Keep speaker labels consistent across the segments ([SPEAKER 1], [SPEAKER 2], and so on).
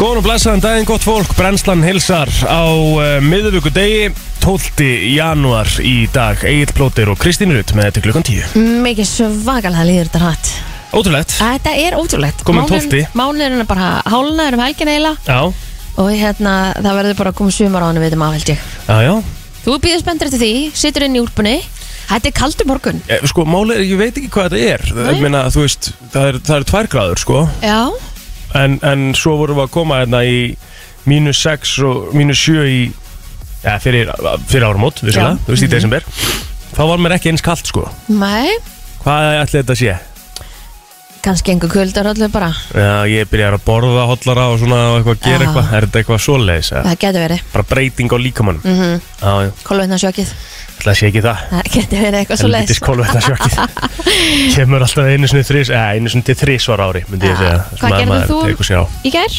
[SPEAKER 1] Góðan og blessaðan daginn, gott fólk, brennslan hilsar á uh, miðvöku degi 12. janúar í dag Egil Plóter og Kristín Rutt með þetta klukkan 10
[SPEAKER 2] Mikið svakalega líður þetta hratt
[SPEAKER 1] Ótrúlegt
[SPEAKER 2] Æ, Þetta er ótrúlegt
[SPEAKER 1] Kominn
[SPEAKER 2] Mánuðurinn-
[SPEAKER 1] 12.
[SPEAKER 2] Mánuðurinn er bara hálnaður um helgin eiginlega
[SPEAKER 1] Já,
[SPEAKER 2] Og hérna, það verður bara að koma sumar á hann við þetta maður held ég
[SPEAKER 1] já, já
[SPEAKER 2] Þú býður spenntur eftir því, situr inn í úlpunni Þetta er kaldur morgun
[SPEAKER 1] Eh, Sko, máli er, ég veit ekki hvað þetta er Það- Ég
[SPEAKER 2] Nei.
[SPEAKER 1] meina, þú veist, það er, það er tvær gráður, sko
[SPEAKER 2] Já,
[SPEAKER 1] en, en svo vorum við að koma hérna í mínus 6 og mínus 7 í ja, fyrir, fyrir áramót, vissulega,
[SPEAKER 2] Já.
[SPEAKER 1] þú veist, í desember Þá var mér ekki eins kalt, sko
[SPEAKER 2] nei,
[SPEAKER 1] Hvað ætli þetta sé?
[SPEAKER 2] kannski einhver kuldar allir bara
[SPEAKER 1] Já, ég byrjar að borða hotlara og svona og eitthvað að gera
[SPEAKER 2] Já.
[SPEAKER 1] eitthvað Er þetta eitthvað svoleiðis? eða?
[SPEAKER 2] Það getur verið,
[SPEAKER 1] Bara breyting á líkamannum
[SPEAKER 2] mm
[SPEAKER 1] Já, já,
[SPEAKER 2] kolvetna sjokkið
[SPEAKER 1] ætli það sé ekki það
[SPEAKER 2] Það getur verið eitthvað svo
[SPEAKER 1] Helvitis
[SPEAKER 2] leiðis
[SPEAKER 1] kólvetna sjokkið Kemur alltaf einu sinni þrís eða einu sinni til þrís var ári myndi ég
[SPEAKER 2] Já.
[SPEAKER 1] segja
[SPEAKER 2] Ah. Hvað gerðir þú?
[SPEAKER 1] þú?
[SPEAKER 2] Í gær?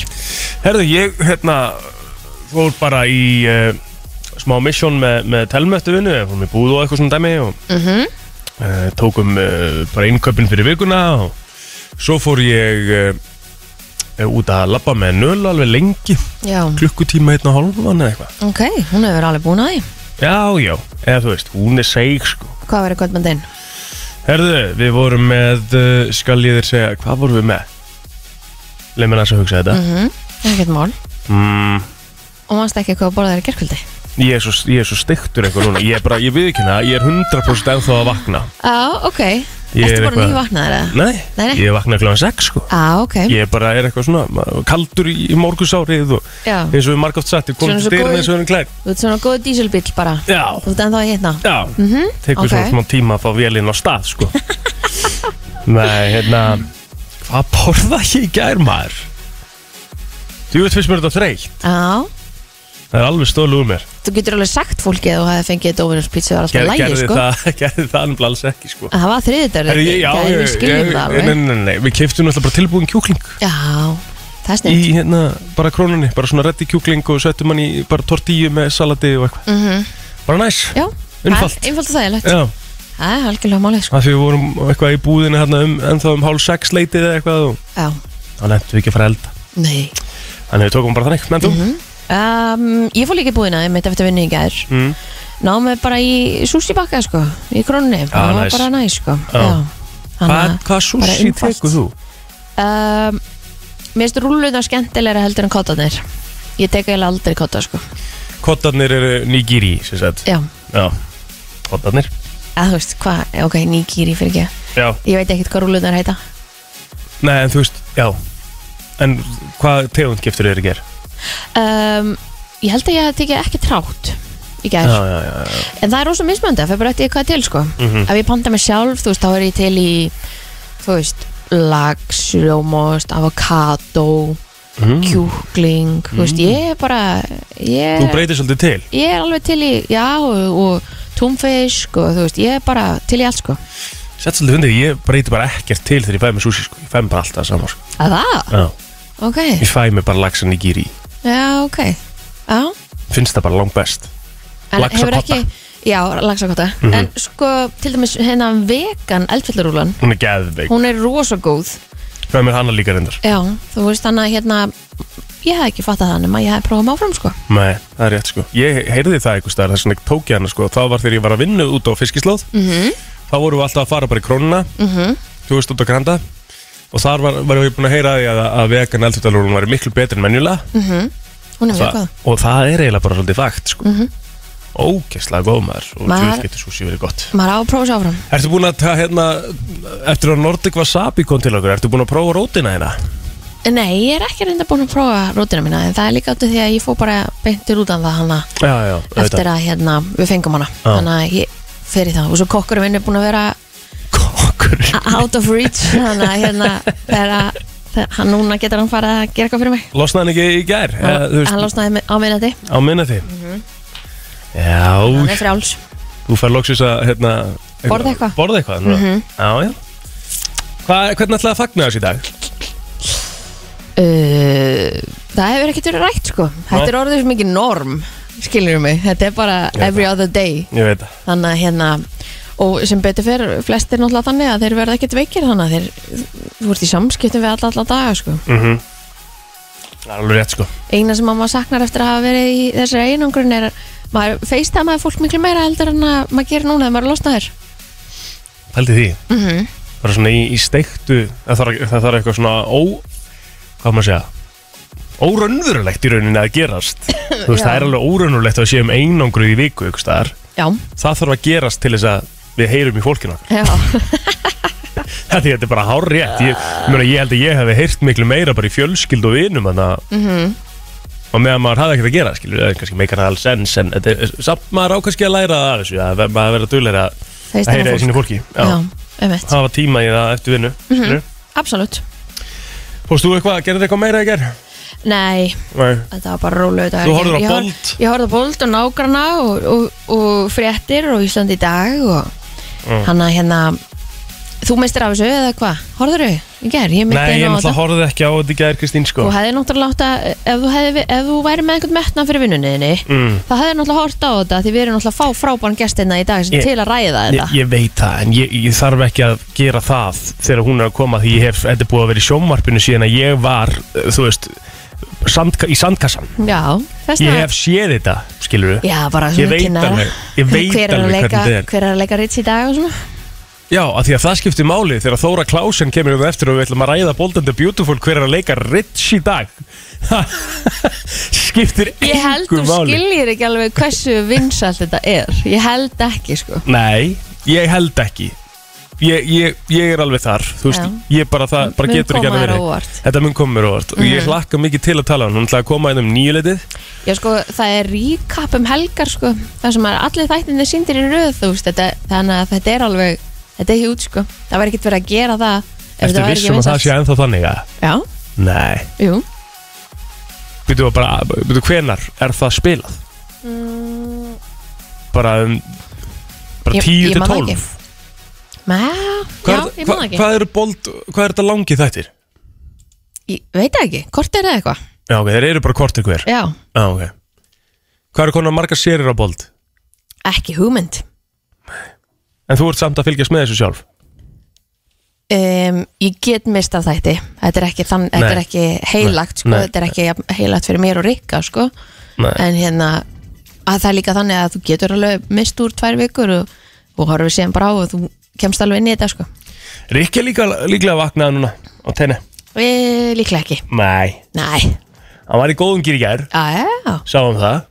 [SPEAKER 1] Herðu, ég hérna fór bara í uh, smá mission með, með telmöttu vinnu fór mér búð og eitthvað svona dæmi og
[SPEAKER 2] Mm
[SPEAKER 1] uh, tókum uh, bara innkaupin fyrir vikuna og svo fór ég uh, út að labba með nöl alveg lengi
[SPEAKER 2] Já,
[SPEAKER 1] klukkutíma einn og hálfan eða eitthvað
[SPEAKER 2] ok, hún hefur alveg búin að því
[SPEAKER 1] Já, já, eða þú veist, hún er seig sko
[SPEAKER 2] Hvað verður kvöldmöndin?
[SPEAKER 1] Herðu, við vorum með, uh, skal ég þér segja, hvað vorum við með? Leif mér aðeins að hugsa þetta
[SPEAKER 2] Mm Ekkert mál
[SPEAKER 1] mm,
[SPEAKER 2] Og mannst ekki hvað borðar í gerkvöldi?
[SPEAKER 1] ég, er svo, ég er svo styktur eitthvað núna, ég er bara, ég viðkynna, ég er 100% ennþá að vakna
[SPEAKER 2] Já, ok
[SPEAKER 1] Ég
[SPEAKER 2] Ertu
[SPEAKER 1] er
[SPEAKER 2] bara
[SPEAKER 1] eitthvað-
[SPEAKER 2] nývaknaður eða?
[SPEAKER 1] Nei,
[SPEAKER 2] Ah, Nei, nei.
[SPEAKER 1] ég vakna kláðan 6 sko
[SPEAKER 2] Já, ok
[SPEAKER 1] Ég bara er eitthvað svona, ma- kaldur í í morgunsárið og
[SPEAKER 2] Já,
[SPEAKER 1] eins og við margótt satt, ég kom
[SPEAKER 2] Ah. Svona
[SPEAKER 1] til
[SPEAKER 2] svo
[SPEAKER 1] dyrum
[SPEAKER 2] góður-
[SPEAKER 1] eins og erum klær
[SPEAKER 2] þú ert svona góð dísilbíl bara
[SPEAKER 1] Já,
[SPEAKER 2] Þú ert ennþá að hitna
[SPEAKER 1] já,
[SPEAKER 2] Mhm,
[SPEAKER 1] tekur
[SPEAKER 2] ok.
[SPEAKER 1] svona smá tíma að fá vélinn á stað sko Nei, hérna Hvað borða ég í gær maður? Þú veit fyrst mér þetta þreytt
[SPEAKER 2] Já,
[SPEAKER 1] Það er alveg stólu úr mér
[SPEAKER 2] þú getur alveg sagt fólki að þú hefði fengið Dóminus pizza var alltaf
[SPEAKER 1] Ger,
[SPEAKER 2] lægi,
[SPEAKER 1] Gerði
[SPEAKER 2] sko
[SPEAKER 1] það, gerði það nefnilega alls ekki sko
[SPEAKER 2] Það var þriðutöru
[SPEAKER 1] Herri, ég, já, ég,
[SPEAKER 2] við skiljum
[SPEAKER 1] ég-
[SPEAKER 2] það
[SPEAKER 1] nei,
[SPEAKER 2] alveg
[SPEAKER 1] nei, nei, nei, við keiftum náttúrulega bara tilbúin kjúkling
[SPEAKER 2] Já, það er
[SPEAKER 1] Í
[SPEAKER 2] snitt
[SPEAKER 1] hérna, bara krónunni, bara svona reddi kjúkling og settum hann í bara tortíu með salati og eitthvað
[SPEAKER 2] Mhm.
[SPEAKER 1] Bara næs,
[SPEAKER 2] Já,
[SPEAKER 1] Einfalt.
[SPEAKER 2] það er einfalt og þægilegt
[SPEAKER 1] já,
[SPEAKER 2] Það er algjörlega málið, sko
[SPEAKER 1] af því við vorum eitthvað í búðinu hérna um, ennþá um hálf sex leitið eða eitthvað og
[SPEAKER 2] Já,
[SPEAKER 1] þá nefntum við ekki að fara að elda
[SPEAKER 2] nei
[SPEAKER 1] Þannig við tókum bara þannig, menn þú?
[SPEAKER 2] Mhm. um, Ég fór líka í búðina, ég mitt eftir vinnu í gær
[SPEAKER 1] Mm.
[SPEAKER 2] Náðum við bara í sushi-bakka, sko Í krónunni, það var
[SPEAKER 1] næs.
[SPEAKER 2] bara næs, sko
[SPEAKER 1] Ah, Já.
[SPEAKER 2] Þannig
[SPEAKER 1] Hvað
[SPEAKER 2] að-
[SPEAKER 1] hvaða
[SPEAKER 2] bara
[SPEAKER 1] sushi
[SPEAKER 2] einfalt.
[SPEAKER 1] tekur þú?
[SPEAKER 2] um, Mér finnst rúluna skemmtilegra heldur en kottanir Ég tek eiginlega aldrei kotta sko
[SPEAKER 1] Kottarnir eru nigiri, sem sagt
[SPEAKER 2] Já,
[SPEAKER 1] Já, kottarnir
[SPEAKER 2] að þú veist hvað, ok, nýgýri fyrir ekki
[SPEAKER 1] Já,
[SPEAKER 2] Ég veit ekkert hvað rúlunar heita
[SPEAKER 1] nei, en þú veist, já En hvað tegund giftur eru að gera?
[SPEAKER 2] um, Ég held að ég tekja ekki trátt í
[SPEAKER 1] Já,
[SPEAKER 2] gær
[SPEAKER 1] já, já, já.
[SPEAKER 2] En það er rosa mismöndi, það fyrir bara eftir því hvað er til sko
[SPEAKER 1] Mhm.
[SPEAKER 2] Ef ég panta mig sjálf, þú veist, þá er ég til í Þú veist, lags, rjómost, avokado,
[SPEAKER 1] Mm.
[SPEAKER 2] kjúkling Þú veist, ég er bara ég...
[SPEAKER 1] Þú breytir svolítið til
[SPEAKER 2] ég er alveg til í, já, og, og túnfisk og þú veist, ég er bara til í allt sko.
[SPEAKER 1] Sett svolítið undir, ég breyti bara ekkert til þegar ég fæ mig sushi sko. Ég fæ mig bara alltaf saman sko.
[SPEAKER 2] Að það?
[SPEAKER 1] Já.
[SPEAKER 2] Ok,
[SPEAKER 1] Ég fæ mig bara laxan nigiri
[SPEAKER 2] já, ok. Já,
[SPEAKER 1] Finnst það bara langt best
[SPEAKER 2] en
[SPEAKER 1] Laxakotta.
[SPEAKER 2] hefur ekki, já, laxakotta.
[SPEAKER 1] Mhm.
[SPEAKER 2] En sko, til dæmis hérna vegan eldfjallarúlan,
[SPEAKER 1] Hún er geðveik
[SPEAKER 2] hún er rosa góð.
[SPEAKER 1] Fæ mér hana líka reyndar
[SPEAKER 2] Já, þú veist, þannig að hérna, ég hef ekki fattað það nema ég hef prófað máfram sko.
[SPEAKER 1] Nei, það er rétt sko Ég heyrði það einhvers staðar þess að ég tók ég hana sko Það var þegar ég var að vinna út á fiskislóð
[SPEAKER 2] Mm -hmm.
[SPEAKER 1] Þá vorum við alltaf að fara bara í krónuna
[SPEAKER 2] Mhm.
[SPEAKER 1] Þú veist út á granda Og þar var, var ég búin að heyra að, að, að vegan eldfjöldalúrun var miklu betri en menjulega
[SPEAKER 2] Hún er mjög
[SPEAKER 1] Þa,
[SPEAKER 2] góð.
[SPEAKER 1] Og það er eiginlega bara svolítið fakt sko Ógeðslega góð maður Og
[SPEAKER 2] Mhm. Maður-
[SPEAKER 1] djúð getur sushi verið gott
[SPEAKER 2] Maður á að prófa sér áfram.
[SPEAKER 1] Ertu búin að, ta- hérna, eftir að Nordic Wasabi kom til okkur, ertu búin að prófa rótina hérna?
[SPEAKER 2] Nei, ég er ekki reynda búin að prófa rótina mína, en það er líka áttu því að ég fó bara beintur út af það hann að
[SPEAKER 1] Já, já,
[SPEAKER 2] eftir að hérna, við fengum hana
[SPEAKER 1] Já.
[SPEAKER 2] þannig að ég fer í það og svo kokkurinn minn er búin að vera
[SPEAKER 1] Kokkur.
[SPEAKER 2] out of reach þannig að hérna vera, þe- hann núna getur hann farið að gera eitthvað fyrir mig
[SPEAKER 1] Losnaði hann ekki í gær, eða, Eh, þú
[SPEAKER 2] hann, hann
[SPEAKER 1] veist,
[SPEAKER 2] losnaði mi- á minnati
[SPEAKER 1] á minna þið? Já,
[SPEAKER 2] hann Mhm. er frjáls
[SPEAKER 1] þú fær loksins að, hérna,
[SPEAKER 2] Borða eitthvað. Mhm.
[SPEAKER 1] Borða eitthvað, núna. Já, já. Hva, hvernig ætlaði að fagna þessu í dag?
[SPEAKER 2] uh, það hefur ekkert verið rætt sko þetta er orðið sem ekki norm skilur mig, þetta er bara
[SPEAKER 1] Ég veit
[SPEAKER 2] every other day
[SPEAKER 1] Ég veit það.
[SPEAKER 2] þannig að hérna og sem betur fyrir flestir náttúrulega þannig að þeir verða ekkert veikir þannig að þeir þú ert í samskiptum við alla alla daga sko
[SPEAKER 1] Mm -hmm. Mhm. Það er alveg rétt sko
[SPEAKER 2] eina sem að maður saknar eftir að hafa verið í þessari einangrun er maður feistamaði fólk miklu meira heldur en að maður gerir núna þegar maður er losnaður
[SPEAKER 1] Pældi því
[SPEAKER 2] mm -hmm.
[SPEAKER 1] Bara svona í, í steiktu Það þarf það þarf eitthvað svona ó Hvað á maður að segja Óraunverulegt í rauninni að gerast Þú veist,
[SPEAKER 2] Já.
[SPEAKER 1] það er alveg óraunverulegt að við séum einangru í viku ykkur staðar
[SPEAKER 2] Já,
[SPEAKER 1] Það þarf að gerast til þess að við heyrum í fólkinu okkar
[SPEAKER 2] já,
[SPEAKER 1] Þetta þetta er bara hár rétt ég, ég, meina, ég held að ég hefði heyrt miklu meira bara í fjölskyld og vinum Þannig að
[SPEAKER 2] mm
[SPEAKER 1] og meðan maður hafði ekkert að gera skilur, eða kannski meikar það alls ens en þetta er, samt maður á kannski að læra það af þessu að ver- maður verður dugleiri að
[SPEAKER 2] Feist
[SPEAKER 1] að heyra í
[SPEAKER 2] fólk
[SPEAKER 1] sínu fólki já.
[SPEAKER 2] Já, einmitt,
[SPEAKER 1] hafa tíma í það eftir vinnu
[SPEAKER 2] Mhm.
[SPEAKER 1] mm
[SPEAKER 2] absolutt
[SPEAKER 1] fórst þú eitthvað, gerðið eitthvað meira í ger?
[SPEAKER 2] Nei,
[SPEAKER 1] Nei.
[SPEAKER 2] þetta var bara rólu
[SPEAKER 1] þú horfður á bold
[SPEAKER 2] Ég horfði á Bolt og Nágrana og, og, og fréttir og Ísland í dag og
[SPEAKER 1] Mm.
[SPEAKER 2] hann að hérna Þú mistir af þessu eða hvað? Horður þau? Ég ger, ég myndi
[SPEAKER 1] nei, ég náttúrulega horfði ekki á þetta í ger Kristín sko
[SPEAKER 2] Þú hefði náttúrulega átt að, ef þú, hefði, ef þú væri með einhvern metna fyrir vinnunniðinni
[SPEAKER 1] mm.
[SPEAKER 2] Það hefði náttúrulega hort á þetta því við erum náttúrulega að fá frábæran gestina í dag sem
[SPEAKER 1] Ég-
[SPEAKER 2] til að ræða
[SPEAKER 1] ég,
[SPEAKER 2] þetta
[SPEAKER 1] ég veit það, en ég, ég þarf ekki að gera það þegar hún er að koma því ég hef, þetta er búið að vera í sjómarpinu síðan að ég var uh, þú veist, sandka, í sandkassan
[SPEAKER 2] Já, þess
[SPEAKER 1] ég
[SPEAKER 2] vegna
[SPEAKER 1] hef séð þetta, skilur
[SPEAKER 2] Já, bara
[SPEAKER 1] ég
[SPEAKER 2] svona
[SPEAKER 1] veit
[SPEAKER 2] kynnaðra
[SPEAKER 1] alveg, ég veit
[SPEAKER 2] Hver er að
[SPEAKER 1] alveg hvernig
[SPEAKER 2] leika,
[SPEAKER 1] þetta er
[SPEAKER 2] hver er að leika Ritz í dag og svona
[SPEAKER 1] Já, af því að það skiptir máli þegar Þóra Klásen kemur um eftir og við ætlum að ræða Bold and the Beautiful hver er að leika Rich í dag skiptir
[SPEAKER 2] Ég held
[SPEAKER 1] engu
[SPEAKER 2] þú
[SPEAKER 1] máli
[SPEAKER 2] skiljir ekki alveg hversu vinsalt þetta er Ég held ekki sko
[SPEAKER 1] Nei, ég held ekki Ég, ég, ég er alveg þar þú veist, ég bara, það, bara
[SPEAKER 2] Mun
[SPEAKER 1] getur ekki að
[SPEAKER 2] koma þér á
[SPEAKER 1] verið
[SPEAKER 2] óvart. Mhm.
[SPEAKER 1] Þetta mun koma mér óvart og ég hlakka mikið til að tala um hún ætlaði að koma inn um nýjuleitið
[SPEAKER 2] Já sko, það er recap um helgar sko Það sem er allir þættinni síndir í röð þú veist þetta, Þannig að þetta er alveg Þetta er ekki út sko Það var ekkert verið að gera það ef
[SPEAKER 1] Ertu
[SPEAKER 2] þetta væri ekki
[SPEAKER 1] vissum að það sé
[SPEAKER 2] vinsælt.
[SPEAKER 1] ennþá þannig að
[SPEAKER 2] Já,
[SPEAKER 1] Nei,
[SPEAKER 2] jú
[SPEAKER 1] byrju bara, byrju hvenar er það spilað? Bara, um, bara
[SPEAKER 2] Mm.
[SPEAKER 1] 10
[SPEAKER 2] Ég- ég
[SPEAKER 1] til
[SPEAKER 2] man það ekki.
[SPEAKER 1] 12
[SPEAKER 2] Mæ, já,
[SPEAKER 1] Hvað,
[SPEAKER 2] ég
[SPEAKER 1] hva,
[SPEAKER 2] man það ekki
[SPEAKER 1] hvað eru bold, hvað er þetta langið þættir?
[SPEAKER 2] Ég veit það ekki, hvort er það eitthvað
[SPEAKER 1] Já, ok, þeir eru bara kortir hver
[SPEAKER 2] Já,
[SPEAKER 1] Já, ok Hvað eru konar margar sérir á bold?
[SPEAKER 2] ekki hugmynd
[SPEAKER 1] En þú ert samt að fylgjast með þessu sjálf
[SPEAKER 2] um, Ég get mist af þætti Þetta er ekki, þann, þetta er
[SPEAKER 1] Nei.
[SPEAKER 2] ekki heilagt sko.
[SPEAKER 1] Nei.
[SPEAKER 2] Þetta er ekki jafn heilagt fyrir mér og Rikka sko.
[SPEAKER 1] Nei,
[SPEAKER 2] En hérna að Það er líka þannig að þú getur alveg mist úr tvær vikur og, og horfir síðan bara á og þú kemst alveg inn í þetta sko.
[SPEAKER 1] Rikki er líka, líklega vaknaði núna á tenni
[SPEAKER 2] e, Líklega ekki
[SPEAKER 1] Nei,
[SPEAKER 2] Nei,
[SPEAKER 1] hann var í góðum gýr í gær
[SPEAKER 2] já, já
[SPEAKER 1] Sáum það,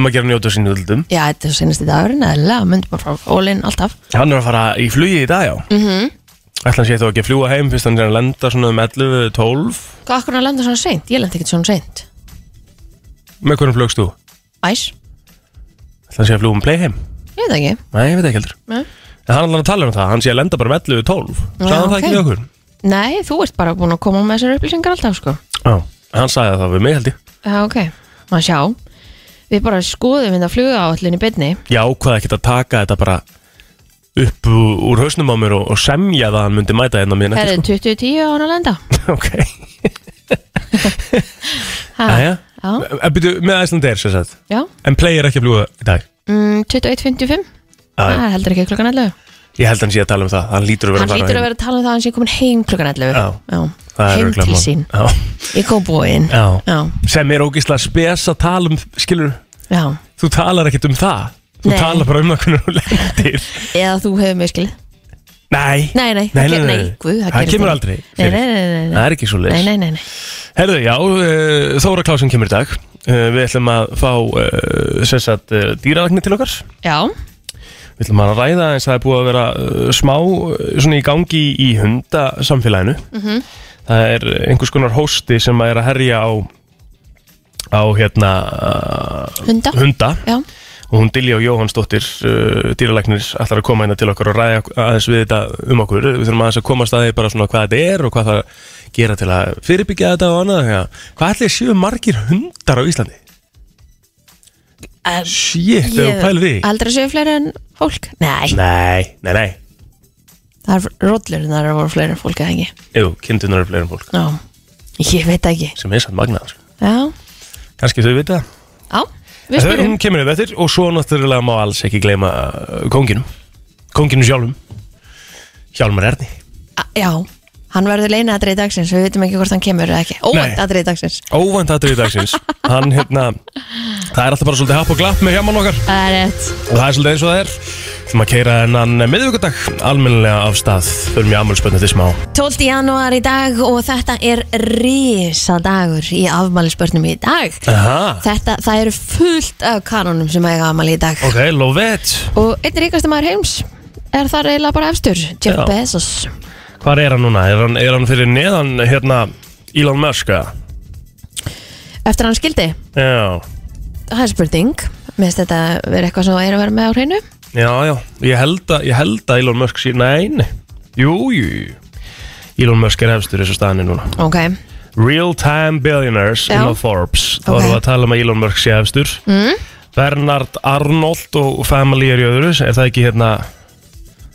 [SPEAKER 1] um að gera njóta sín úldum
[SPEAKER 2] Já, þetta er senast í dagurinn eða myndum bara frá ólinn alltaf
[SPEAKER 1] Hann er að fara í flugi í dag, já mm -hmm. Ætlan sé þó ekki að fljúa heim Fyrst hann er að lenda svona um 11-12
[SPEAKER 2] Hvað akkur er að landa svona seint? Ég landi ekkert svona seint
[SPEAKER 1] Með hvernig flugst þú?
[SPEAKER 2] Æs,
[SPEAKER 1] Ætlan sé að fljúa um play heim?
[SPEAKER 2] ég veit það ekki
[SPEAKER 1] Nei, ég veit ekki heldur
[SPEAKER 2] Nei.
[SPEAKER 1] En hann er alveg að tala um það, hann sé að lenda bara um 11-12
[SPEAKER 2] Já,
[SPEAKER 1] Sæðan það
[SPEAKER 2] ok.
[SPEAKER 1] ekki við okkur?
[SPEAKER 2] Nei, þú ert bara búin að koma með þessar upplýsingar alltaf sko
[SPEAKER 1] Já, hann sagði það við mig held ég
[SPEAKER 2] Já, ok, maður sjá Við bara skoðum hérna fluga áallin í byrni
[SPEAKER 1] Ég ákvaði ekkert að taka þetta bara upp ú- úr hausnum á mér og, og semja það að hann myndi mæta hérna á mér
[SPEAKER 2] Það er 2010 á hann að lenda
[SPEAKER 1] Ok,
[SPEAKER 2] ha,
[SPEAKER 1] aðja
[SPEAKER 2] Ah. Já,
[SPEAKER 1] En byrju, Eh, með Æslandeir sér sagt
[SPEAKER 2] já
[SPEAKER 1] En Play er ekki að fljúa í dag
[SPEAKER 2] mm, 21.55
[SPEAKER 1] Aðja,
[SPEAKER 2] Það er heldur ekki klukkan 11
[SPEAKER 1] ég held hann sé að tala um það Hann lítur að vera
[SPEAKER 2] Ah. Hann lítur að vera að tala um það að hann sé komin heim klukkan 11
[SPEAKER 1] Já.
[SPEAKER 2] já. Heim til sín
[SPEAKER 1] Já,
[SPEAKER 2] Ég kom búinn
[SPEAKER 1] já
[SPEAKER 2] Já,
[SPEAKER 1] Sem er ógislega spes að tala um, skilur
[SPEAKER 2] já
[SPEAKER 1] Þú talar ekkert um það Þú
[SPEAKER 2] Nei.
[SPEAKER 1] talar bara um það hvernig hún lendir
[SPEAKER 2] Eða þú hefur mig skilið
[SPEAKER 1] Nei,
[SPEAKER 2] Nei, nei,
[SPEAKER 1] Nei,
[SPEAKER 2] það
[SPEAKER 1] nei,
[SPEAKER 2] ger-
[SPEAKER 1] nei.
[SPEAKER 2] nei, guð,
[SPEAKER 1] Það
[SPEAKER 2] gerist
[SPEAKER 1] kemur
[SPEAKER 2] ekki.
[SPEAKER 1] aldrei
[SPEAKER 2] Nei,
[SPEAKER 1] fyrir.
[SPEAKER 2] nei, nei, nei, nei.
[SPEAKER 1] Það er ekki svo
[SPEAKER 2] Nei, nei, nei, nei.
[SPEAKER 1] Herðu, já, eh, Þóra Klásin kemur í dag Eh, Við ætlum að fá eh, sem sagt, eh, dýralækni til okkar
[SPEAKER 2] Já,
[SPEAKER 1] Við ætlum að ræða eins það er búið að vera eh, smá eh, svona í gangi í hundasamfélaginu
[SPEAKER 2] Mhm.
[SPEAKER 1] Það er einhvers konar hósti sem er að herja á á hérna eh,
[SPEAKER 2] hunda
[SPEAKER 1] hunda
[SPEAKER 2] Já,
[SPEAKER 1] og hún Dilja og Jóhansdóttir uh, dýralæknir ætlar að koma hérna til okkar og ræða aðeins við þetta um okkur við þurfum aðeins að komast að því bara svona hvað þetta er og hvað það gera til að fyrirbyggja þetta og annað ja. hvað ætlir séu margir hundar á Íslandi?
[SPEAKER 2] En-
[SPEAKER 1] Shit, ef þú pælir því
[SPEAKER 2] Aldrei séu fleiri en fólk Nei,
[SPEAKER 1] Nei, nei, nei,
[SPEAKER 2] það er rótlur Það eru voru fleiri en fólk eða ekki
[SPEAKER 1] jú, kindunar eru fleiri en fólk
[SPEAKER 2] Já, ég veit ekki
[SPEAKER 1] sem er samt sko. magnaðar,
[SPEAKER 2] Já,
[SPEAKER 1] kannski þau vita það
[SPEAKER 2] já, við
[SPEAKER 1] En þau-
[SPEAKER 2] spyrum
[SPEAKER 1] Hún kemur upp eftir og svo náttúrulega má alls ekki gleyma uh, kónginum, kónginum sjálfum Hjálmar Erni
[SPEAKER 2] A- Já, Hann verður leina aðrið dagsins, við veitum ekki hvort hann kemur eða ekki. Óvænt
[SPEAKER 1] Nei.
[SPEAKER 2] aðrið dagsins.
[SPEAKER 1] Óvænt aðrið dagsins Hann hérna Það er alltaf bara svolítið happ og glapp með hjaman okkar
[SPEAKER 2] Það er rétt.
[SPEAKER 1] Og það er svolítið eins og það er Þú maður keira hennan miðvikudag Almennilega af stað Förum í afmjölspönni til smá
[SPEAKER 2] 12. janúar í dag og þetta er risa dagur í afmælisbörnum í dag.
[SPEAKER 1] Aha
[SPEAKER 2] Þetta, það eru fullt af kanonum sem eiga afmæli í dag.
[SPEAKER 1] Ok, lovett
[SPEAKER 2] Og einn ríkast maður heims er þar eiginlega bara efstur, Jeff
[SPEAKER 1] Já.
[SPEAKER 2] Bezos.
[SPEAKER 1] Hvar er hann núna? Er hann, er hann fyrir neðan hérna Elon Musk eða?
[SPEAKER 2] Eftir að hann skildi,
[SPEAKER 1] Já
[SPEAKER 2] það er spurning. Mér finnst þetta verið eitthvað sem er að vera með á hreinu.
[SPEAKER 1] Já, já Ég held að, ég held að Elon Musk sé Nein Jú, jú jú. Elon Musk er efstur í þessu staðinni núna
[SPEAKER 2] Ok,
[SPEAKER 1] Real Time Billionaires
[SPEAKER 2] Já.
[SPEAKER 1] inn á Forbes þá
[SPEAKER 2] Ok.
[SPEAKER 1] erum við að tala um að Elon Musk sé efstur mm. Bernard Arnold og Family er í öðru er það ekki hérna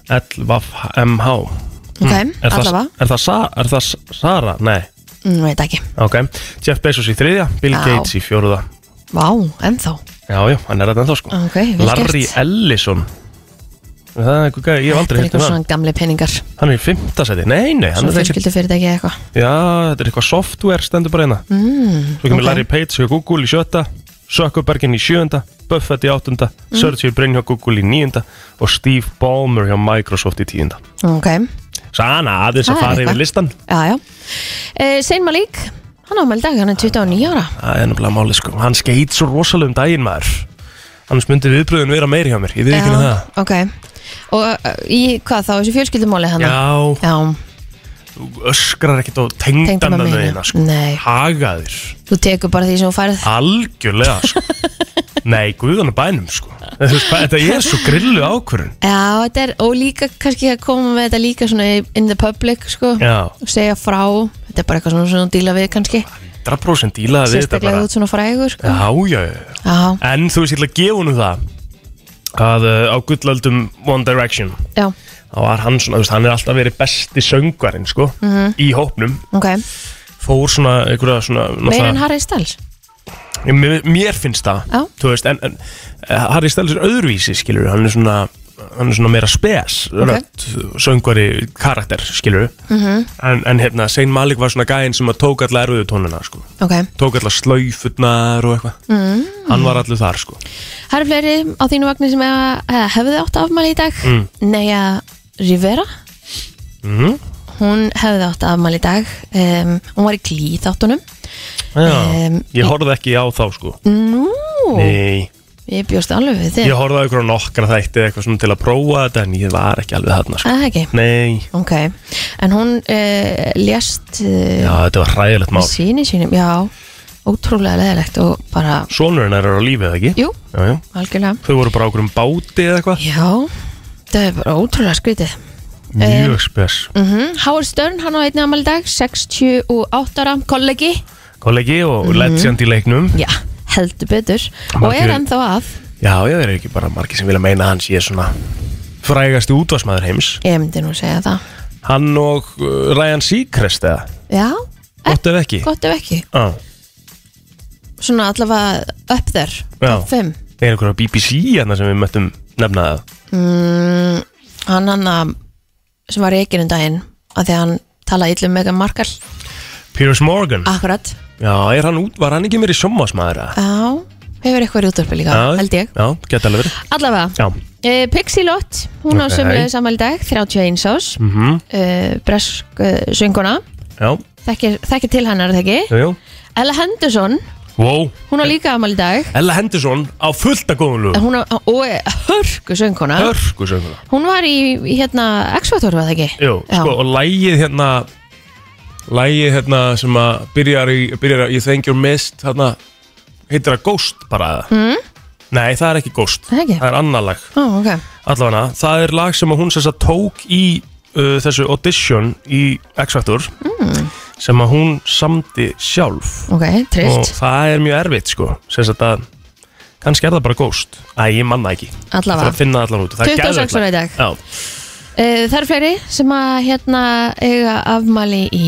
[SPEAKER 1] LVMH
[SPEAKER 2] ok,
[SPEAKER 1] Mm. Hmm. er, það,
[SPEAKER 2] allavega.
[SPEAKER 1] er, það Sa- er það S- Sara? Nei,
[SPEAKER 2] Mm, veit ekki.
[SPEAKER 1] ok Jeff Bezos í þriðja, Bill
[SPEAKER 2] Já.
[SPEAKER 1] Gates í fjóruða
[SPEAKER 2] Vá, ennþá.
[SPEAKER 1] Já, já, hann er þetta ennþá sko
[SPEAKER 2] Ok, vel gert.
[SPEAKER 1] Larry Ellison Er Það er eitthvað gæði, ég hef
[SPEAKER 2] Þetta
[SPEAKER 1] aldrei
[SPEAKER 2] er
[SPEAKER 1] hitt um
[SPEAKER 2] eitthvað
[SPEAKER 1] hann
[SPEAKER 2] svona gamli peningar.
[SPEAKER 1] Hann er í fimmta seti, nei, nei hann
[SPEAKER 2] Svona
[SPEAKER 1] er ekki,
[SPEAKER 2] fjölskyldu fyrirtæki eitthvað.
[SPEAKER 1] Já, þetta er eitthvað software stendur bara hérna
[SPEAKER 2] Mm,
[SPEAKER 1] Svo kemur
[SPEAKER 2] ok.
[SPEAKER 1] Larry Page hjá Google í sjötta Zuckerbergin í sjöunda Buffett í áttunda
[SPEAKER 2] Mm.
[SPEAKER 1] Sergey Brin hjá Google í níunda Og Steve Ballmer hjá Microsoft í tíunda
[SPEAKER 2] Ok,
[SPEAKER 1] Sana, aðeins að
[SPEAKER 2] Það er
[SPEAKER 1] fara yfir
[SPEAKER 2] eitthvað.
[SPEAKER 1] listan
[SPEAKER 2] já, já. E, Sein Malík, hann ámæli dag, hann er 29 ára.
[SPEAKER 1] Það er nefnilega máli sko Hann skeit svo rosalegum daginn maður Annars myndi viðbröðin vera meiri hjá mér Ég veit ekki um
[SPEAKER 2] Já,
[SPEAKER 1] það
[SPEAKER 2] Ok, og uh, í hvað þá, þessi fjölskyldumóli hann?
[SPEAKER 1] Já,
[SPEAKER 2] Já,
[SPEAKER 1] þú öskrar ekkert á tengdandan
[SPEAKER 2] Tengdamömmu þína.
[SPEAKER 1] þeirna sko
[SPEAKER 2] Nei.
[SPEAKER 1] Hagaðir
[SPEAKER 2] þú tekur bara því sem þú færð.
[SPEAKER 1] Ah. Algjörlega sko Nei, guðan að bænum sko Þú veist hvað, Þetta er svo grillu ákvörun
[SPEAKER 2] Já, þetta er, og líka kannski að koma með þetta líka svona í- in the public, sko.
[SPEAKER 1] Já,
[SPEAKER 2] Og segja frá, þetta er bara eitthvað svona sem þú díla við kannski.
[SPEAKER 1] 100% dílaði við þetta
[SPEAKER 2] Sérstaklega
[SPEAKER 1] bara
[SPEAKER 2] út svona frægur, sko.
[SPEAKER 1] Já, já, já
[SPEAKER 2] Já,
[SPEAKER 1] En þú veist, ég ætla að gefa húnu það að uh, á gullöldum One Direction
[SPEAKER 2] já,
[SPEAKER 1] þá var hann svona, þú veist, hann er alltaf verið besti söngvarinn, sko,
[SPEAKER 2] Mhm.
[SPEAKER 1] í hópnum
[SPEAKER 2] ok.
[SPEAKER 1] fór svona, einhverja svona
[SPEAKER 2] Meir en
[SPEAKER 1] náttúrulega-
[SPEAKER 2] Harry Styles?
[SPEAKER 1] Ég- mér, mér finnst það,
[SPEAKER 2] Já.
[SPEAKER 1] þú veist en, en eh, Harry Styles er öðruvísi, skilur hann er svona, hann er svona meira spes rödd, söngvari karakter skilur,
[SPEAKER 2] Mhm.
[SPEAKER 1] en, en hérna Sein Malik var svona gæinn sem að tók alla erfiðu tónuna, sko,
[SPEAKER 2] Ok.
[SPEAKER 1] tók alla slaufunar og eitthvað,
[SPEAKER 2] Mm.
[SPEAKER 1] hann var allir þar, sko
[SPEAKER 2] Það eru fleiri á þínu vagnir sem eiga- eh, hefðu átt afmæli í dag. Mm. Neia Rivera,
[SPEAKER 1] mm
[SPEAKER 2] hún hefði átt afmæli í dag. Um, hún var í glíð áttunum.
[SPEAKER 1] Já,
[SPEAKER 2] Em,
[SPEAKER 1] ég horfði ekki á þá sko
[SPEAKER 2] Nú,
[SPEAKER 1] Nei,
[SPEAKER 2] ég bjóst alveg við þig.
[SPEAKER 1] ég horfði á ykkur nokkra þætti eða eitthvað svona til að prófa þetta en ég var ekki alveg þarna sko
[SPEAKER 2] Það ekki.
[SPEAKER 1] Nei,
[SPEAKER 2] Ok, en hún uh, lést
[SPEAKER 1] já
[SPEAKER 2] uh,
[SPEAKER 1] þetta var hræðilegt mál
[SPEAKER 2] síni sínum, já, ótrúlega leðilegt og bara,
[SPEAKER 1] Sonurinn er á lífi eða ekki?
[SPEAKER 2] jú,
[SPEAKER 1] Já, já
[SPEAKER 2] algjörlega.
[SPEAKER 1] Þau voru bara á okkur um báti eða eitthvað
[SPEAKER 2] Já, það er bara ótrúlega skrítið. Eh.
[SPEAKER 1] Mjög spes
[SPEAKER 2] Mm Howard Stern, hann á einni amal dag, 68 ára, kollegi.
[SPEAKER 1] Kollegi
[SPEAKER 2] Mhm.
[SPEAKER 1] og legend í leiknum
[SPEAKER 2] Já, heldur betur. Og
[SPEAKER 1] Margir-
[SPEAKER 2] er ennþá að,
[SPEAKER 1] Já, já, það er ekki bara margir sem vilja meina að hans Ég er svona frægasti útvarsmaður heims
[SPEAKER 2] ég myndi nú segja það.
[SPEAKER 1] Hann og uh, Ryan Seacrest eða
[SPEAKER 2] Já, eh,
[SPEAKER 1] Gott ef ekki Ah,
[SPEAKER 2] gott ef ekki.
[SPEAKER 1] Já,
[SPEAKER 2] Svona allavega upp þér,
[SPEAKER 1] Já.
[SPEAKER 2] top 5.
[SPEAKER 1] það er einhverja BBC hérna sem við möttum nefna það
[SPEAKER 2] Mm, hann hann að, sem var reikinu daginn, að því að hann talaði illum mega markal.
[SPEAKER 1] Piers Morgan
[SPEAKER 2] Akkurat,
[SPEAKER 1] Já, er hann út, var hann ekki meiri sjómasmaður eða?
[SPEAKER 2] já Hefur eitthvað í útvarpi líka, held ég
[SPEAKER 1] Já, geta alveg verið
[SPEAKER 2] Allavega,
[SPEAKER 1] Já,
[SPEAKER 2] uh, Pixie Lott
[SPEAKER 1] Ok.
[SPEAKER 2] Hún á sömulegðu sammæli dag, 31 ás
[SPEAKER 1] mm
[SPEAKER 2] uh, Bresk uh, sönguna
[SPEAKER 1] já,
[SPEAKER 2] Þekkir þekkir til hennar þekki
[SPEAKER 1] jú, jú
[SPEAKER 2] Ella Henderson,
[SPEAKER 1] Wow,
[SPEAKER 2] hún á líka ammæli dag
[SPEAKER 1] Ella Henderson á fullt að góðum
[SPEAKER 2] En
[SPEAKER 1] lögum
[SPEAKER 2] Hún á, og er hörku sönguna
[SPEAKER 1] Hörgu sönguna
[SPEAKER 2] Hún var í, í hérna, X-Factor var það ekki?
[SPEAKER 1] Jú,
[SPEAKER 2] Já.
[SPEAKER 1] sko, og lægið hérna Lægið hérna sem að byrjar í, byrjar í Thank Your Mist hérna, heitir það Ghost bara mm? Nei, það er ekki Ghost
[SPEAKER 2] Það ekki?
[SPEAKER 1] Það er annar lag
[SPEAKER 2] Ó, ok,
[SPEAKER 1] Allavega, það er lag sem að hún sérst að tók í uh, þessu audition í X-Factor
[SPEAKER 2] Mm.
[SPEAKER 1] sem að hún samdi sjálf
[SPEAKER 2] ok,
[SPEAKER 1] og
[SPEAKER 2] trist
[SPEAKER 1] það er mjög erfitt sko Sess að það kannski er það bara ghost Æ, ég manna ekki Það er
[SPEAKER 2] Allavega
[SPEAKER 1] að finna það allan út Það er
[SPEAKER 2] 26 ára
[SPEAKER 1] geðveikt.
[SPEAKER 2] í dag
[SPEAKER 1] Já,
[SPEAKER 2] Uh, það eru fleiri sem að hérna eiga afmæli í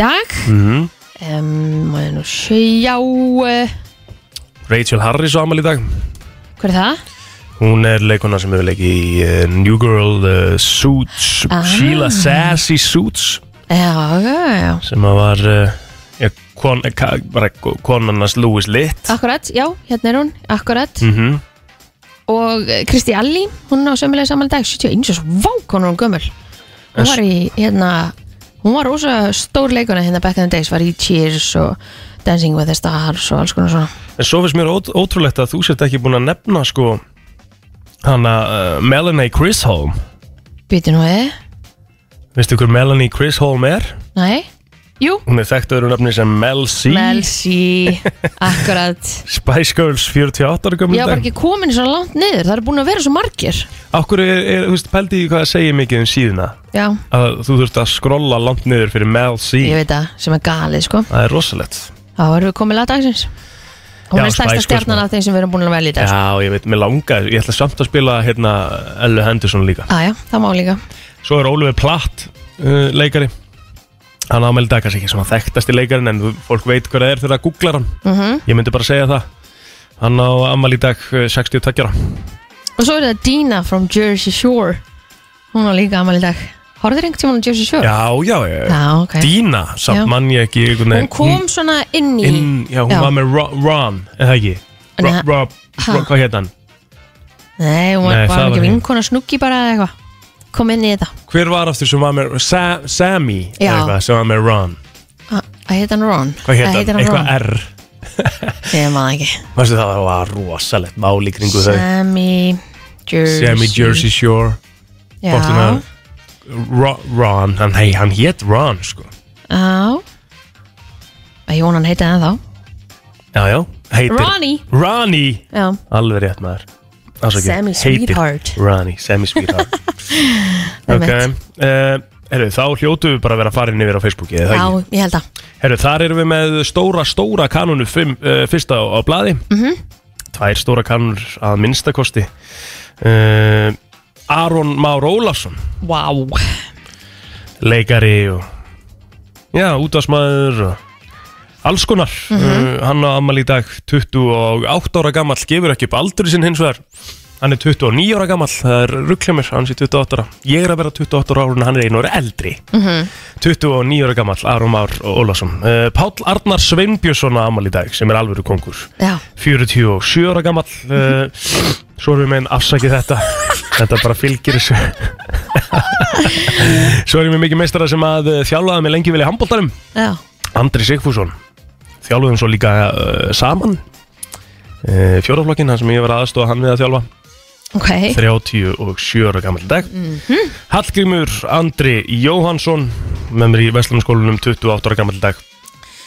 [SPEAKER 2] dag
[SPEAKER 1] Mhm.
[SPEAKER 2] um, Má ég nú sjá uh,
[SPEAKER 1] Rachel Harris á amal í dag
[SPEAKER 2] Hver er það?
[SPEAKER 1] Hún er leikona sem eh, hefur leikið í uh, New Girl, uh, eh, Suits
[SPEAKER 2] Ah.
[SPEAKER 1] Sheila Sassy Suits
[SPEAKER 2] Já, já, já
[SPEAKER 1] sem að var uh, ég, kon, eh, ka, bara, konannast Louis Litt
[SPEAKER 2] Akkurat, já, hérna er hún, akkurat
[SPEAKER 1] mm
[SPEAKER 2] Og eh, Kristi Alli, hún á sömulega samanlega dag 71 og svo vák hún er hún gömul Hún
[SPEAKER 1] En-
[SPEAKER 2] var í, hérna Hún var rosa stór leikuna hérna back in the days Var í Cheers og Dancing with the Stars og alls konar svona
[SPEAKER 1] en svo finnst mér ót, ótrúlegt að þú sért ekki búin að nefna sko hana uh, Melanie Chisholm
[SPEAKER 2] Býtu nú eh? eða,
[SPEAKER 1] veistu hver Melanie Chisholm er?
[SPEAKER 2] nei Jú,
[SPEAKER 1] hún er þekkt öðru nafni sem Mel C
[SPEAKER 2] Mel C, akkurat
[SPEAKER 1] Spice Girls 48 ára gömlu
[SPEAKER 2] Ég var bara ekki komin svo langt niður, það eru búin að vera svo margir
[SPEAKER 1] Akkur er, er þú veist, pældi í hvað það segir mikið um síðuna
[SPEAKER 2] Já,
[SPEAKER 1] að þú þurft að skrolla langt niður fyrir Mel C
[SPEAKER 2] ég veit það, sem er galið sko
[SPEAKER 1] það er rosalegt
[SPEAKER 2] Þá erum við komið lag dagsins Hún
[SPEAKER 1] Já,
[SPEAKER 2] er stærsta
[SPEAKER 1] Spice Girls,
[SPEAKER 2] stjarnan
[SPEAKER 1] maður.
[SPEAKER 2] af þeim sem við erum búin að velja í dag sko.
[SPEAKER 1] Já, ég veit, mér langaði, ég ætla samt að spila hérna Ellu Henderson líka
[SPEAKER 2] Æja, Ah, það má líka
[SPEAKER 1] Svo er Ólfur Platt uh, leikari Hann ámæli dag kannski ekki svona þekktasti leikarin en þú- fólk veit hver það er þegar það googlar hann
[SPEAKER 2] mm
[SPEAKER 1] Ég myndi bara segja það Hann á ammæli í dag uh, 60 takkjara
[SPEAKER 2] Og svo er það Dina from Jersey Shore Hún var líka amal í dag Horður einhvern tímann á Jersey Shore?
[SPEAKER 1] Já, já, já, já.
[SPEAKER 2] Já, ok
[SPEAKER 1] Dína, samt
[SPEAKER 2] Já.
[SPEAKER 1] mann ég ekki einhvern
[SPEAKER 2] Hún
[SPEAKER 1] veginn.
[SPEAKER 2] kom svona inn í
[SPEAKER 1] inn, Já, hún
[SPEAKER 2] Já.
[SPEAKER 1] var með Ro- Ron, eða ekki
[SPEAKER 2] En
[SPEAKER 1] Rob,
[SPEAKER 2] það-
[SPEAKER 1] Rob,
[SPEAKER 2] Ha?
[SPEAKER 1] Rob, hvað hérna hann?
[SPEAKER 2] Nei, hún var,
[SPEAKER 1] Nei,
[SPEAKER 2] var
[SPEAKER 1] það
[SPEAKER 2] hún ekki
[SPEAKER 1] var hún.
[SPEAKER 2] vinkona snuggi bara eða eitthvað Kom inn í þetta
[SPEAKER 1] Hver var aftur sem var með Sa Sammy,
[SPEAKER 2] Já.
[SPEAKER 1] eða eitthvað, sem var með Ron
[SPEAKER 2] Ah, Hvað heit hann Ron?
[SPEAKER 1] Hvað hérna,
[SPEAKER 2] heitir
[SPEAKER 1] hann?
[SPEAKER 2] hann
[SPEAKER 1] eitthvað
[SPEAKER 2] Ron?
[SPEAKER 1] R
[SPEAKER 2] Ég maður ekki
[SPEAKER 1] Varstu það það var rosalegt máli kringu þau
[SPEAKER 2] Sammy Jersey
[SPEAKER 1] Sammy Jersey Shore
[SPEAKER 2] Já,
[SPEAKER 1] hvort hún að- Ro- Ron, hann, hei, hann hétt Ron sko.
[SPEAKER 2] já Ég vona hann heitið það þá
[SPEAKER 1] Já, já, heitir
[SPEAKER 2] Ronnie.
[SPEAKER 1] Ronnie,
[SPEAKER 2] Já
[SPEAKER 1] alveg rétt maður Ásaki,
[SPEAKER 2] Sammy Sweetheart.
[SPEAKER 1] Ronnie, Sammy Sweetheart Ok
[SPEAKER 2] Einmitt.
[SPEAKER 1] uh, Herru, þá hljótu við bara að vera farin yfir á Facebooki eða
[SPEAKER 2] Já,
[SPEAKER 1] það ekki?
[SPEAKER 2] ég held að
[SPEAKER 1] Herru, þar erum við með stóra, stóra kanonu fimm, uh, fyrsta á, á blaði -hmm.
[SPEAKER 2] Mhm.
[SPEAKER 1] Tvær stóra kanonur að minnstakosti uh, Aron Már Ólafsson
[SPEAKER 2] Vá
[SPEAKER 1] leikari og já, útvarsmaður og alls konar uh, hann á ammali í dag 28 ára gamall gefur ekki upp aldrei sinn hins vegar hann er 29 ára gamall, það er rugglumir hann sé 28 ára, ég er að vera 28 ára ára en hann er einu ára eldri 29 ára gamall, Aron Már Ólafsson uh, Páll Arnar Sveinbjörnsson á ammali í dag sem er alvöru kongur
[SPEAKER 2] Já,
[SPEAKER 1] 47 ára gamall uh, Svo erum við með einn afsakið þetta Þetta bara fylgir þessu Svo erum við mikið meistara sem að uh, þjálfaði mig lengi vel í handbóltarum
[SPEAKER 2] já
[SPEAKER 1] Andri Sigfússon Þjálfaði hann svo líka uh, saman uh, Fjóraflokkin, hann sem ég var aðstofa hann við að þjálfa
[SPEAKER 2] Ok
[SPEAKER 1] 37 ára gammal dag
[SPEAKER 2] Mhm.
[SPEAKER 1] Hallgrímur Andri Jóhansson með mér í Vestlandskólanum 28 ára gammal dag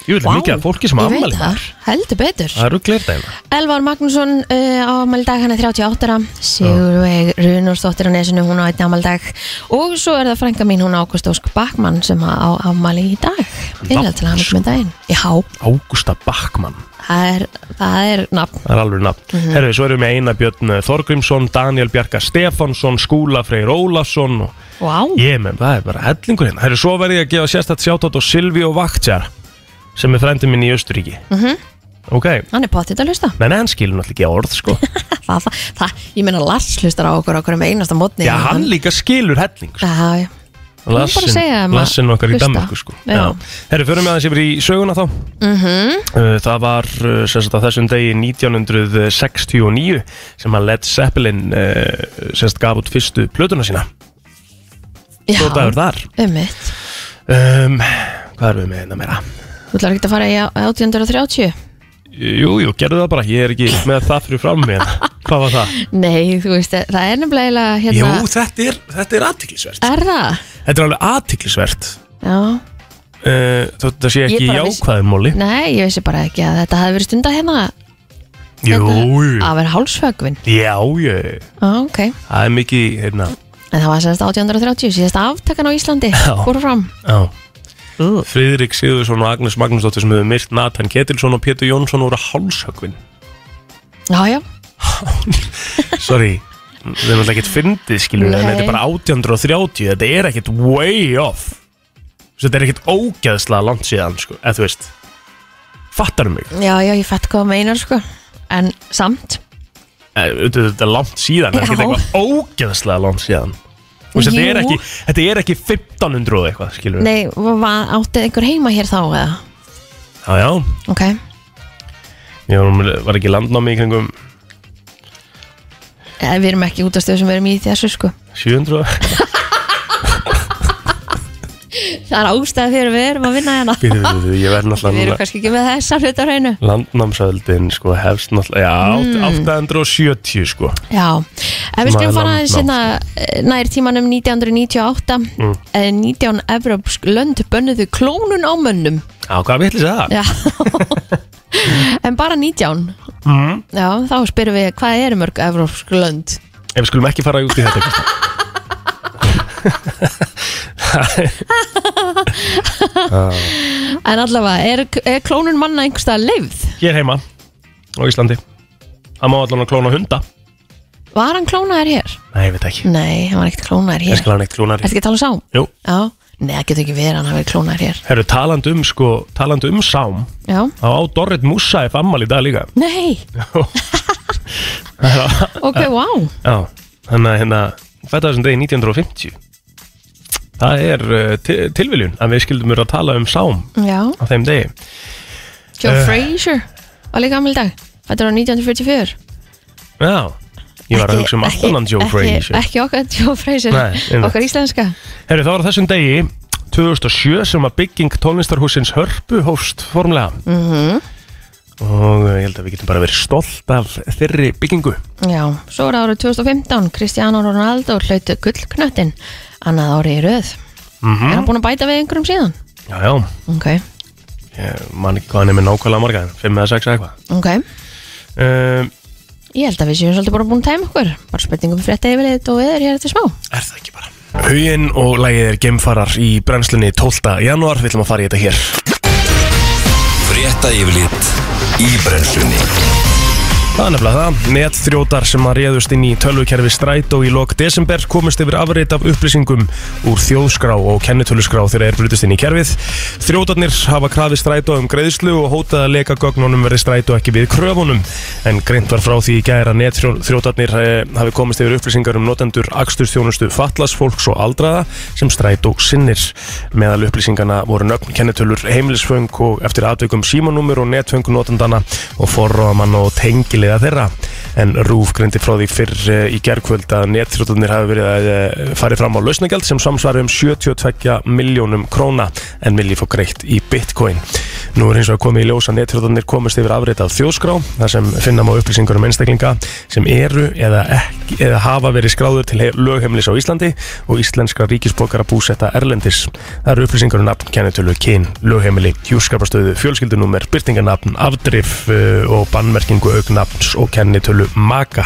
[SPEAKER 1] Ég vil
[SPEAKER 2] Vá,
[SPEAKER 1] mikið að fólki sem
[SPEAKER 2] ég veit
[SPEAKER 1] ammali
[SPEAKER 2] það. Heldur betur
[SPEAKER 1] Það eru glerdæma
[SPEAKER 2] Elvar Magnússon uh, á amaldag, hann er 38 ára. Sigurveig Runarsdóttir á nesinu, hún á einn amaldag Og svo er það frænka mín, hún Ágúst Ósk Bakmann sem á amali í dag Innlega til hann ekki með daginn Já,
[SPEAKER 1] Ágústa Backmann
[SPEAKER 2] það er, það er nafn
[SPEAKER 1] Það er alveg nafn. Herðu, svo erum við með Einar Björn eh, Þorgrímsson, Daniel Bjarka Stefánsson, Skúla Freyr Ólafsson og
[SPEAKER 2] Vá,
[SPEAKER 1] ég með, það er bara hellingur hérna. Herðu, svo verði ég að gefa sérstætt sjátátt á Silvi og Vaktjar sem er frændi minn í Östuríki. Ok,
[SPEAKER 2] hann er pottitt að hlusta
[SPEAKER 1] menn hann skilur náttúrulega ekki á orð, sko.
[SPEAKER 2] það, það, það, Ég meina Lars hlustar á okkur okkur um einasta mótni
[SPEAKER 1] Já, hann líka skilur helling, sko.
[SPEAKER 2] Já, já Hún bara segja þeim að
[SPEAKER 1] Lassin okkar í
[SPEAKER 2] hlusta.
[SPEAKER 1] Danmarku, sko.
[SPEAKER 2] Já. Mhm.
[SPEAKER 1] Herðu, förum við aðeins yfir í söguna þá. Uh, Það var uh, sem sagt á þessum degi 1969 sem að Led Zeppelin uh, sem sagt gaf út fyrstu plötuna sína Svo dagur
[SPEAKER 2] Já,
[SPEAKER 1] þar
[SPEAKER 2] um mitt
[SPEAKER 1] um, Hvað erum við með hérna meira?
[SPEAKER 2] Þú ætlar ekki að fara í á- 1830?
[SPEAKER 1] Jú, jú, gerðu það bara, ég er ekki með það fyrir fram mér Hvað var það?
[SPEAKER 2] Nei, þú veist, það er nefnilega eiginlega,
[SPEAKER 1] Jú,
[SPEAKER 2] hérna,
[SPEAKER 1] þetta er, þetta er aðtiklisvert
[SPEAKER 2] er það?
[SPEAKER 1] Þetta er alveg aðtiklisvert
[SPEAKER 2] Já,
[SPEAKER 1] uh, Þetta sé
[SPEAKER 2] Ég
[SPEAKER 1] ekki
[SPEAKER 2] bara vissi-
[SPEAKER 1] jákvæðum móli
[SPEAKER 2] nei, ég vissi bara ekki að þetta hefði verið stundar hérna
[SPEAKER 1] Jú, jú.
[SPEAKER 2] að vera hálsfögvin
[SPEAKER 1] já, jú
[SPEAKER 2] Já, ok, en
[SPEAKER 1] Það er mikið, hérna
[SPEAKER 2] það var semst 1830 síðast aftakan á Íslandi,
[SPEAKER 1] Já.
[SPEAKER 2] fór fram
[SPEAKER 1] Já Friðrik Sigurðsson og Agnes Magnúsdóttir sem hefur myrt Nathan Ketilsson og Pétur Jónsson úr að hálshögvin
[SPEAKER 2] Já, já,
[SPEAKER 1] Sorry Við erum alltaf ekkert fyndið skilur við, en
[SPEAKER 2] Nei.
[SPEAKER 1] þetta er bara 1830 þetta er ekkert way off Þessi, þetta er ekkert ógeðslega langt síðan sko, eða þú veist Fattar mig,
[SPEAKER 2] já, já, ég fætt hvað þú meinar sko En samt,
[SPEAKER 1] Eh, auðvitað er þetta er langt síðan en
[SPEAKER 2] Já.
[SPEAKER 1] þetta er eitthvað ógeðslega langt síðan Þú veist, Þetta er,
[SPEAKER 2] Jú.
[SPEAKER 1] ekki, þetta er ekki 1500 og eitthvað, skilur við.
[SPEAKER 2] Nei, var, átti einhver heima hér þá eða?
[SPEAKER 1] Já, já,
[SPEAKER 2] Ok,
[SPEAKER 1] ég var, var ekki landnámi í kringum
[SPEAKER 2] Eh, við erum ekki út af stöðu sem við erum í þessu sko
[SPEAKER 1] 700
[SPEAKER 2] Það er ástæði fyrir við erum að vinna hérna
[SPEAKER 1] Býðu, býðu, býðu, ég verð
[SPEAKER 2] Við erum
[SPEAKER 1] náttúrulega
[SPEAKER 2] kannski ekki með þessar hlut á hreinu
[SPEAKER 1] landnámsöldin sko hefst náttúrulega, já, 870 sko
[SPEAKER 2] Já, en við
[SPEAKER 1] Sem að
[SPEAKER 2] skulum
[SPEAKER 1] er
[SPEAKER 2] fara
[SPEAKER 1] land-
[SPEAKER 2] aðeins hérna eh, nær tímanum 1998 mm. 19 evrópsk lönd bönnuðu klónun á mönnum
[SPEAKER 1] Já, hvað vitlis það?
[SPEAKER 2] Já En bara 19
[SPEAKER 1] Mm.
[SPEAKER 2] Já, þá spyrum við hvað eru mörg evrópsk lönd
[SPEAKER 1] Ef við skulum ekki fara út í þetta Kristján.
[SPEAKER 2] En allavega, er, er klónun manna einhverstað leifð?
[SPEAKER 1] Hér heima, á Íslandi Það má allan að klóna hunda
[SPEAKER 2] Var hann klónaður hér?
[SPEAKER 1] Nei, ég veit ekki,
[SPEAKER 2] Nei, hann var ekkert klónaður
[SPEAKER 1] ég
[SPEAKER 2] hér
[SPEAKER 1] skal hann eitt klónar
[SPEAKER 2] Ertu ekki að tala um sá?
[SPEAKER 1] Jú,
[SPEAKER 2] Já, nei, það getur ekki verið að hann hafi verið klónaður hér
[SPEAKER 1] herru, talandi um sko, talandi um sám
[SPEAKER 2] Já,
[SPEAKER 1] þá á Dorrit Musaev ammal í dag líka
[SPEAKER 2] nei, ok, wow
[SPEAKER 1] Já, þannig að hérna fæta þessum degi 1950 Það er uh, til- tilviljun að við skildum vera að tala um sám
[SPEAKER 2] Já,
[SPEAKER 1] á þeim degi
[SPEAKER 2] Joe
[SPEAKER 1] Eh.
[SPEAKER 2] Frazier var líka gammal dag Þetta var 1944
[SPEAKER 1] Já, ég var að hugsa um allt
[SPEAKER 2] Ekki-
[SPEAKER 1] annan Joe
[SPEAKER 2] ekki-
[SPEAKER 1] Frazier
[SPEAKER 2] Ekki okkar Joe Frazier,
[SPEAKER 1] Nei, einmitt.
[SPEAKER 2] okkar íslenska
[SPEAKER 1] Herru, það var á þessum degi 2007 sem að bygging tónlistarhúsins Hörpu hófst formlega mm -hmm. og uh, ég held að við getum bara verið stolt af þeirri byggingu
[SPEAKER 2] Já, svo er árið 2015 Cristiano Ronaldo hlautu gullknöttin annað árið í röð
[SPEAKER 1] Mhm.
[SPEAKER 2] Er hann búin að bæta við einhverjum síðan?
[SPEAKER 1] Já, já,
[SPEAKER 2] Ok,
[SPEAKER 1] ég man ekki hvað hann er með nákvæmlega marga 5 eða 6 eitthvað
[SPEAKER 2] ok
[SPEAKER 1] um,
[SPEAKER 2] Ég held að við séum svolítið bara búin að tæma okkur Bara spurningum frétta yfirleitt og veður hér eftir smá
[SPEAKER 1] Er það ekki bara? Huginn og lægið er gemfarar í brennslunni 12. janúar, við ætlum að fara í þetta hér.
[SPEAKER 3] Frétta yfirlit í brennslunni
[SPEAKER 1] Það er nefnilega það, netþrjótar sem að réðust inn í tölvukerfi strætó í lok desember komust yfir afrit af upplýsingum úr þjóðskrá og kennitöluskrá þegar er brutist inn í kerfið. Þrjótarnir hafa krafið strætó um greiðslu og hótað að leka gögnunum verði strætó ekki við kröfunum en greint var frá því í gæra netþrjótarnir eh, hafi komist yfir upplýsingar um notendur aksturstjónustu fatlasfólks og aldraða sem strætó sinnir. Meðal upplýsingana voru nöfn kennitölur heimilisföng og eftir aðtökum símanúmur og netföng notendana og forraðamann og tengilega þeirra. En Rúf greindi frá því fyrr eh, í gerkvöld að netþrótunir hafi verið að eh, farið fram á lausnagjald sem samsvari um 72 miljónum króna en vilji fá greitt í bitcoin. Nú er eins og að komið í ljós að netþrótunir komist yfir afritað þjóðskrá þar sem finna má upplýsingur um einstaklinga sem eru eða, ekki, eða hafa verið skráður til he- lögheimilis á Íslandi og íslenska ríkisbókara búsetta erlendis. Það eru upplýsingur um nafn, kennitölu, kyn, lögheimili, hjúskapastöðu, fjölskyldunúmer, byrtinganafn, afdrif eh, og bannmerkingu augnafns og kennitölu maka.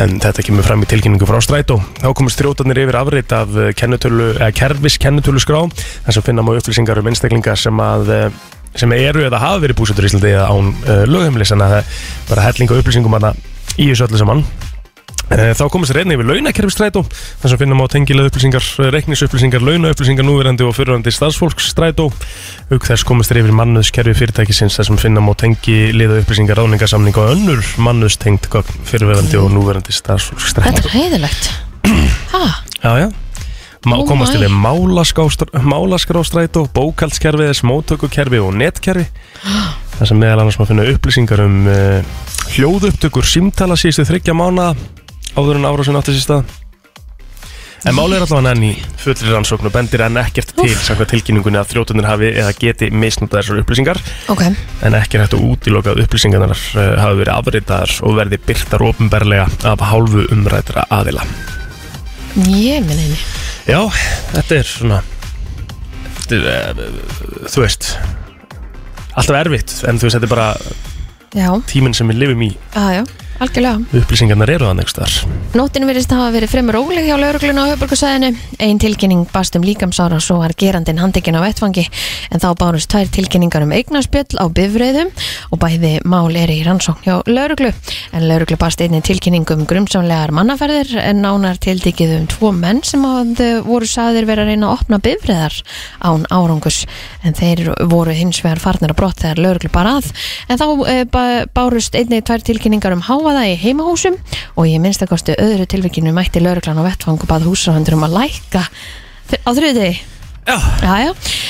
[SPEAKER 1] En þetta kemur fram í tilkynningu frá Strætó. Þá komist þrjótanir yfir afrit af eh, kennitölu, eða kerfis kennitölu skrá, þar sem finna má upplýsingar um einstaklinga sem að eh, sem eru eða hafa verið búsettur í Íslandi eða án uh, lögheimilis, þannig að það er bara hellinga upplýsingum hana í þessu öllu saman. Eh, Þá komist reyna yfir launakerfistrætó, þar sem finnum á tengilega upplýsingar, eh, reikningsupplýsingar, launaupplýsingar, núverandi og fyrrandi starfsfólksstrætó. Auk þess komist þeir yfir mannöðskerfi fyrirtækisins, þar sem finnum á tengilega upplýsingar, ráningarsamning og önnur mannöðstengt gögn fyrrverandi og núverandi starfsfólksstrætó.
[SPEAKER 2] Þetta er heiðilegt Ha,
[SPEAKER 1] Já, já. Má,
[SPEAKER 2] Oh
[SPEAKER 1] komast
[SPEAKER 2] my.
[SPEAKER 1] yfir málaskrá- málaskrástrætó, bókaldskerfi, þess móttökukerfi og netkerfi þar sem meðal annars maður finna upplýsingar um uh, hljóðupptökur símtala síðustu þryggja mána áður en árásin átti sér stað En málið er allavega enn í fullri rannsókn og bendir enn ekkert til samkvæmt tilkynningunni að þrjótunir hafi eða geti misnútað þessar upplýsingar
[SPEAKER 2] ok
[SPEAKER 1] en ekki er hægt að útiloka að útilokað upplýsingarnar uh, hafi verið afritaðar og verði byrtar ofinberlega af hálfu umræðra aðila
[SPEAKER 2] Ég minn einni
[SPEAKER 1] Já, þetta er svona þetta er, uh, Þú veist Alltaf erfitt En þú veist, þetta er bara
[SPEAKER 2] Já,
[SPEAKER 1] tíminn sem við lifum í
[SPEAKER 2] já, já, algjörlega
[SPEAKER 1] Upplýsingarnar eru þannig staðar
[SPEAKER 2] Nóttin virðist hafa verið fremur óleg hjá lauruglun á höfburgarsæðinu. Einn tilkynning bast um líkamsára svo var gerandin handekinn á vettfangi en þá bárust tvær tilkynningar um eignaspjöll á bifröðum og bæði mál er í rannsókn hjá lauruglu. En lauruglu bast einni tilkynning um grumsamlegar mannaferðir en nánar tiltikið um tvo menn sem hafði- voru saðir vera að reyna að opna bifröðar án árangus en þeir voru hins vegar farnir að brott þegar lauruglu bara að en þá eh, ba- bárust einni tvær tilkynningar um hávaða þráa það í heimahúsum og í minnstakosti öðru tilvikinu mætti lauruglan á vettfang og bað húsarhandur um að lækka þr- á þriðið
[SPEAKER 1] Já.
[SPEAKER 2] Jájá,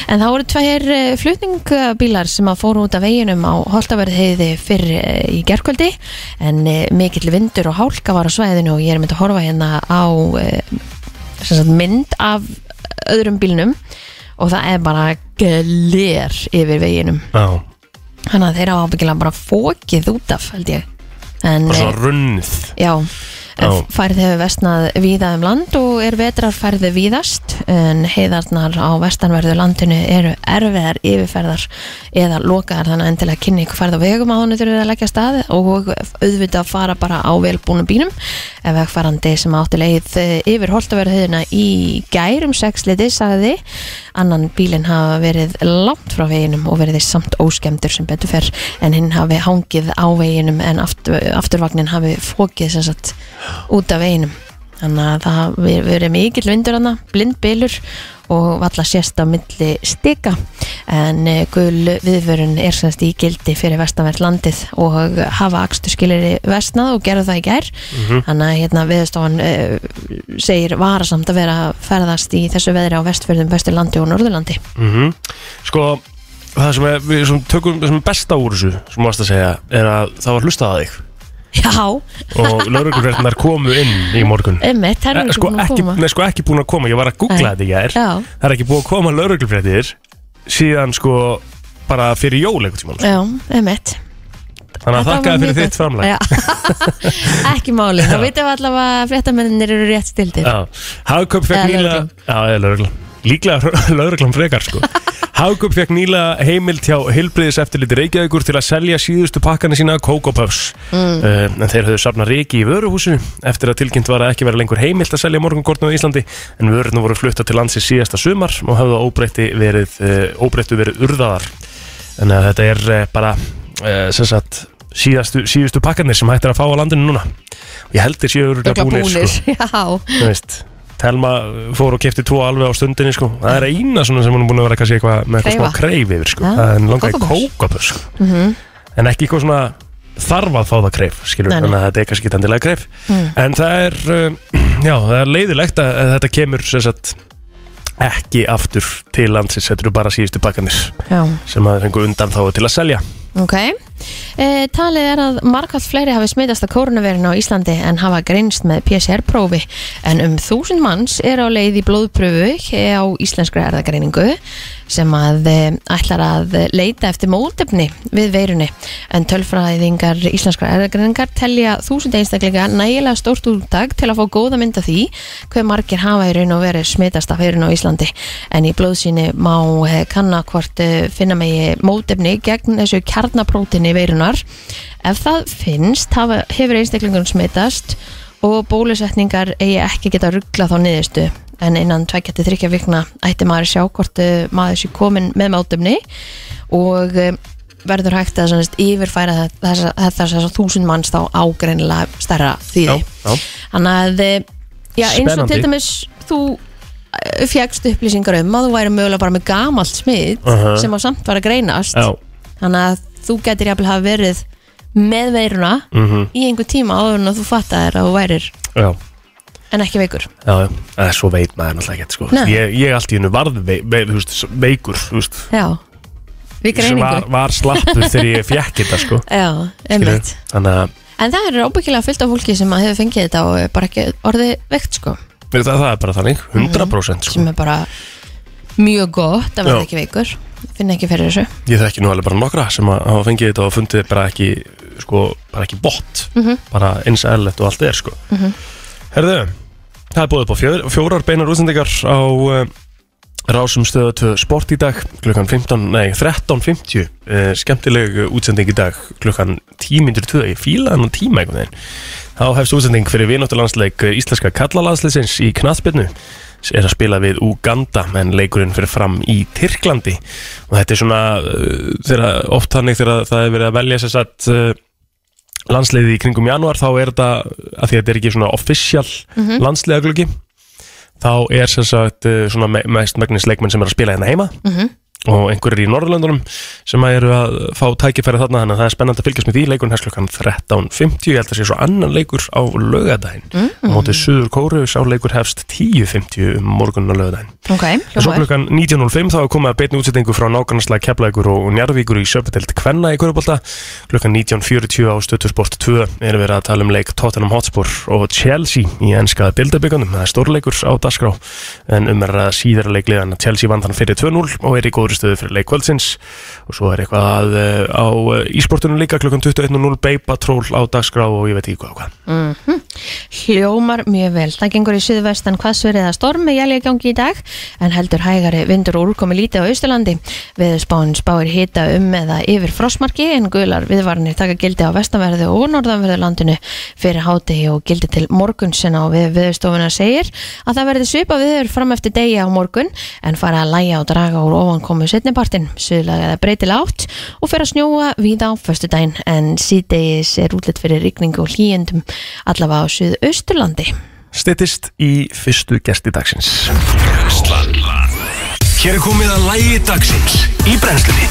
[SPEAKER 2] en það voru tveir eh, flutningbílar sem að fóru út af veginum á Holtaverðheiði fyrr eh, í gerkvöldi en eh, mikill vindur og hálka var á svæðinu og ég er myndi að horfa hérna á eh, sem sagt, mynd af öðrum bílnum og það er bara gler yfir veginum
[SPEAKER 1] Já,
[SPEAKER 2] þannig að þeir hafa ábyggilega bara fókið út af held ég en,
[SPEAKER 1] bara
[SPEAKER 2] eh,
[SPEAKER 1] svona runnið
[SPEAKER 2] Já,
[SPEAKER 1] Já.
[SPEAKER 2] færð hefur vestnað víða um land og er vetrarfærði víðast en heiðarnar á vestanverðu landinu eru erfiðar yfirferðar eða lokaðar þannig að endilega kynni ykkur færð á vegum að honum þurfið að leggja af stað og auðvitað að fara bara á velbúnum bínum ef vegfærandi sem átti leið eh, yfir holtaverðuðina í gær um sexliti sagði annan bílinn hafa verið langt frá veginum og verið samt óskemdur sem betur fer en hinn hafi hangið á veginum en aftur, afturvagnin hafi fókið sem sagt út af veginum þannig að það ver- verið mikill vindur hana, blindbylur og valla sérst á milli stika en eh, gul viðvörun er semst í gildi fyrir vestanvert landið og hafa akstur skilir vestnað og gerðu það í gær þannig að hérna viðstofan uh, segir varasamt að vera að ferðast í þessu veðri á vestfjörðum, vesturlandi og norðurlandi
[SPEAKER 1] mm Sko, það sem er, við sem tökum sem er besta úr þessu, sem mást að segja er að það var hlustað að þig
[SPEAKER 2] Já,
[SPEAKER 1] og lauruglurverðnar komu inn í morgun
[SPEAKER 2] emmitt, það er
[SPEAKER 1] Eh,
[SPEAKER 2] ekki
[SPEAKER 1] sko,
[SPEAKER 2] búin að
[SPEAKER 1] ekki,
[SPEAKER 2] koma
[SPEAKER 1] nei, sko ekki búin að koma, ég var að googla
[SPEAKER 2] Nei.
[SPEAKER 1] þetta í gær
[SPEAKER 2] Já,
[SPEAKER 1] það er ekki búin að koma lauruglurverðir síðan sko bara fyrir jól einhvern tímann sko.
[SPEAKER 2] já, emmitt
[SPEAKER 1] þannig að
[SPEAKER 2] Þetta var
[SPEAKER 1] þakkaði fyrir
[SPEAKER 2] mjög
[SPEAKER 1] þitt
[SPEAKER 2] gott.
[SPEAKER 1] framlag
[SPEAKER 2] Já. ekki máli, þá veitum við allavega að fréttamennir eru rétt stildir
[SPEAKER 1] Já, Hagkaup fekk
[SPEAKER 2] Eða
[SPEAKER 1] nýla
[SPEAKER 2] lögreglan.
[SPEAKER 1] Já, eða lögreglan Líklega lögreglan frekar sko Hagkaup fekk nýla heimild hjá heilbriðis eftirliti Reykjavíkur til að selja síðustu pakkana sína Coco Puffs uh, en þeir höfðu safnað reiki í vöruhúsinu eftir að tilkynnt var að ekki vera lengur heimilt að selja morgunkortnum í Íslandi en vörurnu voru flutta til landsi síðasta sumar og höfðu óbreytti verið, uh, óbreyttu verið urðaðar þannig að þetta er uh, bara uh, sem sagt síðastu, síðustu pakkanir sem hættir að fá á landinu núna og ég held þeir séu örugglega
[SPEAKER 2] Örugglega
[SPEAKER 1] búnir, sko
[SPEAKER 2] já,
[SPEAKER 1] þú veist Telma fór og kefti tvo alveg á stundinni sko. það er eina svona sem hún er búin að vera kannski eitthvað með eitthvað
[SPEAKER 2] Kreifa.
[SPEAKER 1] smá kreif yfir sko.
[SPEAKER 2] Ja,
[SPEAKER 1] það er langaði
[SPEAKER 2] kókópuff.
[SPEAKER 1] kókabur sko.
[SPEAKER 2] Mhm,
[SPEAKER 1] en ekki eitthvað svona þarf að fá það kreif skilur,
[SPEAKER 2] Nei, nei.
[SPEAKER 1] þannig að þetta er kannski tandilega kreif
[SPEAKER 2] mhm,
[SPEAKER 1] en það er, um, já, það er leiðilegt að, að þetta kemur sem sagt, ekki aftur til landsins þetta eru bara síðustu bakkanir
[SPEAKER 2] já,
[SPEAKER 1] sem að fengu undan þá til að selja
[SPEAKER 2] ok e, Talið er að markvælt fleiri hafi smitast af koronavirinu á Íslandi en hafa greinst með PCR-prófi en um þúsund manns er á leið í blóðpröfu á íslenskri erðagreiningu sem að e, ætlar að leita eftir mótefni við veirunni en tölfræðingar íslenskra erðagreiningar telja þúsund einstaklinga nægilega stórt úrtak til að fá góða mynd af því hver margir hafa í raun og verið smitast af veirun á Íslandi en í blóðsýni má eh, kanna hvort eh, finna megi mótefni gegn þessu kjarnaprótini veirunar ef það finnst hafa, hefur einstaklingun smitast og bólusetningar eigi ekki geta ruggla þá niðurstu en innan 2-3 vikna ætti maður að sjá hvort eh, maður sé komin með mótefni og eh, verður hægt að sannst, yfirfæra þess- þessa þess, þess, þúsund manns þá ágreinilega stærra þýði
[SPEAKER 1] já, já.
[SPEAKER 2] Þannig að eh, já, eins og
[SPEAKER 1] Spennandi.
[SPEAKER 2] til dæmis þú fjækst upplýsingar um að þú væri mögulega bara með gamalt smitt
[SPEAKER 1] Aha.
[SPEAKER 2] sem á samt var að greinast
[SPEAKER 1] Já.
[SPEAKER 2] þannig að þú getur jafnvel hafa verið með veiruna
[SPEAKER 1] Mm.
[SPEAKER 2] í einhver tíma áður en að þú fattaðir að þú værir
[SPEAKER 1] mhm, Já.
[SPEAKER 2] en ekki veikur
[SPEAKER 1] Já, já, eða svo veit maður náttúrulega ekki sko.
[SPEAKER 2] Nei.
[SPEAKER 1] ég, ég allt í hennu varð vei, vei, þú veist, veikur þú veist,
[SPEAKER 2] Já,
[SPEAKER 1] sem var,
[SPEAKER 2] við greiningu
[SPEAKER 1] var slappur þegar ég fjekk þetta sko
[SPEAKER 2] Já,
[SPEAKER 1] Skilurðu?
[SPEAKER 2] einmitt
[SPEAKER 1] þannig að
[SPEAKER 2] En það er ábyggilega fullt af fólki sem að hefur fengið þetta og er bara ekki orðið veikt sko
[SPEAKER 1] það, það er bara þannig,
[SPEAKER 2] Mhm.
[SPEAKER 1] 100% sko.
[SPEAKER 2] sem er bara mjög gott að
[SPEAKER 1] Já.
[SPEAKER 2] verða ekki veikur finn ekki fyrir þessu
[SPEAKER 1] ég þekki nú alveg bara nokkra sem að hafa fengið þetta og fundið bara ekki sko, bara ekki bótt bara eins og eðlilegt og allt er sko herðu, það er búið upp á fjör, fjórar beinar útsendingar á uh, rásum stöðu 2 sport í dag klukkan 15, nei 13.50 uh, skemmtileg eh, útsending í dag klukkan 10.02, ég fíla hann tíma einhvern veginn, þá hefst útsending fyrir vináttulandsleik eh, íslenska kallalansleisins í knattbyrnu er að spila við Uganda en leikurinn fyrir fram í Tyrklandi og þetta er svona uh, þegar, oft þannig þegar það er verið að velja sér satt uh, landsliðið í kringum januar þá er þetta, að því að þetta er ekki svona official mm -hmm.
[SPEAKER 2] Mhm.
[SPEAKER 1] landsliðaglöki þá er sem sagt uh, svona me mest megnis leikmenn sem er að spila hérna heima og einhverjir í Norðurlandunum sem að eru að fá tækifæri þarna þannig að það er spennandi að fylgjast með því leikurinn hefst klukkan 13.50 ég held að sé svo annan leikur á lögadaginn mm -hmm. mótið Suður Kóru, sá leikur hefst 10.50 um morgunn á lögadaginn
[SPEAKER 2] Ok,
[SPEAKER 1] En svo
[SPEAKER 2] hljóma vel.
[SPEAKER 1] klukkan 19.05 þá er komið að beitni útsettingu frá nákvæmnarslega Keflækur og Njarvíkur í Söpudeld Kvenna í Körubólta. Klukkan 19.40 á Stöttusport 2 er verið að tala um leik Tottenham Hotspur og Chelsea í enska dildabyggjandum. Það er stórleikur á dagskrá en um er að síðara leikliðan að Chelsea vann þann fyrir 2-0 og er í góðri stöðu fyrir leik kvöldsins. Og svo er eitthvað að, eh, á ísportunum líka klukkan 21.00 Beipa tról á dagskrá og ég veit ekki hvað og hvað.
[SPEAKER 2] Mhm. Hljómar mjög vel. Það gengur í suðvestan hvassverið að stormi jæljagangi í dag en heldur hægari vindur og úrkomi lítið á Austurlandi. Veðurspáin spáir hita um eða yfir frosmarki en gular viðvarnir taka gildi á vestanverðu og norðanverðu landinu fyrir hátegi og gildi til morgunsin á við veðurstofuna segir að það verði svipa viður fram eftir degi á morgun en fara að læja og draga úr ofankomu setnipartin, suðlaga eða breytilega átt og fer að snjóa víða á föstudaginn en síðdegis er útlitt fyrir rigningu og hlýjendum allavega á suðausturlandi.
[SPEAKER 1] Stittist í fyrstu gesti dagsins.
[SPEAKER 3] Brennslan Hér er komið að lægi dagsins Í brennslunni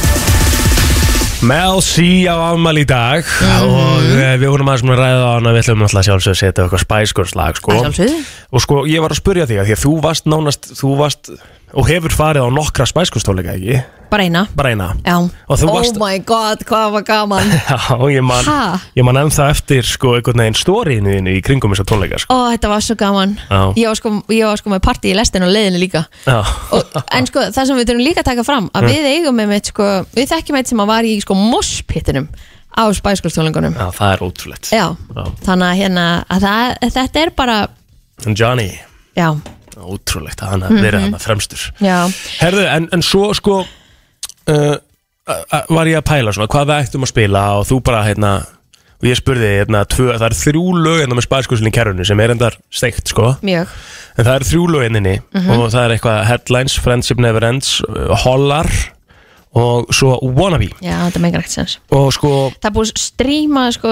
[SPEAKER 1] Mel C á afmæli í dag og uh, við vorum aðeins með að ræða á hana við ætlum alltaf sjálfsög að setja eitthvað Spice Girls lag sko.
[SPEAKER 2] Að sjálfsögðu.
[SPEAKER 1] og sko ég var að spurja þig að því að þú varst nánast þú varst og hefur farið á nokkra Spice Girls tónleika ekki
[SPEAKER 2] Bara eina.
[SPEAKER 1] bara eina
[SPEAKER 2] Já.
[SPEAKER 1] og þú varst
[SPEAKER 2] Oh my god, hvað var gaman.
[SPEAKER 1] Já, ég man,
[SPEAKER 2] Ha?
[SPEAKER 1] ég man ennþá eftir sko einhvern veginn storyinu þínu í kringum þessa tónleika sko.
[SPEAKER 2] Ó, þetta var svo gaman.
[SPEAKER 1] Já.
[SPEAKER 2] Ég var sko, ég var sko með partí í lestin og leiðinu líka.
[SPEAKER 1] Já,
[SPEAKER 2] Og, en sko, það sem við þurfum líka að taka fram að við eigum með mitt sko, við þekkjum eitt sem að var í sko mospittinum á spæskulstólingunum.
[SPEAKER 1] Já, það er ótrúlegt
[SPEAKER 2] Já.
[SPEAKER 1] Já.
[SPEAKER 2] Þannig að hérna, að það, þetta er bara,
[SPEAKER 1] En Johnny,
[SPEAKER 2] já,
[SPEAKER 1] ótrúlegt að hann hafi verið hann fremstur
[SPEAKER 2] já.
[SPEAKER 1] Herðu, en, en svo sko uh, uh, uh, var ég að pæla svona hvað við ættum að spila og þú bara hérna og ég spurði þig, hérna tvö, það er þrjú lög hérna með spæskurslinn í kerrunni sem er endar steikt sko
[SPEAKER 2] Mjög.
[SPEAKER 1] en það er þrjú lög enninni og það er eitthvað Headlines, Friendship Never Ends uh, Hollar og svo Wannabe
[SPEAKER 2] Já, þetta meikar ekkert sens.
[SPEAKER 1] og sko
[SPEAKER 2] Það er búið að stríma sko,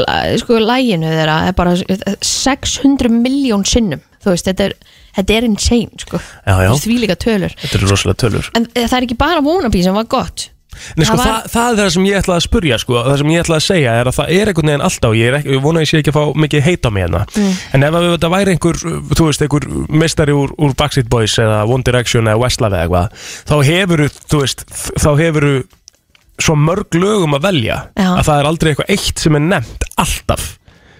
[SPEAKER 2] la- sko læginu þeirra er bara 600 miljón sinnum. Þú veist, þetta er, þetta er insane, sko.
[SPEAKER 1] Já, já.
[SPEAKER 2] Því líka tölur.
[SPEAKER 1] þetta eru rosalega tölur
[SPEAKER 2] En eh, það er ekki bara Wannabe sem var gott.
[SPEAKER 1] Nei, sko,
[SPEAKER 2] Það
[SPEAKER 1] það,
[SPEAKER 2] var-
[SPEAKER 1] það, er það sem ég ætlaði að spurja sko. það sem ég ætlaði að segja er að það er einhvern veginn alltaf ég, er ekki, ég vona að ég sé ekki að fá mikið heit á mig hérna
[SPEAKER 2] Mm.
[SPEAKER 1] en ef að þetta væri einhver þú veist, einhver mestari úr, úr Backstreet Boys eða One Direction eða Westlave eða eitthvað þá hefur þú veist þá hefur svo mörg lögum að velja
[SPEAKER 2] Já.
[SPEAKER 1] að það er aldrei eitthvað eitt sem er nefnt alltaf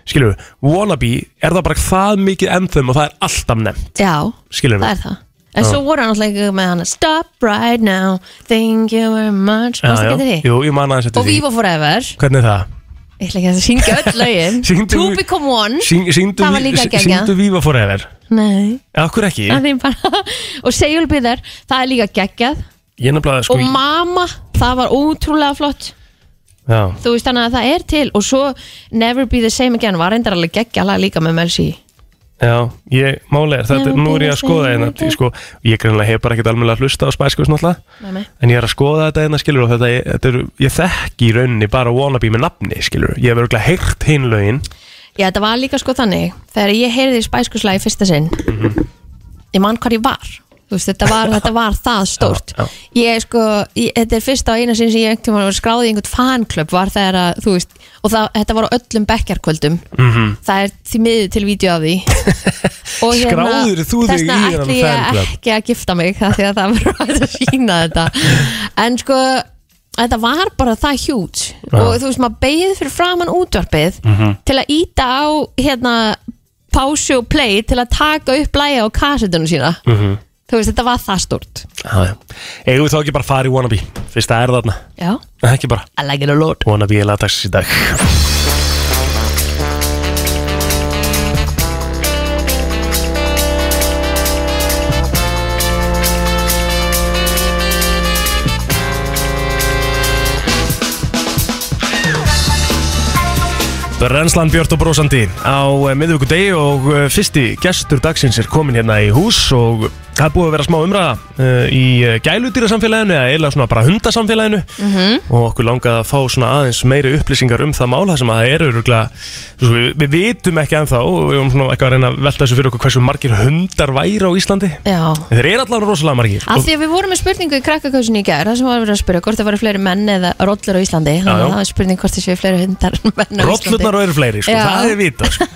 [SPEAKER 1] skilur við, Wannabe er það bara það mikið ennþum og það er alltaf nefnt
[SPEAKER 2] Já,
[SPEAKER 1] skilur
[SPEAKER 2] það
[SPEAKER 1] við,
[SPEAKER 2] er það. En svo voru hann alltaf ekki með hann Stop right now, thank you very much. Mástu ekki til því?
[SPEAKER 1] Jú, ég man aðeins
[SPEAKER 2] Og Mm?
[SPEAKER 1] eftir því
[SPEAKER 2] Viva Forever.
[SPEAKER 1] hvernig er það?
[SPEAKER 2] Ég ætla ekki að syngja öll lögin.
[SPEAKER 1] Syngdu-
[SPEAKER 2] to become one.
[SPEAKER 1] Syng- Syngdu
[SPEAKER 2] Það var líka
[SPEAKER 1] sí-
[SPEAKER 2] geggjað.
[SPEAKER 1] Syngdu Viva Forever
[SPEAKER 2] Nei.
[SPEAKER 1] Akkur ekki
[SPEAKER 2] Það er bara, og segjul byðar, það er líka geggjað.
[SPEAKER 1] Ég nefnilega sko
[SPEAKER 2] og mamma, það var ótrúlega flott
[SPEAKER 1] Já
[SPEAKER 2] þú veist þannig að það er til og svo Never Be The Same Again var reyndar alveg geggja lag líka með Mel C
[SPEAKER 1] Já, ég, málega, þetta, nú er ég að skoða hérna, ég sko, ég greinlega hef bara ekkert almennilega að hlusta á Spice Girls náttúrulega,
[SPEAKER 2] Nei, nei.
[SPEAKER 1] en ég er að skoða þetta hérna, skilur, og þetta, þetta er, ég þekki í rauninni bara Wannabe með nafni, skilur, ég hef örgulega heyrt hinn lögin,
[SPEAKER 2] já þetta var líka sko þannig þegar ég heyrði Spice Girls lag í fyrsta sinn ég man hvað ég var þú veist þetta var, þetta var það stórt
[SPEAKER 1] Já, já.
[SPEAKER 2] ég sko, ég, þetta er fyrsta og eina sinn sem ég einhvern tímann var skráði í einhvern fanklöp var þegar að, þú veist, og það, þetta var á öllum bekkjarkvöldum, -hmm.
[SPEAKER 1] Mhm.
[SPEAKER 2] það er því miður til vídeo af því Og
[SPEAKER 1] Skráðir þú þig
[SPEAKER 2] þessna
[SPEAKER 1] í þennan
[SPEAKER 2] ætli ég
[SPEAKER 1] fanclub?
[SPEAKER 2] ekki að gifta mig það því að það verður hægt að sína þetta en sko þetta var bara það hjút og þú veist maður beigð fyrir framann útvarpið
[SPEAKER 1] Mhm.
[SPEAKER 2] til að íta á hérna pásu og play til að taka upp læja á kassetunum sína
[SPEAKER 1] Mhm.
[SPEAKER 2] -hmm. þú veist þetta var það stort
[SPEAKER 1] já, já, eigum við þá ekki bara að fara í Wannabe, fyrst það er þarna,
[SPEAKER 2] já,
[SPEAKER 1] ekki bara,
[SPEAKER 2] I like it a lot
[SPEAKER 1] Wannabe er lagdagsins í dag. Brennslan Björn og Brósandi á miðvíkudegi og eh, fyrsti gestur dagsins er komin hérna í hús og það er búið að vera smá umræða uh, í gæludýrasamfélaginu eða eiginlega svona bara hundasamfélaginu
[SPEAKER 2] Mhm.
[SPEAKER 1] og okkur langaði að fá svona aðeins meiri upplýsingar um það mál það sem að það eru öruglega við, við vitum ekki ennþá og við erum svona eitthvað að reyna að velta þessu fyrir okkur hversu margir hundar væri á Íslandi
[SPEAKER 2] Já.
[SPEAKER 1] En Þeir eru allavega rosalega margir
[SPEAKER 2] Af því að við vorum með spurningu í krakkakausin í gær Það sem var verið að spyrja hvort það voru fleiri menn eða rollur á Íslandi Þannig
[SPEAKER 1] já.
[SPEAKER 2] að það var spurning hvort það séu fleiri hundar en menn á Íslandi
[SPEAKER 1] Rollurnar og eru fleiri, sko,
[SPEAKER 2] Já.
[SPEAKER 1] það er vita sko.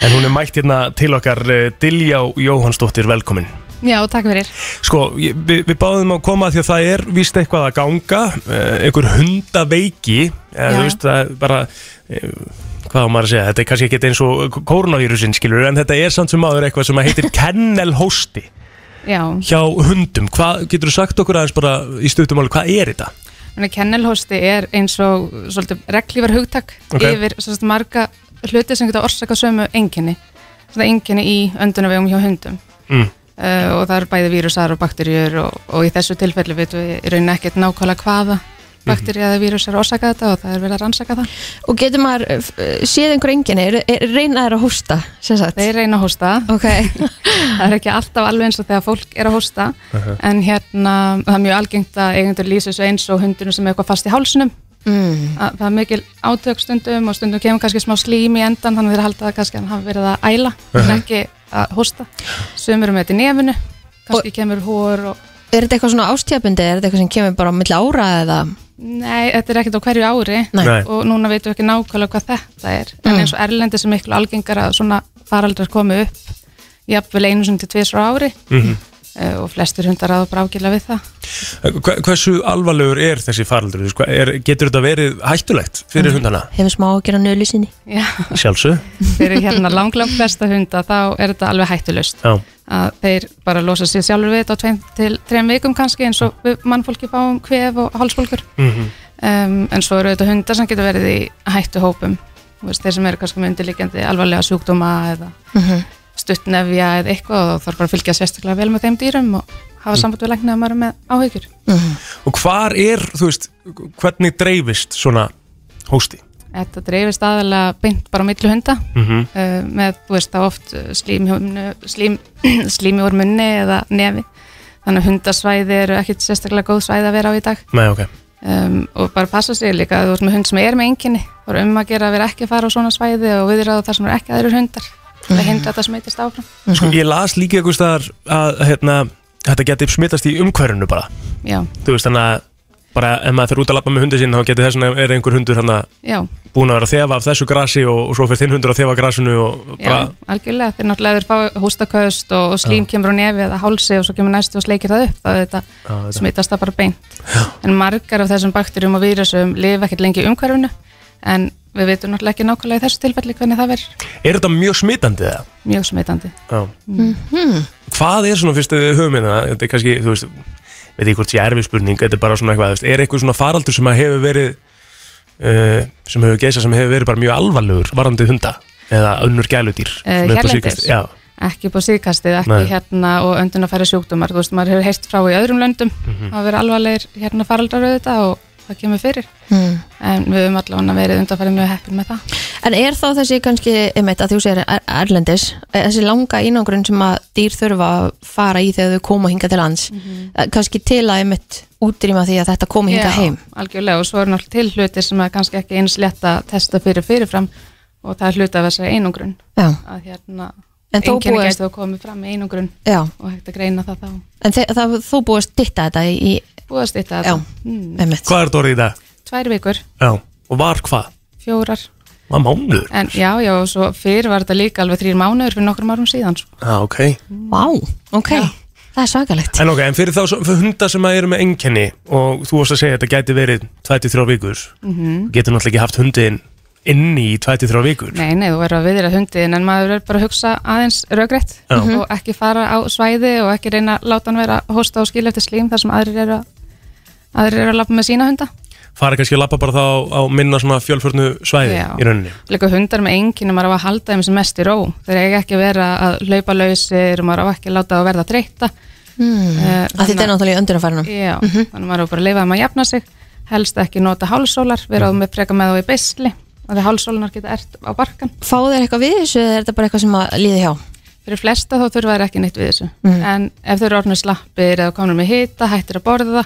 [SPEAKER 1] En hún er mætt hérna til okkar eh, Diljá Jóhansdóttir, velkomin
[SPEAKER 4] Já, takk fyrir.
[SPEAKER 1] Sko, ég- við, við báðum að koma því að það er víst eitthvað að ganga eh, einhver hundaveiki eh,
[SPEAKER 4] Já.
[SPEAKER 1] þú veist, það er bara eh, hvað á maður að segja, þetta er kannski ekki eins og koronavírusin skilur, en þetta er samt sem áður eitthvað sem heitir kennelhósti
[SPEAKER 4] Já,
[SPEAKER 1] hjá hundum, hvað getur þú sagt okkur aðeins bara í stuttumáli, hvað er þetta?
[SPEAKER 4] menna kennelhósti er eins og svolítið reglívar hugtak
[SPEAKER 1] Ok.
[SPEAKER 4] yfir svolítið marga hluti sem geta orsakað sömu enginni. Svona enginni í öndunarvegum hjá hundum.
[SPEAKER 1] Mm.
[SPEAKER 4] Uh, og það eru bæði vírusar og bakterjur og, og í þessu tilfelli veitum við í rauninni ekkert nákvæmlega hvaða bakterja eða vírusar orsaka þetta og það er verið að rannsaka það.
[SPEAKER 2] Og getur maður eh, f- eh, séð einhver enginni er, er, Reyna þær að hósta, sem sagt
[SPEAKER 4] Þeir reyna að hósta,
[SPEAKER 2] Ok,
[SPEAKER 4] það er ekki alltaf alveg eins og þegar fólk er að hósta en hérna það er mjög algengt að eigendur lýsa þessu eins og hundinu sem er eitthvað fast í hálsinum
[SPEAKER 2] mm.
[SPEAKER 4] að það er mikil átök stundum og stundum kemur kannski smá slím í endan þannig að þeir halda að kannski hann hafi verið að æla en ekki að hósta sumur með þetta í nefinu kannski kemur hór og
[SPEAKER 2] Er þetta eitthvað svona ástíðabundi, er þetta eitthvað sem kemur bara á milli ára eða
[SPEAKER 4] nei, þetta er ekkert á hverju ári
[SPEAKER 2] Nei.
[SPEAKER 1] Nei.
[SPEAKER 4] og núna veitum við ekki nákvæmlega hvað þetta er en eins og Erlendi sem miklu algengar að svona faraldrar komi upp jafnvel einu sem til tvisra ári mm
[SPEAKER 1] mhm.
[SPEAKER 4] -hmm. og flestir hundar að brákila við það
[SPEAKER 1] Eh, Hva- Hversu alvarlegur er þessi faraldur? Þú veist, hvað Er, getur þetta verið hættulegt fyrir hundana?
[SPEAKER 2] hefur smá að gera nölu sinni?
[SPEAKER 4] Já,
[SPEAKER 1] Sjálfsög,
[SPEAKER 4] fyrir hérna langlang flesta hunda þá er þetta alveg hættulust
[SPEAKER 1] já,
[SPEAKER 4] að þeir bara losa sér sjálfur við þetta á tveim til trem vikum kannski eins og við mannfólki fáum kvef og hálsfólkur um, en svo eru þetta hundar sem getur verið í hættu hópum veist, þeir sem eru kannski með undirliggjandi alvarlega sjúkdóma eða stuttnefja eða eitthvað og þarf bara að fylgja sérstaklega vel með þeim dýrum og hafa samband við læknir að maður er með áhyggjur
[SPEAKER 1] Og hvar er, þú veist, hvernig dreifist svona hósti?
[SPEAKER 4] Þetta dreifist aðalega beint bara á milli hunda
[SPEAKER 1] Mhm.
[SPEAKER 4] uh, með, þú veist, þá oft uh, slím, humnu, slím, slími úr munni eða nefi. Þannig að hundasvæði eru ekkit sérstaklega góð svæði að vera á í dag
[SPEAKER 1] Nei, ok.
[SPEAKER 4] um, og bara passa sig líka að þú ert með hund sem er með enginni þá er um að gera að vera ekki að fara á svona svæði og viðraða þar sem eru ekki aðrir hundar það hindra þetta smitist áfram.
[SPEAKER 1] Sko, ég las líka einhvers staðar að hérna, þetta geti smittast í umhverfinu bara.
[SPEAKER 4] Já,
[SPEAKER 1] Þú veist, þannig að bara ef maður fyrir út að lappa með hundi sín þá geti þess að er einhver hundur hann að
[SPEAKER 4] já,
[SPEAKER 1] búin að vera að þefa af þessu grasi og, og svo fyrir þinn hundur að þefa af grasinu og bara,
[SPEAKER 4] já, algjörlega þeir náttúrulega þeir fá hóstaköst og, og slím kemur á nefi eða hálsi og svo kemur næstu og sleikir það upp þá þetta
[SPEAKER 1] Já, þetta-
[SPEAKER 4] smitast það bara beint en margar af þessum bakterjum og vírusum lifa ekkert lengi í umhverfinu en við veitum náttúrulega ekki nákvæmlega í þessu tilfelli hvernig það verður
[SPEAKER 1] er þetta mjög smittandi það?
[SPEAKER 4] mjög smitandi
[SPEAKER 1] Já. Hvað er svona fyrst að við höfum hérna, þetta er kannski, þú veist, veit ég hvort sé erfið spurning, þetta er bara svona eitthvað, þú veist, er eitthvað svona faraldur sem að hefur verið, uh, sem hefur geisað, sem hefur verið bara mjög alvarlegur varandi hunda eða önnur gæludýr? svona
[SPEAKER 4] Eh,
[SPEAKER 1] upp á
[SPEAKER 4] hérlendis?
[SPEAKER 1] síðkastið? Já,
[SPEAKER 4] ekki upp á síðkastið, ekki
[SPEAKER 1] Nei.
[SPEAKER 4] hérna og öndunarfæri sjúkdómar, þú veist, maður hefur heyrt frá í öðrum löndum,
[SPEAKER 1] Mhm.
[SPEAKER 4] það verður alvarlegir hérna faraldar auðvitað og það kemur fyrir
[SPEAKER 2] Mm.
[SPEAKER 4] en við höfum allavega verið undanfærið mjög heppin með það.
[SPEAKER 2] En er þá þessi kannski, einmitt að þú segir er- erlendis, er þessi langa einangrun sem að dýr þurfa að fara í þegar þau koma hinga til lands, eh, kannski til að einmitt útrýma því að þetta komi hinga
[SPEAKER 4] Mhm. Já,
[SPEAKER 2] heim?
[SPEAKER 4] Algjörlega og svo er náttúrulega til hluti sem er kannski ekki eins létt að testa fyrir fyrirfram og það er hluti af þessari einungrun
[SPEAKER 2] Já,
[SPEAKER 4] að hérna,
[SPEAKER 2] En þó
[SPEAKER 4] einkenni
[SPEAKER 2] búast-
[SPEAKER 4] gæti þá komið fram í einungrun
[SPEAKER 2] já.
[SPEAKER 4] og hægt að greina það þá.
[SPEAKER 2] En þe- það, þú búist ditta þetta í, í
[SPEAKER 4] Búðast þetta
[SPEAKER 2] já,
[SPEAKER 4] mm,
[SPEAKER 2] einmitt.
[SPEAKER 1] hvað er þetta orðið í dag?
[SPEAKER 4] tvær vikur,
[SPEAKER 1] Já, og var hvað?
[SPEAKER 4] fjórar,
[SPEAKER 1] Var mánuður?
[SPEAKER 4] en já, já, og svo fyrir var þetta líka alveg þrýr mánuður fyrir nokkrum árum síðan, sko.
[SPEAKER 1] Já, ok.
[SPEAKER 2] Vá, ok, það er svakalegt.
[SPEAKER 1] En ok, en fyrir þá svo- fyrir hunda sem að eru með enkenni og þú vorst að segja að þetta gæti verið 23 vikur, getur náttúrulega ekki haft hundin inni í 23 vikur.
[SPEAKER 4] Mhm. Nei, nei, þú verður að viðra hundin en maður verður bara að hugsa aðeins rögrætt
[SPEAKER 1] Já.
[SPEAKER 2] Mhm.
[SPEAKER 4] og ekki fara á svæði og ekki reyna að láta hann vera að hósta og skilja eftir slím þar sem aðrir eru að, aðrir eru að lappa með sína hunda.
[SPEAKER 1] fara kannski að lappa bara þá á minna svona fjölförnu svæði
[SPEAKER 4] Já.
[SPEAKER 1] í rauninni
[SPEAKER 4] Líka hundar með enginum maður á að halda þeim sem mest í ró. Þeir eiga ekki að vera að laupa lausir og maður á ekki að láta þá verða þreytta.
[SPEAKER 2] Mm.
[SPEAKER 4] Eh,
[SPEAKER 2] Að þetta er Mhm. náttúrulega í öndunarfærinum.
[SPEAKER 4] Já, þannig maður á bara að leifa þeim að jafna sig, helst ekki nota hálsólar, vera mm. með freka með þá í beisli að því hálsólunar geta ert á barkan
[SPEAKER 2] Fáðu þér eitthvað við þessu eða er þetta bara eitthvað sem að líði hjá?
[SPEAKER 4] fyrir flesta þá þurfa þær ekki neitt við þessu
[SPEAKER 2] Mhm.
[SPEAKER 4] en ef þau eru orðinu slappir eða komnir með hita, hættir að borða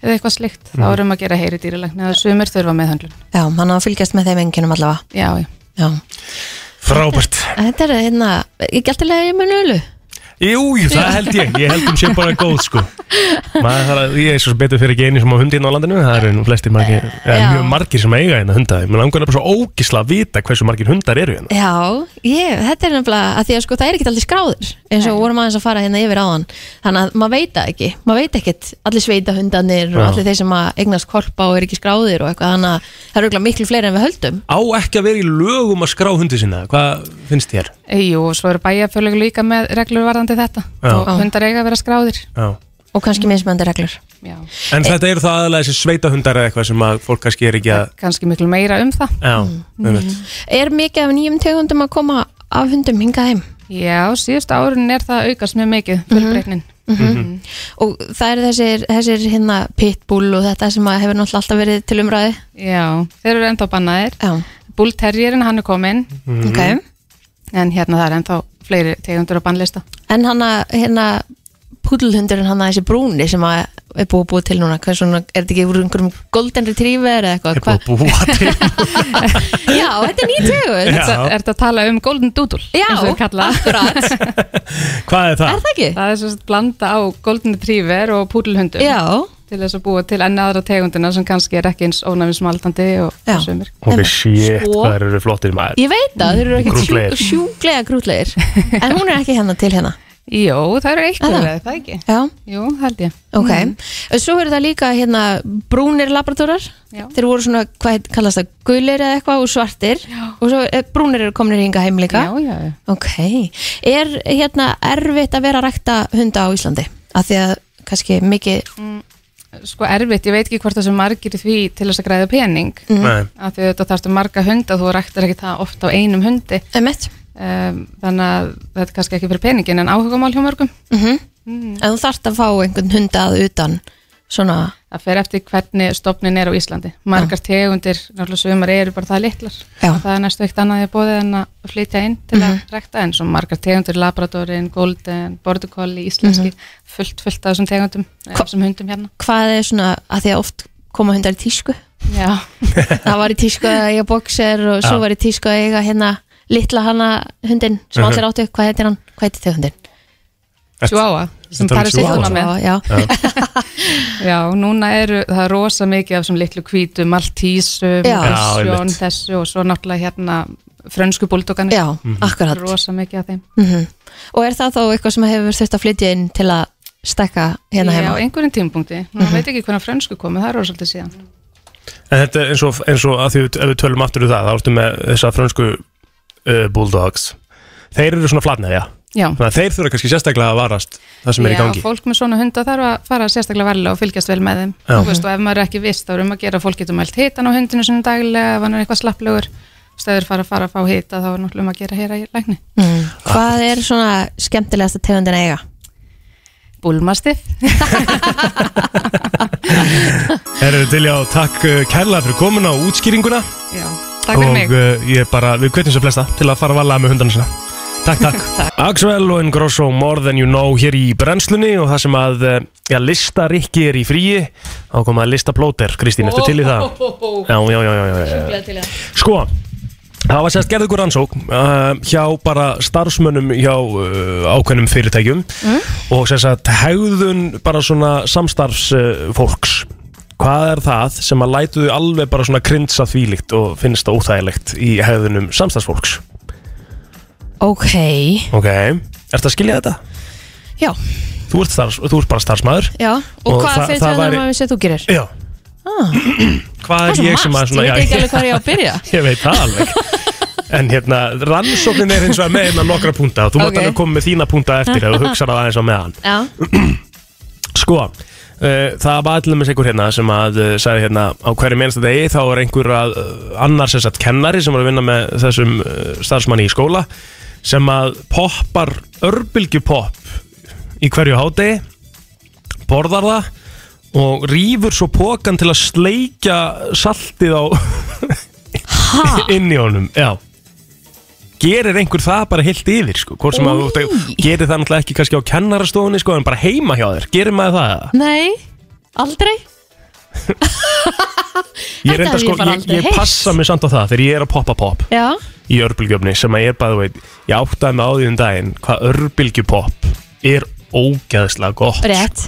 [SPEAKER 4] eða eitthvað slikt, þá
[SPEAKER 1] Mhm.
[SPEAKER 4] erum að gera heyri dýralækni eða sumir þurfa meðhöndlun
[SPEAKER 2] Já, hann á að fylgjast með þeim enginum allavega.
[SPEAKER 4] já, já,
[SPEAKER 2] Já.
[SPEAKER 1] Frábært
[SPEAKER 2] Þetta er hérna, ég gæti að leiða með nölu.
[SPEAKER 1] Jú, jú, það held ég, ég held um sé bara góð sko maður þarf að, ég er svo sem betur fyrir ekki einu sem á hundi inn á landinu, það eru nú flestir margir, eða
[SPEAKER 2] Já.
[SPEAKER 1] mjög margir sem eiga hérna hunda mér langar bara svo ógisla að vita hversu margir hundar eru hérna
[SPEAKER 2] Já, ég, þetta er nefnilega að því að sko það er ekkert allir skráður eins og
[SPEAKER 4] Nei.
[SPEAKER 2] vorum aðeins að fara hérna yfir áðan þannig að maður veit það ekki, maður veit ekkert allir sveita hundanir og
[SPEAKER 1] Já.
[SPEAKER 2] allir þeir sem að eignast korpa og er ekki skráðir og eitthvað þannig að það eru örugglega miklu fleiri en við höldum
[SPEAKER 1] Á ekki að vera í lögum að skrá hundi sína, hvað finnst þér?
[SPEAKER 4] e, jú, og svo eru bæjarfjölug líka með reglur varðandi þetta
[SPEAKER 1] Já.
[SPEAKER 4] og hundar eiga að vera skráðir
[SPEAKER 1] Já.
[SPEAKER 2] og kannski mismöndi reglur
[SPEAKER 4] já,
[SPEAKER 1] En þetta eru það aðalega þessi sveitahundar eða eitthvað sem að fólk kannski er ekki að
[SPEAKER 4] kannski miklu meira um það
[SPEAKER 1] Já, mm.
[SPEAKER 2] Er mikið af nýjum tegundum að koma af hundum hingað heim?
[SPEAKER 4] já, síðustu árun er það að aukast mjög mikið
[SPEAKER 2] Mhm.
[SPEAKER 4] fjölbreytnin
[SPEAKER 2] Og það eru þessir, þessir hérna pitbull og þetta sem að hefur náttúrulega alltaf verið til umræði
[SPEAKER 4] já, þeir eru ennþá bannaðir
[SPEAKER 2] Já,
[SPEAKER 4] bullterjirinn hann er komin
[SPEAKER 1] Mhm.
[SPEAKER 2] ok
[SPEAKER 4] en hérna það er ennþá fleiri tegundur á bannlista
[SPEAKER 2] En hann að, hérna, púdlhundurinn hann að þessi brúni sem að er búið að búið til núna, hvað er svona, er þetta ekki úr einhverjum golden retriever eða eitthvað?
[SPEAKER 1] er búið að búa til
[SPEAKER 2] Hva- Já, þetta er nýtögur.
[SPEAKER 1] Já.
[SPEAKER 2] Já,
[SPEAKER 4] er þetta að tala um golden doodle eins og er kallað
[SPEAKER 2] akkurat. Er
[SPEAKER 1] Hvað er það?
[SPEAKER 2] það ekki?
[SPEAKER 4] Það er svo að blanda á golden retriever og púdlhundum
[SPEAKER 2] Já,
[SPEAKER 4] til þess að búa til enn aðra tegundina sem kannski er ekki eins ónæmismaldandi og
[SPEAKER 2] Já.
[SPEAKER 4] og sumir.
[SPEAKER 1] Ok, shit,
[SPEAKER 2] Sko.
[SPEAKER 1] hvað eru flottir maður
[SPEAKER 2] ég veit að þeir eru ekkert sjú,
[SPEAKER 1] Krútlegir.
[SPEAKER 2] sjúglega grútlegir, en hún er ekki hérna til hérna.
[SPEAKER 4] Jó, það eru eitt
[SPEAKER 2] Er það?
[SPEAKER 4] úr það, það ekki?
[SPEAKER 2] Já,
[SPEAKER 4] Jú, held ég.
[SPEAKER 2] ok. Svo eru það líka hérna brúnir labradórar,
[SPEAKER 4] Já.
[SPEAKER 2] þeir voru svona, hvað heit- kallast það, gulir eða eitthvað og svartir Já. og svo eh, brúnir eru kominir hinga heim líka.
[SPEAKER 4] Já, já, já.
[SPEAKER 2] Ok, er hérna erfitt að vera að rækta hunda á Íslandi? Af því að kannski mikið,
[SPEAKER 4] Sko erfitt, ég veit ekki hvort það sem margir í því til þess að græða pening.
[SPEAKER 2] Mhm.
[SPEAKER 1] Nei,
[SPEAKER 4] Af því auðvitað þarfstu marga hunda, þú ræktar ekki það oft á einum hundi.
[SPEAKER 2] emmett,
[SPEAKER 4] Um, þannig að þetta er kannski ekki fyrir peningin en áhugamál hjá mörgum.
[SPEAKER 2] Mhm.
[SPEAKER 4] Mm.
[SPEAKER 2] en þú þarft að fá einhvern hunda að utan, svona,
[SPEAKER 4] Það fer eftir hvernig stofnin er á Íslandi. Margar tegundir, náttúrulega sumar eru bara það litlar.
[SPEAKER 2] Já. Mhm.
[SPEAKER 4] Það er næstu eitt annað í bóðið en að flytja inn til að rækta en svo margar tegundir, labradorin, golden, border collie, íslenski, fullt, fullt af þessum tegundum, eh,
[SPEAKER 2] Mhm. Hva-
[SPEAKER 4] þessum hundum hérna.
[SPEAKER 2] hvað er svona, að því að oft koma hundar í tísku?
[SPEAKER 4] Já,
[SPEAKER 2] Það var í tísku að eiga boxer og svo
[SPEAKER 1] Já.
[SPEAKER 2] var í tísku að eiga hérna litla hana hundin sem
[SPEAKER 1] Mhm.
[SPEAKER 2] allir áttu, hvað heitir hann? Hvað heitir þau hundin?
[SPEAKER 4] sjóáa, sem
[SPEAKER 1] Þetta er um
[SPEAKER 4] parið
[SPEAKER 1] Chihuahua.
[SPEAKER 4] sittum með.
[SPEAKER 2] Já, já,
[SPEAKER 4] Já, núna eru það er rosa mikið af þessum litlu hvítu, maltísum,
[SPEAKER 2] Já.
[SPEAKER 1] Já,
[SPEAKER 4] sjón,
[SPEAKER 1] einmitt.
[SPEAKER 4] þessu og svo náttúrulega hérna frönsku búldoganir.
[SPEAKER 2] já,
[SPEAKER 1] Mhm.
[SPEAKER 2] akkurat.
[SPEAKER 4] Rosa mikið af þeim.
[SPEAKER 2] Mhm. Og er það þá eitthvað sem hefur þurft að flytja inn til að stekka hérna
[SPEAKER 4] Já,
[SPEAKER 2] heima? Mhm.
[SPEAKER 4] á einhverjum tímpunkti. Nú veit ekki hvernig frönsku komið, það er rosa svolítið síðan.
[SPEAKER 1] En þetta er eins og, eins og að því við- ef við tölum aftur um það, þá ertu með þessa frönsku uh, bulldogs. Þeir eru svona flatnæðja,
[SPEAKER 4] Já.
[SPEAKER 1] þannig að þeir þurfa kannski sérstaklega að varast það sem er í
[SPEAKER 4] Já,
[SPEAKER 1] gangi.
[SPEAKER 4] fólk með svona hunda þarf að fara sérstaklega varlega og fylgjast vel með þeim
[SPEAKER 1] Já.
[SPEAKER 4] Þú veist, og ef maður er ekki vist þá er um að gera að fólk getur mælt hitan á hundinu sinni daglega ef hann er eitthvað slapplegur stöður fara að fara að fá hita þá er náttúrulega um að gera hér í lækni
[SPEAKER 2] Mm. Hvað er svona skemmtilegasta tegundin að eiga?
[SPEAKER 4] Búlmastiff
[SPEAKER 1] Erum við til já, takk uh, kærlega fyrir komin á útskýringuna
[SPEAKER 4] Já, takk fyrir mig
[SPEAKER 1] og uh, ég bara, við kvetjum sér flesta til að fara varlega með hundana sína. Takk, takk. Axel og Ingrosso More Than You Know hér í brennslunni og það sem að uh, já, lista Rikki er í fríi þá kom að lista plóter, Kristín, ertu til í það? Já, já, já, já, já, já. Sko, það var sérst gerð ykkur rannsók uh, hjá bara starfsmönnum hjá uh, ákveðnum fyrirtækjum
[SPEAKER 2] Mm.
[SPEAKER 1] og sérst að hegðun bara svona samstarfs uh, fólks Hvað er það sem að lætu þau alveg bara svona krinsa þvílíkt og finnst það óþægilegt í hegðunum samstarfsfólks?
[SPEAKER 2] Ok,
[SPEAKER 1] Ok, ert að skilja þetta?
[SPEAKER 2] já,
[SPEAKER 1] Þú ert, starfs, þú ert bara starfsmæður
[SPEAKER 2] já Og,
[SPEAKER 1] Og
[SPEAKER 2] hvað um
[SPEAKER 1] það-
[SPEAKER 2] fyrir
[SPEAKER 1] það
[SPEAKER 2] það
[SPEAKER 1] væri-
[SPEAKER 2] maður sem þú gerir?
[SPEAKER 1] Já
[SPEAKER 2] Ah.
[SPEAKER 1] Hvað er ég sem að svona
[SPEAKER 2] ég veit ekki alveg hvað ég á að byrja
[SPEAKER 1] Ég veit það alveg En hérna, rannsóknin er hins vegar með hérna nokkra púnta og þú mátt
[SPEAKER 2] Ok.
[SPEAKER 1] alveg koma með þína púnta eftir ef þú hugsar það aðeins á meðan
[SPEAKER 2] Já,
[SPEAKER 1] Sko, uh, það var allir með einhver hérna sem að uh, sagði hérna á hverju mennsta degi þá er einhver að, uh, annar sem sagt kennari sem var að vinna með þessum uh, starfsmanni í skóla sem að poppar örbylgjupopp í hverju hádegi borðar það og rýfur svo pókan til að sleikja saltið á
[SPEAKER 2] Ha?
[SPEAKER 1] inn í honum, já gerir einhver það bara heilt yfir sko, hvort sem að þú
[SPEAKER 2] Új.
[SPEAKER 1] gerir það náttúrulega ekki kannski á kennarastofunni sko, en bara heima hjá þér, gerir maður það
[SPEAKER 2] Nei, aldrei
[SPEAKER 1] ég,
[SPEAKER 2] Þetta
[SPEAKER 1] reyndar,
[SPEAKER 2] hef
[SPEAKER 1] sko,
[SPEAKER 2] ég
[SPEAKER 1] ég,
[SPEAKER 2] bara aldrei
[SPEAKER 1] ég
[SPEAKER 2] heyrt.
[SPEAKER 1] passa mig samt á það þegar ég er að poppa pop
[SPEAKER 2] Já,
[SPEAKER 1] í örbylgjöfni sem að ég er bæði veit ég áttaði mig á því um daginn hvað örbylgjupopp er ógæðslega gott
[SPEAKER 2] rétt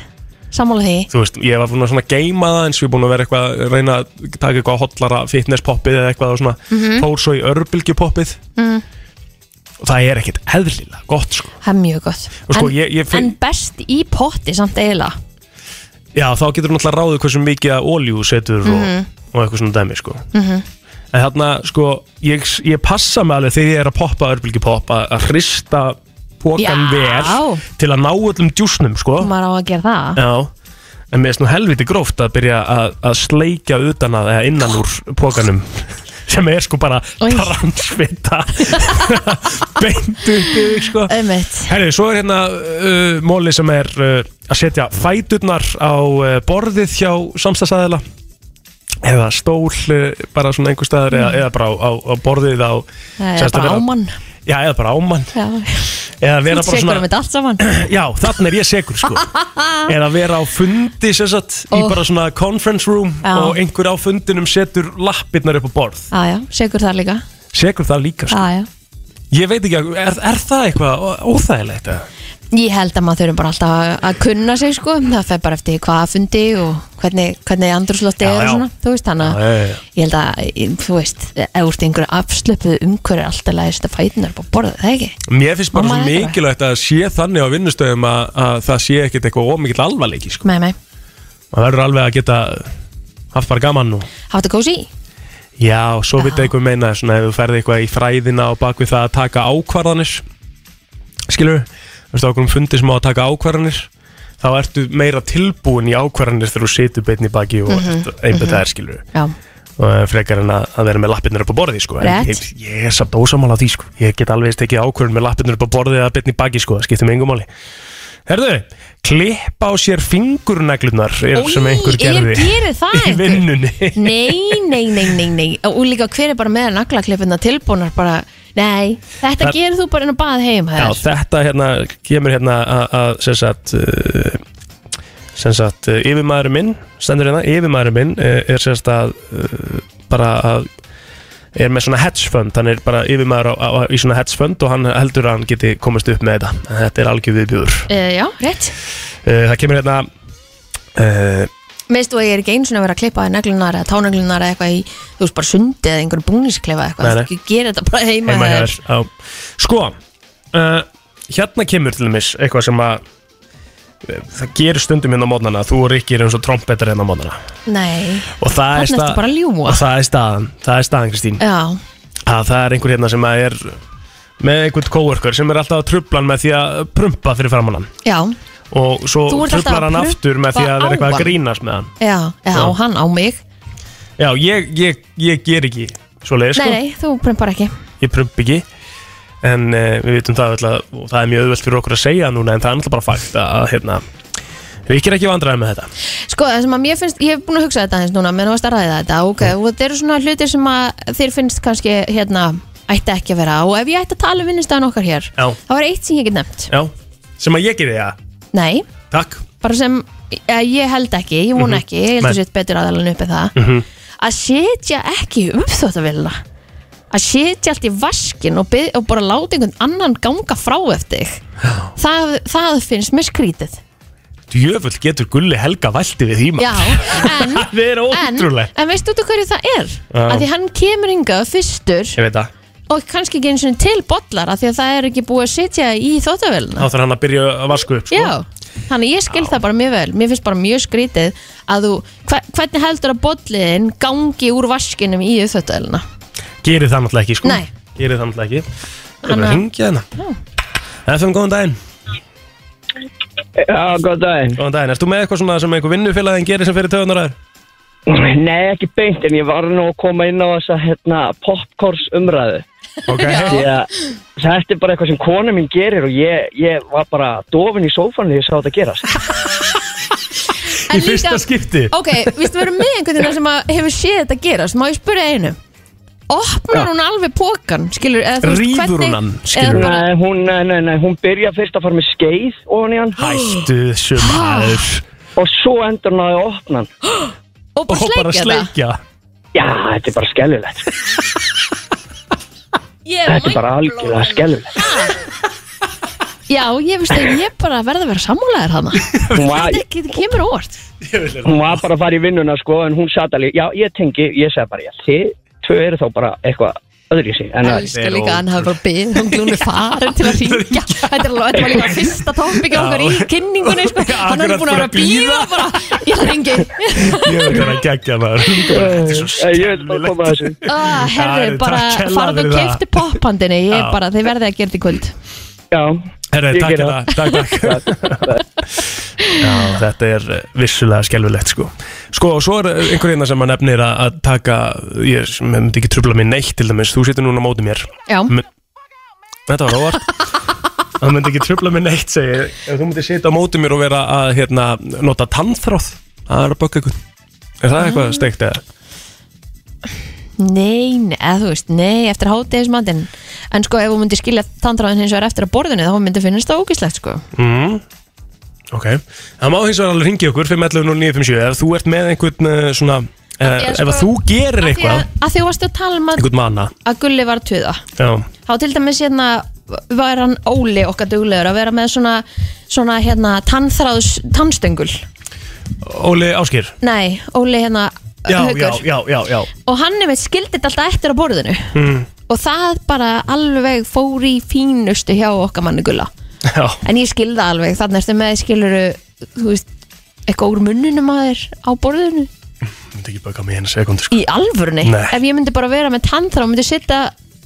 [SPEAKER 2] Sammála því
[SPEAKER 1] þú veist, ég var búin að svona geima það eins og ég er búin að vera eitthvað, reyna að taka eitthvað hotlara fitnesspoppið eða eitthvað og svona fór svo í örbylgjupoppið
[SPEAKER 2] Mhm. Mm.
[SPEAKER 1] og það er ekkit eðlilega gott sko.
[SPEAKER 2] Það er mjög gott
[SPEAKER 1] og sko
[SPEAKER 2] en,
[SPEAKER 1] ég, ég finn,
[SPEAKER 2] en best í potti samt eiginlega
[SPEAKER 1] já þá getur náttúrulega ráðið hversu mikið að oljú setur
[SPEAKER 2] Mhm.
[SPEAKER 1] og, og eitthvað svona dæmi sko en þarna sko, ég, ég passa mig alveg þegar ég er að poppa örbylgjupopp að að hrista pókan
[SPEAKER 2] Já.
[SPEAKER 1] vel til að ná öllum djúsnum sko
[SPEAKER 2] Maður á að gera það
[SPEAKER 1] Já, en mér finnst nú helviti gróft að byrja að, að sleikja utan að eða innan úr pókanum sem er sko bara
[SPEAKER 2] Oj.
[SPEAKER 1] transfitta beint upp yfir sko
[SPEAKER 2] Ömmit
[SPEAKER 1] Herri, svo er hérna uh, móli sem er uh, að setja fæturnar á uh, borðið hjá samstagsæðila eða stól uh, bara svona einhver staðar eða, eða bara á, á, á borðið á
[SPEAKER 2] Það er
[SPEAKER 1] Sérst að
[SPEAKER 2] Mm. bara
[SPEAKER 1] vera-
[SPEAKER 2] ámann
[SPEAKER 1] Já, eða bara ámann
[SPEAKER 2] Já,
[SPEAKER 1] eða vera bara
[SPEAKER 2] segur um
[SPEAKER 1] svona
[SPEAKER 2] þetta allt saman
[SPEAKER 1] Já, þannig er ég segur sko Eða vera á fundi sem sagt í
[SPEAKER 2] Ó.
[SPEAKER 1] bara svona conference room
[SPEAKER 2] Já.
[SPEAKER 1] og einhver á fundinum setur lappirnar upp á borð
[SPEAKER 2] Já, já, segur það líka
[SPEAKER 1] Segur það líka sko
[SPEAKER 2] Já, já
[SPEAKER 1] Ég veit ekki, að- er, er það eitthvað ó- óþægilegt eða?
[SPEAKER 2] Ég held að maður þurfum bara alltaf að- að kunna sig sko, það fer bara eftir hvaða fundi og hvernig, hvernig andrúslotti
[SPEAKER 1] Já,
[SPEAKER 2] er og
[SPEAKER 1] já.
[SPEAKER 2] svona, þú veist, þannig
[SPEAKER 1] Já, já,
[SPEAKER 2] að
[SPEAKER 1] já.
[SPEAKER 2] ég held að, þú veist, ef úr einhverju afslöpuð umhverju alltaf að þetta fætunar bara borða, það ekki?
[SPEAKER 1] Mér finnst bara
[SPEAKER 2] Mamma
[SPEAKER 1] svo
[SPEAKER 2] er þetta.
[SPEAKER 1] mikilvægt að sé þannig á vinnustöðum að, að það sé ekkit eitthvað ómikill alvarleiki sko
[SPEAKER 2] Nei, nei,
[SPEAKER 1] Man verður alveg að geta haft bara gaman nú
[SPEAKER 2] hafa þetta kósi í?
[SPEAKER 1] Já, og svo
[SPEAKER 2] Já.
[SPEAKER 1] veit ég eitthvað meina svona ef þú ferði eitthvað í fræðina og bak við það að taka ákvarðanir skilur, þú veist okkur um fundi sem á að taka ákvarðanir þá ertu meira tilbúin í ákvarðanir þegar þú situr beinni baki og mm -hmm, einbæð það er skilur
[SPEAKER 2] Já,
[SPEAKER 1] og eh, frekar en að, að vera með lappirnir upp á borði sko. En
[SPEAKER 2] Rétt.
[SPEAKER 1] ég, ég er samt ósamála því sko. ég get alveg tekið ákvarðan með lappirnir upp á borði eða beinni baki, sko. það skiptir mig engum máli Herðu, klippa á sér fingurneglunar er sem
[SPEAKER 2] Ói,
[SPEAKER 1] einhver
[SPEAKER 2] ég gerir það
[SPEAKER 1] í
[SPEAKER 2] einhver.
[SPEAKER 1] vinnunni
[SPEAKER 2] nei, nei, nei, nei, nei, og líka hver er bara með naglaklippina tilbúnar bara, nei, þetta
[SPEAKER 1] Það-
[SPEAKER 2] gerir þú bara inn á bað heim,
[SPEAKER 1] Já,
[SPEAKER 2] það
[SPEAKER 1] þetta hérna kemur hérna að- að sem sagt uh, sem sagt uh, yfirmaðurinn minn stendur hérna, yfirmaðurinn minn uh, er sem sagt að uh, bara að er með svona hedge fund, hann er bara yfirmaður á, á, í svona hedge fund og hann heldur að hann geti komist upp með þetta, En þetta er algjör viðbjúður uh,
[SPEAKER 2] Eh, Já, rétt.
[SPEAKER 1] það kemur hérna uh,
[SPEAKER 2] Meistu að ég er ekki eins og að vera að klippa neglunar eða táneglunar eða eitthvað í, þú veist, bara sundi eða einhverjum búningsklefa eða
[SPEAKER 1] Nei,
[SPEAKER 2] eitthvað,
[SPEAKER 1] nei.
[SPEAKER 2] þú gerir þetta bara heima,
[SPEAKER 1] heima
[SPEAKER 2] hjá
[SPEAKER 1] hjá
[SPEAKER 2] þér.
[SPEAKER 1] þér Já. sko uh, hérna kemur til dæmis eitthvað sem að eh, það gerir stundum hérna á mótnana þú og Rikki er eins og trompetar hérna á mótnana
[SPEAKER 2] Nei,
[SPEAKER 1] og það er
[SPEAKER 2] Þarna ertu
[SPEAKER 1] stað-
[SPEAKER 2] bara að ljúga. Eh.
[SPEAKER 1] og það er staðan, það er staðan Kristín
[SPEAKER 2] já,
[SPEAKER 1] að það er einhver hérna sem að er með einhvern coworker sem er alltaf að trubla hann með því að prumpa fyrir framann hann
[SPEAKER 2] já,
[SPEAKER 1] og svo
[SPEAKER 2] Þú ert alltaf
[SPEAKER 1] trublar
[SPEAKER 2] að
[SPEAKER 1] hann
[SPEAKER 2] prumpa
[SPEAKER 1] aftur með því að
[SPEAKER 2] á
[SPEAKER 1] vera eitthvað
[SPEAKER 2] hann.
[SPEAKER 1] að grínast með hann
[SPEAKER 2] já, já,
[SPEAKER 1] Já.
[SPEAKER 2] á hann, á mig
[SPEAKER 1] já, ég, ég, ég ger ekki svoleiðis
[SPEAKER 2] Nei,
[SPEAKER 1] sko,
[SPEAKER 2] nei, þú prumpar ekki
[SPEAKER 1] ég prump ekki en uh, við vitum það alltaf og það er mjög auðvelt fyrir okkur að segja núna en það er alltaf bara fakt að hérna Við ekki vandræði með þetta
[SPEAKER 2] Sko, það sem að mér finnst, ég hef búin að hugsa þetta aðeins núna menn þú varst að ræða þetta, ok, og þetta eru svona hlutir sem að þér finnst kannski, hérna ætti ekki að vera, á. og ef ég ætti að tala um vinnustæðan okkar hér,
[SPEAKER 1] Já.
[SPEAKER 2] það var eitt sem ég get nefnt
[SPEAKER 1] Já, sem að ég geri það
[SPEAKER 2] Nei,
[SPEAKER 1] Takk
[SPEAKER 2] bara sem ja, ég held ekki, ég vona ekki ég
[SPEAKER 1] Mhm. Nei. Mhm.
[SPEAKER 2] held að sétt betur aðalan uppi það að setja ekki upp þóttavilla að setja allt í vaskin og, bið, og bara láta einhvern annan ganga frá eftir það, það finnst mér skrítið
[SPEAKER 1] Djöfull getur Gulli Helga vælti við því maður.
[SPEAKER 2] já, en,
[SPEAKER 1] Það er
[SPEAKER 2] en,
[SPEAKER 1] ótrúlegt
[SPEAKER 2] en veistu þú hverju það er
[SPEAKER 1] Já.
[SPEAKER 2] að því hann kemur hingað fyrstur
[SPEAKER 1] Ég veit það
[SPEAKER 2] og kannski ekki einu sinni til bollar að því að það er ekki búið að setja í þóttavillina
[SPEAKER 1] Þá þarf hann að byrja að vasku upp sko.
[SPEAKER 2] Já, þannig ég skil það bara mjög vel Mér finnst bara mjög skrítið að þú hver, Hvernig heldur að bolliðin gangi úr vaskinum í uppþöttaðelina
[SPEAKER 1] Gerir það náttúrulega ekki sko.
[SPEAKER 2] Nei.
[SPEAKER 1] Gerir það náttúrulega ekki Það er
[SPEAKER 2] Hann
[SPEAKER 1] bara að
[SPEAKER 2] að-
[SPEAKER 1] hringja hérna FM, góðan daginn
[SPEAKER 5] Já, góð daginn.
[SPEAKER 1] Góðan daginn, erst þú með eitthvað svona sem einhver vinnufélagin gerir sem fyrir töðunar aður?
[SPEAKER 5] Nei, ekki beint, en ég var nú að koma inn á þessa hérna, popcorns umræðu.
[SPEAKER 1] Ok
[SPEAKER 5] Því að þetta er bara eitthvað sem kona mín gerir og ég, ég var bara dofin í sófanu þegar ég sá þetta gerast.
[SPEAKER 1] Í fyrsta skipti
[SPEAKER 2] Ok, vistu verið með einhvern veginn sem að hefur séð þetta gerast Má ég spyrja einu opnar hún alveg pókan, skilur eða, þú veist,
[SPEAKER 1] Rífur hún
[SPEAKER 2] hvernig-
[SPEAKER 1] hann,
[SPEAKER 2] eða
[SPEAKER 1] skilurðu?
[SPEAKER 2] bara-
[SPEAKER 5] Nei, hún, nei, nei, nei, hún byrja fyrst að fara með skeið ofan í hann
[SPEAKER 1] Hættu þessu maður
[SPEAKER 5] og svo endur hún að það opna hann.
[SPEAKER 2] og bara
[SPEAKER 1] Og bara
[SPEAKER 2] sleikja það
[SPEAKER 1] sleikja
[SPEAKER 5] Já, þetta er bara skellulegt.
[SPEAKER 2] Ég er
[SPEAKER 5] Þetta er bara
[SPEAKER 2] mindblown.
[SPEAKER 5] algjörlega skellulegt.
[SPEAKER 2] Já, ég veist að ég bara verði að vera sammúlegaður hana
[SPEAKER 5] Hún var,
[SPEAKER 2] Þetta ekki- þetta kemur á óvart
[SPEAKER 5] hún var bara að fara í vinnuna sko, en hún satt alveg, já, ég tengi, ég segi bara, já, þið tvö eru þá bara eitthvað öðru í sig. En að,
[SPEAKER 2] Elskar líka að hann hafa bara byggð hún glúnu farin til að ringja Þetta er alveg- þetta var líka fyrsta tópik okkar í kynningunni sko.
[SPEAKER 1] Já,
[SPEAKER 2] Hann er
[SPEAKER 1] akkurat
[SPEAKER 2] búin að vera að
[SPEAKER 1] búin að
[SPEAKER 2] býða
[SPEAKER 1] bíða.
[SPEAKER 2] bara Ég ringi
[SPEAKER 1] Ég veit hann að gegja maður Þetta er svo
[SPEAKER 5] Eh, ég vil bara koma að þessu.
[SPEAKER 2] ah, Herri,
[SPEAKER 1] Já,
[SPEAKER 2] bara
[SPEAKER 1] takk kærlega
[SPEAKER 2] farðu
[SPEAKER 1] fyrir
[SPEAKER 2] og
[SPEAKER 1] það.
[SPEAKER 2] kefti poppandinni Ég
[SPEAKER 1] Já.
[SPEAKER 2] bara, þið verðið að gera þetta í kvöld
[SPEAKER 5] Já,
[SPEAKER 1] Herre,
[SPEAKER 5] Ég
[SPEAKER 1] takk
[SPEAKER 5] geri
[SPEAKER 1] fyrir það, takk, takk Já, þetta er eh, vissulega skelfilegt sko Sko, og svo er eh, einhver hérna sem að nefnir að að taka Ég s- mér myndi ekki trubla mig neitt til dæmis Þú situr núna á móti mér
[SPEAKER 2] Já,
[SPEAKER 1] M Þetta var óvart Það myndi ekki trubla mig neitt, segi ég Ef þú myndir sita á móti mér og vera að hérna, nota tannþráð Það er að bögga ykkur Er það eitthvað steikt eða?
[SPEAKER 2] nei, nei, eða þú veist, nei, eftir hátegismatinn En sko, ef hún myndi skilja tandráðin hins vegar eftir að borðinu þá myndi finnast það ógislegt sko.
[SPEAKER 1] Mm. Ok, það má hins vegar alveg ringi okkur 511-0957 ef þú ert með einhvern eh, svona eh,
[SPEAKER 2] Ég
[SPEAKER 1] ef að
[SPEAKER 2] sko-
[SPEAKER 1] þú gerir
[SPEAKER 2] Af því
[SPEAKER 1] eitthvað
[SPEAKER 2] að, að því þú varstu að tala um að,
[SPEAKER 1] einhvern manna
[SPEAKER 2] að Gulli var að tuða
[SPEAKER 1] já.
[SPEAKER 2] þá til dæmis hérna var hann Óli okkar duglegur að vera með svona, svona hérna tannþráðs tannstöngul
[SPEAKER 1] Óli Áskir
[SPEAKER 2] nei, Óli hérna
[SPEAKER 1] já, já,
[SPEAKER 2] Haukur.
[SPEAKER 1] já, já, já.
[SPEAKER 2] og hann er veit skildið alltaf eftir á borðinu
[SPEAKER 1] Mm.
[SPEAKER 2] og það bara alveg fór í fínustu hjá okkar manni Gulla
[SPEAKER 1] já.
[SPEAKER 2] en ég skilða alveg, þannig ertu með skiluru, þú veist eitthvað úr munnunum að þér á borðinu
[SPEAKER 1] myndi ekki baka mig einu sekundu sko.
[SPEAKER 2] í alvörni,
[SPEAKER 1] Nei.
[SPEAKER 2] ef ég myndi bara vera með tannþráð og myndi sitta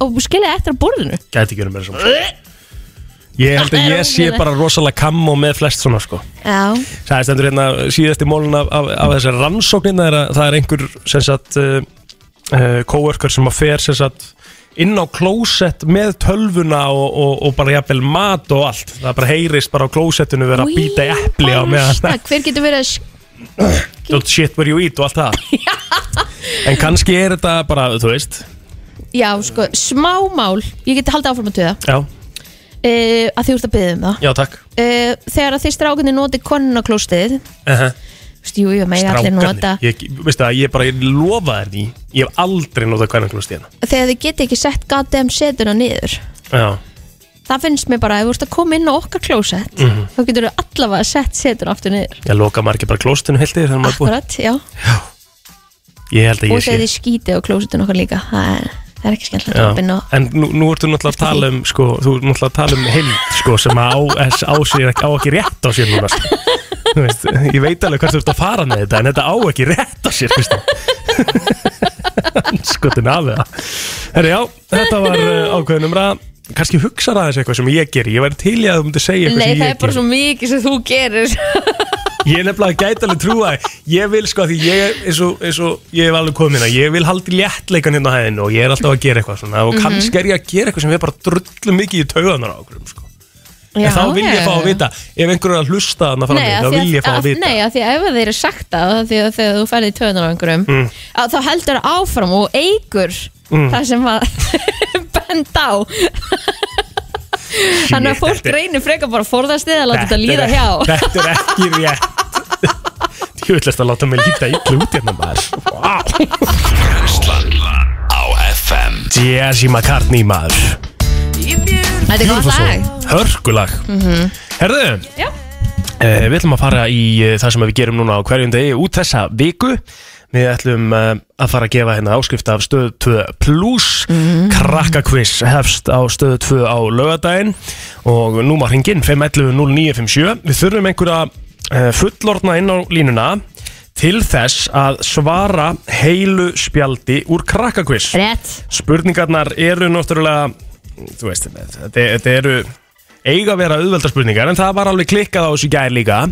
[SPEAKER 2] og skilja eftir á borðinu
[SPEAKER 1] gæti ekki verið mér svona ég held að
[SPEAKER 2] Það er
[SPEAKER 1] ég sé
[SPEAKER 2] ógeðlegt. bara
[SPEAKER 1] bara rosalega kamm og með flest svona sko
[SPEAKER 2] já,
[SPEAKER 1] Það er stendur hérna síðasti mólun af, af, af þessar rannsóknin er að það er einhver sem sagt uh, uh, coworker sem að fer sem sagt inn á klósett með tölvuna og, og, og bara jafnvel mat og allt það bara heyrist bara á klósettinu vera að
[SPEAKER 2] Új,
[SPEAKER 1] býta í epli á
[SPEAKER 2] bara
[SPEAKER 1] meðan
[SPEAKER 2] stakk. hver getur verið að sk-
[SPEAKER 1] don't shit where you eat og allt það en kannski er þetta bara, þú veist
[SPEAKER 2] Já, sko, smá mál Ég geti haldið áfram að tuða
[SPEAKER 1] já,
[SPEAKER 2] uh, að því úr það byggðum það
[SPEAKER 1] já takk
[SPEAKER 2] uh, Þegar að þið strákunni noti konuna klóstið
[SPEAKER 1] uh -huh.
[SPEAKER 2] Jú, jú, megi allir nota
[SPEAKER 1] ég, veistu það, ég bara ég lofa þér því ég hef aldrei notað hérna. hvernig klóstíðina
[SPEAKER 2] Þegar þið geti ekki sett goddamn setuna niður
[SPEAKER 1] já,
[SPEAKER 2] Það finnst mér bara, ef þú ert að koma inn á okkar klósett
[SPEAKER 1] Mhm.
[SPEAKER 2] Þá getur þú allavega sett setuna aftur niður
[SPEAKER 1] ég loka maður ekki bara klóstinu heilt yfir þegar maður er búinn.
[SPEAKER 2] Akkurat, já Og
[SPEAKER 1] ég held að ég sé
[SPEAKER 2] þegar þið skítið á klósettun okkar líka Það er, það er ekki skemmtilegt að
[SPEAKER 1] Já,
[SPEAKER 2] hoppa inn á
[SPEAKER 1] En nú, nú ertu náttúrulega að tala um sko, þú ert náttúrulega að tala um heild sko, sem að á, þess- á, sér, ekki- á ekki rétt á sér núna sko. Þú veist, ég veit alveg hvert þú ert að fara með þetta en þetta á ekki rétt á sér skotin af það Herri, já, þetta var uh, ákveðin umræða kannski hugsa aðeins eitthvað sem ég geri ég væri til í að þú myndir segja eitthvað
[SPEAKER 2] Nei,
[SPEAKER 1] sem
[SPEAKER 2] það
[SPEAKER 1] ég
[SPEAKER 2] er bara
[SPEAKER 1] geri
[SPEAKER 2] svo mikið sem þú gerir
[SPEAKER 1] ég er nefnilega gæti alveg trúa því. ég vil sko því ég er eins og, eins og ég hef alveg komin að ég vil haldi léttleikan hérna á hæðinu og ég er alltaf að gera eitthvað svona
[SPEAKER 2] Mhm.
[SPEAKER 1] og kannski er ég að gera eitthvað sem er bara drullu mikið í tauganar á okkur sko. en þá vil ég fá að vita ef einhver er að hlusta þarna fram
[SPEAKER 2] Nei,
[SPEAKER 1] í
[SPEAKER 2] af
[SPEAKER 1] þá
[SPEAKER 2] því
[SPEAKER 1] vil ég fá að vita
[SPEAKER 2] Nei, af því að ef þeir eru sagt að af því að þegar þú ferði í töðunar á einhverjum
[SPEAKER 1] Mm.
[SPEAKER 2] að þá heldur það áfram og eigur það sem að bend á þannig að fólk
[SPEAKER 1] þetta er-
[SPEAKER 2] reynir frekar bara að forðast þið að láta þetta
[SPEAKER 1] er
[SPEAKER 2] líða
[SPEAKER 1] ekki-
[SPEAKER 2] hjá
[SPEAKER 1] þetta er ekki rétt ég vil að láta mig líta ítlu út hérna maður wow.
[SPEAKER 3] Brennslan á FM
[SPEAKER 1] Jesse McCartney maður
[SPEAKER 2] Þetta er góð
[SPEAKER 1] Beautiful soul.
[SPEAKER 2] dag
[SPEAKER 1] hörkulag herðu
[SPEAKER 2] Já.
[SPEAKER 1] Eh, Við ætlum að fara í eh, það sem við gerum núna á hverjum degi út þessa viku Við ætlum eh, að fara að gefa hérna áskrift af stöð 2 plus
[SPEAKER 2] Mhm.
[SPEAKER 1] Krakkakviss hefst á stöð 2 á lögadaginn Og núma hringinn 511-0957 Við þurfum einhverja eh, fullorna inn á línuna til þess að svara heilu spjaldi úr krakkakviss
[SPEAKER 2] Rétt
[SPEAKER 1] spurningarnar eru náttúrulega þú veist, þetta- þetta eru eiga að vera auðvelda spurningar en það var alveg klikkað á þessu gær líka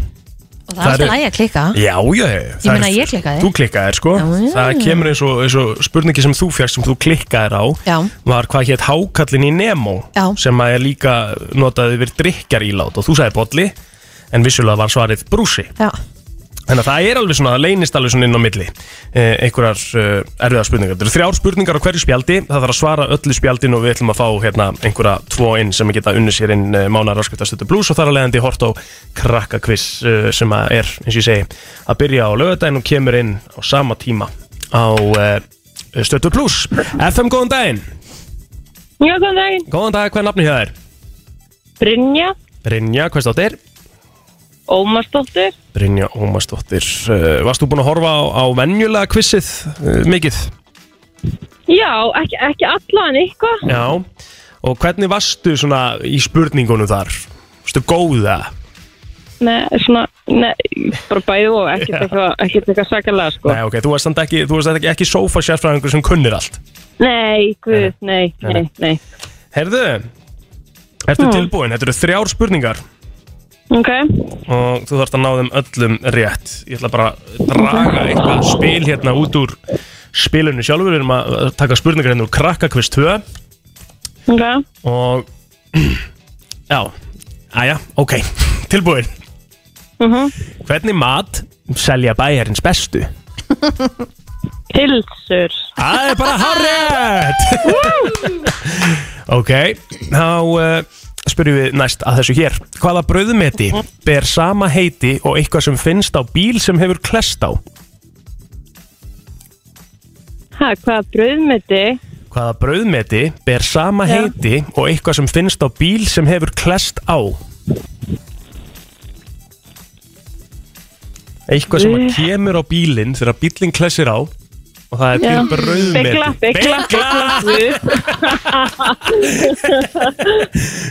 [SPEAKER 2] Og það er
[SPEAKER 1] Það er-
[SPEAKER 2] alltaf lægi að klikka
[SPEAKER 1] Já, já, já það
[SPEAKER 2] meina,
[SPEAKER 1] er-
[SPEAKER 2] ég klikkaði.
[SPEAKER 1] Þú klikkaðir, sko
[SPEAKER 2] Já, já.
[SPEAKER 1] Það kemur eins og, eins og spurningi sem þú fjast sem þú klikkaðir á
[SPEAKER 2] Já.
[SPEAKER 1] var hvað hétt hákallin í Nemo
[SPEAKER 2] Já.
[SPEAKER 1] sem að er líka notað yfir drikjar ílát og þú sagði bolli en vissulega var svarið brúsi
[SPEAKER 2] Já,
[SPEAKER 1] Þannig að það er alveg svona, það leynist alveg svona inn á milli eh, einhverjar eh, erfiðar spurningar. Þetta eru þrjár spurningar á hverju spjaldi, það þarf að svara öllu spjaldin og við ætlum að fá hérna einhverja tvo inn sem geta unni sér inn eh, mánar raskvittastötu blús og þar að leiðandi hort á krakkakviss eh, sem að er, eins og ég segi, að byrja á lögadaginn og kemur inn á sama tíma á eh, stötu blús. FM, góðan daginn!
[SPEAKER 6] Já, góðan daginn.
[SPEAKER 1] Góðan dag, hvað er nafni hjá þér?
[SPEAKER 6] Brynja,
[SPEAKER 1] Brynja, hvað státtir?
[SPEAKER 6] Ómarsdóttir.
[SPEAKER 1] Brynja Ómarsdóttir, uh, varst þú búin að horfa á, á venjulega kvissið uh, mikið?
[SPEAKER 6] Já, ekki, ekki allan eitthvað.
[SPEAKER 1] Já. Og hvernig varstu svona í spurningunum þar? Varstu góða?
[SPEAKER 6] Nei, svona, nei, bara bæði og ekkert
[SPEAKER 1] Já.
[SPEAKER 6] eitthvað, ekkert eitthvað sakalega, sko.
[SPEAKER 1] Nei, ok, þú varst samt ekki, þú varst ekki, ekki sofa sérfræðingur sem kunnir allt.
[SPEAKER 6] Nei, guð, nei,
[SPEAKER 1] Nei,
[SPEAKER 6] nei, nei.
[SPEAKER 1] Herðu, ertu
[SPEAKER 6] Mm.
[SPEAKER 1] tilbúin? Þetta eru þrjár spurningar
[SPEAKER 6] Ok,
[SPEAKER 1] og þú þarfst að ná þeim öllum rétt. Ég ætla bara að draga eitthvað spil hérna út úr spilinu sjálfur. Við erum að að taka spurningar hérna úr Krakkakvist 2.
[SPEAKER 6] ok.
[SPEAKER 1] og já, aðja, ok tilbúin,
[SPEAKER 6] Uh
[SPEAKER 1] hvernig mat selja bæjarins bestu?
[SPEAKER 6] Pilsur.
[SPEAKER 1] Það er bara hárétt ok, þá uh, spyrjum við næst að þessu hér hvaða brauðmeti
[SPEAKER 6] Mhm.
[SPEAKER 1] ber sama heiti og eitthvað sem finnst á bíl sem hefur klest á
[SPEAKER 6] Ha, hvaða brauðmeti?
[SPEAKER 1] hvaða brauðmeti ber sama
[SPEAKER 6] Já.
[SPEAKER 1] heiti og eitthvað sem finnst á bíl sem hefur klest á eitthvað sem að
[SPEAKER 6] Uh.
[SPEAKER 1] kemur á bílinn þegar bílinn klessir á og það er til brauðmeti
[SPEAKER 6] Begla, begla, begla, guð.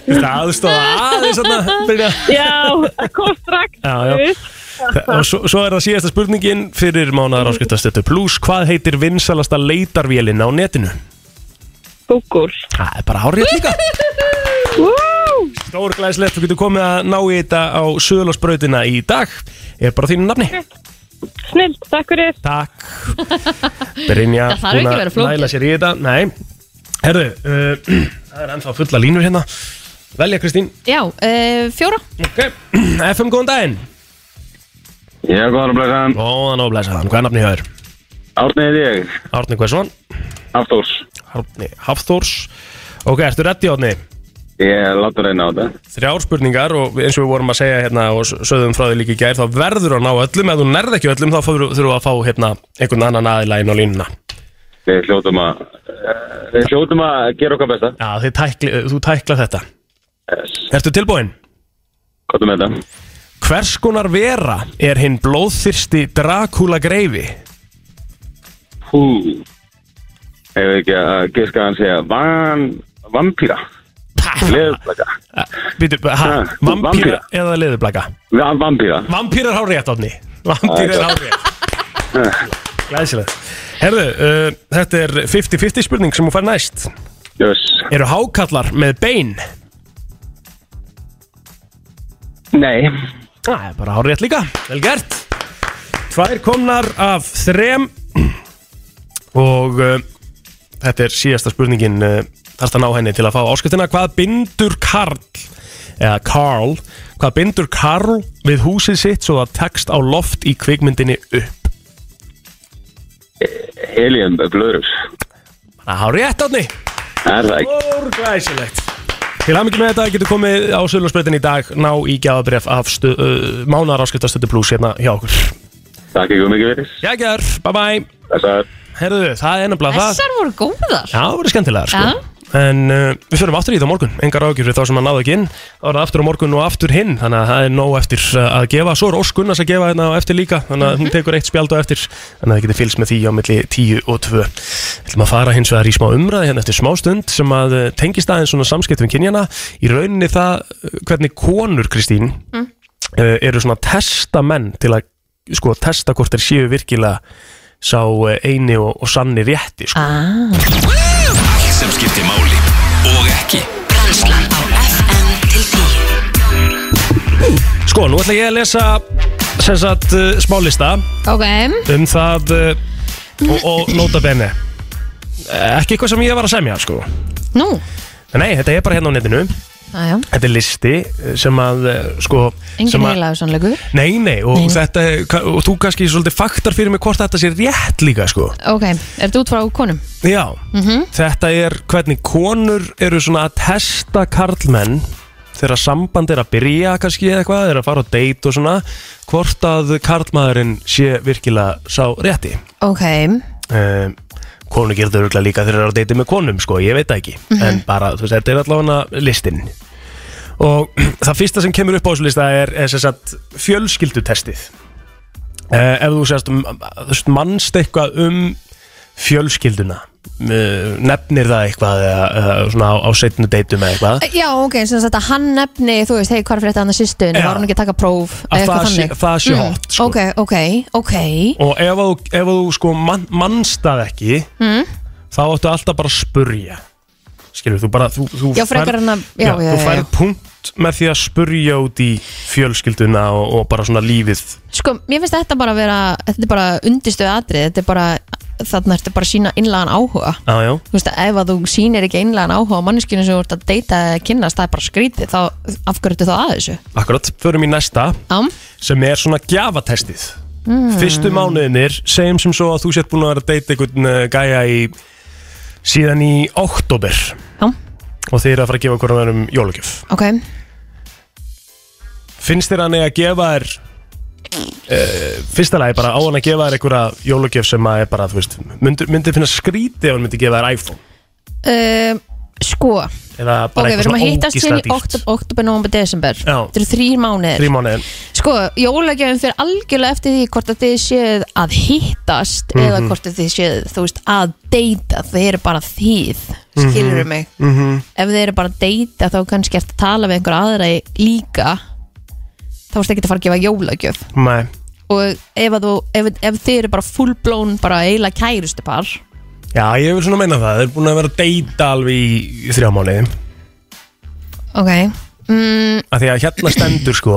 [SPEAKER 1] Þetta aðstofa aðeins þarna, Brynja.
[SPEAKER 6] Já, kom strax,
[SPEAKER 1] Já, já.
[SPEAKER 6] guð.
[SPEAKER 1] Þa- og svo, svo er það síðasta spurningin fyrir mánaðar áskiptastötu pluss hvað heitir vinsalasta leitarvélinn á netinu
[SPEAKER 6] Google.
[SPEAKER 1] það er bara hárið líka
[SPEAKER 6] Woo!
[SPEAKER 1] Stór glæslegt, þú getur komið að ná í þetta á söðlarsbrautina í dag er bara á þínu nafni
[SPEAKER 6] Snill, takk fyrir.
[SPEAKER 1] Takk Brynja
[SPEAKER 2] Það þarf ekki
[SPEAKER 1] búin að
[SPEAKER 2] vera flókið.
[SPEAKER 1] Næla sér í þetta, nei Herðu, uh, það er ennþá fulla línur hérna Velja Kristín
[SPEAKER 2] Já, uh, fjóra
[SPEAKER 1] okay. FM, góðan daginn
[SPEAKER 7] Ég er góðan að blæsaðan.
[SPEAKER 1] Góðan og blæsaðan, hvað er nafni hjá þér?
[SPEAKER 7] Árni er ég,
[SPEAKER 1] Árni Hversson,
[SPEAKER 7] Aftórs.
[SPEAKER 1] Árni Hafþórs Ok, ertu reddi Árni?
[SPEAKER 7] Ég láta reyna á þetta.
[SPEAKER 1] Þrjár spurningar og eins og við vorum að segja hérna og s- sögðum frá því líka í gær þá verður að ná öllum, ef þú nærð ekki öllum þá þurfum við að fá hérna einhvern annan aðila inn á línuna
[SPEAKER 7] Við hljótum að, eh, við hljótum að gera okkar besta.
[SPEAKER 1] Já, þið tækli, þú tækla þetta
[SPEAKER 7] Yes.
[SPEAKER 1] Ertu tilbúin?
[SPEAKER 7] Hvað er með þetta?
[SPEAKER 1] Hvers konar vera er hinn blóðþyrsti Dracula greifi?
[SPEAKER 7] Hú. Ef við ekki að giska að hann segja van, vampíra. Leðublaka.
[SPEAKER 1] Býtu, Eh, ha,
[SPEAKER 7] Ha,
[SPEAKER 1] vampýra
[SPEAKER 7] vampíra.
[SPEAKER 1] eða leðublaka?
[SPEAKER 7] Van, vampíra.
[SPEAKER 1] Vampýra er hárétt, Átni. Vampýra er
[SPEAKER 7] Ah,
[SPEAKER 1] hárétt. Glæsilega. Herðu, uh, þetta er 50-50 spurning sem hún fær næst.
[SPEAKER 7] Yes.
[SPEAKER 1] Eru hákallar með bein?
[SPEAKER 7] Nei.
[SPEAKER 1] Það er bara hárétt líka. Vel gert. Tvær komnar af þrem og uh, þetta er síðasta spurningin uh, þarst að ná henni til að fá áskriftina. Hvað bindur Karl, eða Karl, hvað bindur Karl við húsið sitt svo það tekst á loft í kvikmyndinni upp?
[SPEAKER 7] Helium blöðurus.
[SPEAKER 1] Það hár rétt átni.
[SPEAKER 7] Er það ekki?
[SPEAKER 1] Úrglæsilegt. Til aðmyggju með þetta getur komið á Söðlarsbreytin í dag, ná í gjafabref af stu, uh, mánar áskriftastötu pluss hérna hjá okkur.
[SPEAKER 7] Takk ekki um mikið verið.
[SPEAKER 1] Jægjör, bye bye.
[SPEAKER 7] Þessar.
[SPEAKER 1] Herðu, það er nefnilega það.
[SPEAKER 2] Þessar voru góðar
[SPEAKER 1] Já, það verður skemmtilegar sko. En uh, við förum aftur í það á morgun Engar ágjur fyrir þá sem að náðu ekki inn Það verður aftur á morgun og aftur hinn Þannig að það er nóg eftir uh, að gefa Svo er Óskunnars að gefa hérna á eftir líka Þannig að hún tekur eitt spjald á eftir Þannig að það getur fylgst með því á milli 10 og 2 ætlum að fara hins vegar í smá umræði hérna eftir smá stund Sem að uh, tengist aðeins svona samskiptum kynjana Í rauninni það uh, hvernig konur Kristín uh, eru svona testa menn til að sko testa hvort þeir séu virkilega sá uh, eini og, og sanni rétti sko.
[SPEAKER 2] ah.
[SPEAKER 3] Allt sem skiptir máli og ekki
[SPEAKER 8] Brennslan á FM til 10
[SPEAKER 1] Sko, nú ætla ég að lesa sem sagt uh, smálista
[SPEAKER 2] Ok,
[SPEAKER 1] um það uh, og, og nota bene Eh, ekki eitthvað sem ég var að semja sko
[SPEAKER 2] nú
[SPEAKER 1] En nei, þetta er bara hérna á netinu
[SPEAKER 2] já, já.
[SPEAKER 1] Þetta er listi eh, sem að eh, sko,
[SPEAKER 2] Engin
[SPEAKER 1] sem að,
[SPEAKER 2] heilagur sannleikur
[SPEAKER 1] Nei, nei, og,
[SPEAKER 2] Nei, nei.
[SPEAKER 1] Þetta, er- ka- og þú kannski svolítið faktar fyrir mig hvort þetta sé rétt líka sko.
[SPEAKER 2] Ok, er þetta út frá konum?
[SPEAKER 1] Já, þetta er hvernig konur eru svona að testa karlmenn þegar samband er að byrja kannski eða eitthvað, er að fara á date og svona hvort að karlmaðurinn sé virkilega sá rétti
[SPEAKER 2] Ok,
[SPEAKER 1] um, konur gerir þau örgulega líka þegar þeir eru að deiti með konum sko, ég veit það ekki en bara, þú veist, þetta er allavega listin og það fyrsta sem kemur upp á þessu lista er, er sem sagt, fjölskyldutestið uh, ef þú sérst, m- þú veist, mannst eitthvað um fjölskylduna uh, nefnir það eitthvað eða, eða svona á, á setnu deitum eða eitthvað
[SPEAKER 2] já ok, sem sagt að hann nefni þú veist, hei, hvað er fyrir þetta annað sýstun
[SPEAKER 1] Já.
[SPEAKER 2] var hún ekki að taka próf,
[SPEAKER 1] að
[SPEAKER 2] eitthvað
[SPEAKER 1] það sé,
[SPEAKER 2] þannig Mhm.
[SPEAKER 1] það sé hot sko.
[SPEAKER 2] Ok, ok, ok
[SPEAKER 1] og ef að þú, ef að þú sko man, mannstað ekki
[SPEAKER 2] Hmm?
[SPEAKER 1] þá áttu alltaf bara að spurja skilur þú bara þú, þú
[SPEAKER 2] Já, frekar en að- já, já,
[SPEAKER 1] þú
[SPEAKER 2] já,
[SPEAKER 1] færð
[SPEAKER 2] já.
[SPEAKER 1] punkt með því að spurja út í fjölskylduna og, og bara svona lífið
[SPEAKER 2] Sko, mér finnst þetta bara að vera þetta er bara undirstöðu atrið þetta er bara, þarna ertu bara að sína innlagan áhuga
[SPEAKER 1] ah, já,
[SPEAKER 2] Þú veist að ef að þú sýnir ekki innlagan áhuga á manneskinu sem þú ert að deyta eða kynnast það er bara skrítið, þá afgjörðu þá að þessu
[SPEAKER 1] akkurat, förum í næsta
[SPEAKER 2] Já,
[SPEAKER 1] sem er svona gjafatestið
[SPEAKER 2] Hmm.
[SPEAKER 1] fyrstu mánuðinir, segjum sem svo að þú sett búin að vera að deyta einhvern eh, gæja í síðan í oktober
[SPEAKER 2] já,
[SPEAKER 1] og þeir eru að fara að gefa hverjum öðrum jólugjöf
[SPEAKER 2] ok
[SPEAKER 1] finnst þér hann eigi að gefa þér uh, fyrsta lagi bara á hann að gefa þér einhverja jólugjöf sem að er bara, þú veist, myndir, myndir finna skríti ef hann myndi gefa þér iPhone
[SPEAKER 2] uh, Sko,
[SPEAKER 1] eða
[SPEAKER 2] ok,
[SPEAKER 1] bara
[SPEAKER 2] við erum að hittast
[SPEAKER 1] ógísla
[SPEAKER 2] hérna í oktober, oktober, november, desember
[SPEAKER 1] Já.
[SPEAKER 2] Þetta eru þrýr mánuðir
[SPEAKER 1] þrjum mánuðin,
[SPEAKER 2] Sko, jólagjöfum fyrir algjörlega eftir því hvort að þið séð að hittast eða hvort að þið séð, þú veist, að deyta þið eru bara þið, skilur mig -hmm. ef þið eru bara að deyta þá kannski eftir að tala við einhverja aðra í- líka þá ertu ekki að fara að gefa jólagjöf
[SPEAKER 1] mæ,
[SPEAKER 2] og ef, að þú, ef, ef þið eru bara full blown bara eiginlega kærustu par
[SPEAKER 1] já, ég vil svona meina það þeir eru búin að vera að deyta alveg í, í þrjá mánuði
[SPEAKER 2] ok, mm,
[SPEAKER 1] af því að hérna stendur sko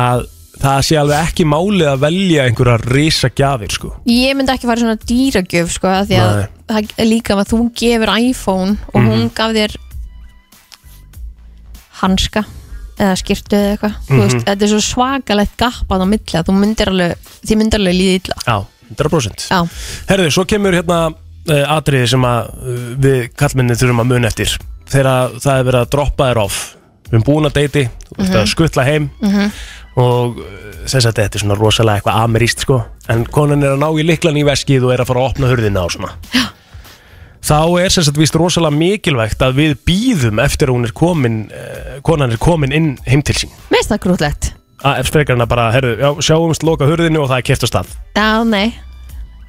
[SPEAKER 1] að það sé alveg ekki málið að velja einhverja risa gjafir sko
[SPEAKER 2] ég myndi ekki fara í svona dýragjöf sko, af því að
[SPEAKER 1] Nei. Mhm.
[SPEAKER 2] það er líka að þú gefur iPhone og hún gaf þér hanska eða skyrtu eða eitthvað mm
[SPEAKER 1] Mhm.
[SPEAKER 2] veist, þetta er svo svakalegt gapað á milli að þú myndir alveg, þið myndir alveg líði illa
[SPEAKER 1] já, 100%
[SPEAKER 2] já,
[SPEAKER 1] Herðu, svo kemur hérna uh, atriði sem að uh, við kallmenni þurfum að mun eftir þegar það er verið að droppa þér off við erum búin að deiti, þú ert að skuttla heim og uh, þess að þetta er svona rosalega eitthvað ameríst sko en konan er að ná í liklan í veskið og er að fara að opna hurðina og svona þá er sem sagt víst rosalega mikilvægt að við býðum eftir að hún er komin uh, konan er komin inn heim til sín
[SPEAKER 2] meðst það grútlegt
[SPEAKER 1] að frekar hann að bara, herðu, já, sjáumst loka hurðinu og það er keft á stað
[SPEAKER 2] já, nei,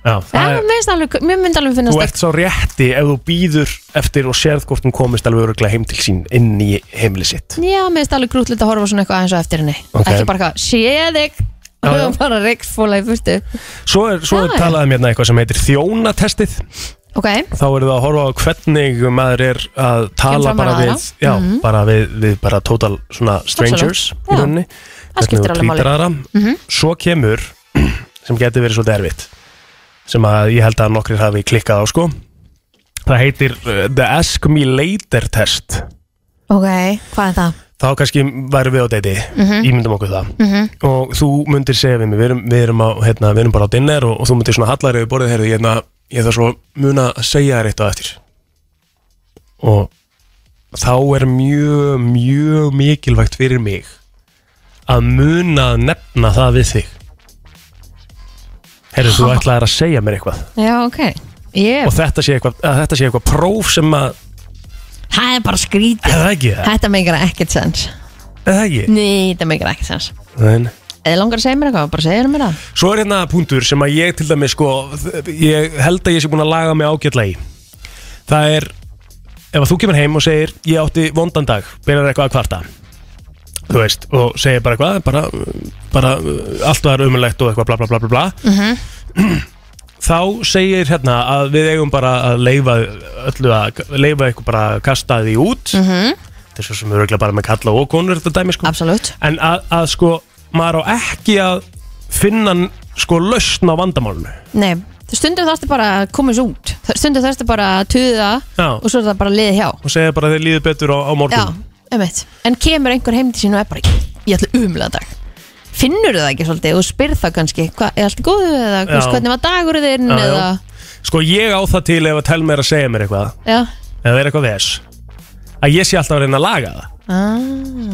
[SPEAKER 1] já, það
[SPEAKER 2] já,
[SPEAKER 1] er-
[SPEAKER 2] meðst alveg mér myndi alveg finnast
[SPEAKER 1] Þú
[SPEAKER 2] það
[SPEAKER 1] ert sá rétti ef þú býður eftir og sérð hvort hún komist alveg öruglega heim til sín inn í heimili sitt.
[SPEAKER 2] já, meðst alveg grútlegt að horfa svona eitthvað eins og eftir henni
[SPEAKER 1] Ok.
[SPEAKER 2] ekki bara eitthvað, sé þig
[SPEAKER 1] Já, já.
[SPEAKER 2] og bara reikfóla í fyrstu
[SPEAKER 1] Svo er, svo er
[SPEAKER 2] Já, já.
[SPEAKER 1] talað um hérna eitthvað sem heitir þjónatestið.
[SPEAKER 2] ok,
[SPEAKER 1] Þá eru það að horfa á hvernig maður er að
[SPEAKER 2] Kemur
[SPEAKER 1] tala
[SPEAKER 2] fram
[SPEAKER 1] bara
[SPEAKER 2] að
[SPEAKER 1] við,
[SPEAKER 2] aðra. Mhm.
[SPEAKER 1] já, bara við, við bara total svona strangers í
[SPEAKER 2] Já.
[SPEAKER 1] rauninni.
[SPEAKER 2] Það skiptir alveg máli. Mhm.
[SPEAKER 1] aðra. Svo kemur, sem getur verið svolítið erfitt, sem að ég held að nokkrir hafi klikkað á sko. Það heitir uh, The Ask Me Later test.
[SPEAKER 2] ok, hvað er það?
[SPEAKER 1] þá kannski værum við á deiti ímyndum okkur það og þú myndir segja við mig, við erum, við erum, á, hérna, við erum bara á dinner og, og þú myndir svona hallar yfir borðið herri, hérna, ég þarf svo muna að segja þér eitt á eftir og þá er mjög mjög mikilvægt fyrir mig að muna að nefna það við þig herri þú ætlaðir að segja mér eitthvað
[SPEAKER 2] Já, ok ég,
[SPEAKER 1] og þetta sé eitthvað, að þetta sé eitthvað próf sem að,
[SPEAKER 2] Það er bara skrítið
[SPEAKER 1] eða ekki eða
[SPEAKER 2] Þetta meikir ekkert sens
[SPEAKER 1] ekki
[SPEAKER 2] Nei, þetta meikir ekkert sens
[SPEAKER 1] Nei.
[SPEAKER 2] Eða langar að segja mér eitthvað, bara segja mér það
[SPEAKER 1] Svo er hérna punktur sem að ég til dæmi sko, þ- ég held að ég sé búin að laga mig ágætlega í. Það er, ef að þú kemur heim og segir, ég átti vondan dag, byrjar eitthvað að kvarta. Þú veist, og segir bara eitthvað, bara, bara uh, allt var umulegt og eitthvað bla bla bla bla bla. Þá segir hérna að við eigum bara að leifa öllu að, leifa eitthvað bara að kasta því út. Mm -hmm. Þessu sem eru bara með kalla og konur þetta dæmi sko.
[SPEAKER 2] Absolutt
[SPEAKER 1] En að, að sko, maður á ekki að finna n- sko lausn á vandamálinu.
[SPEAKER 2] Nei, stundum þarftu bara að komast út Stundum þarftu bara að tuða
[SPEAKER 1] Já.
[SPEAKER 2] Og svo er það bara að liða hjá
[SPEAKER 1] Og segja bara að þeir líður betur á, á
[SPEAKER 2] Já,
[SPEAKER 1] morgun.
[SPEAKER 2] einmitt. En kemur einhver heim til sín og er bara Ég ætla umlega dag Finnur það ekki svolítið og spyrð það kannski hva, Er allt í góðu eða þú veist,
[SPEAKER 1] Já.
[SPEAKER 2] hvernig var dagur þinn
[SPEAKER 1] Já, já.
[SPEAKER 2] eða,
[SPEAKER 1] Sko ég á það til ef að telma er að segja mér eitthvað
[SPEAKER 2] já,
[SPEAKER 1] Ef það er eitthvað ves Að ég sé alltaf að reyna að laga það
[SPEAKER 2] ah,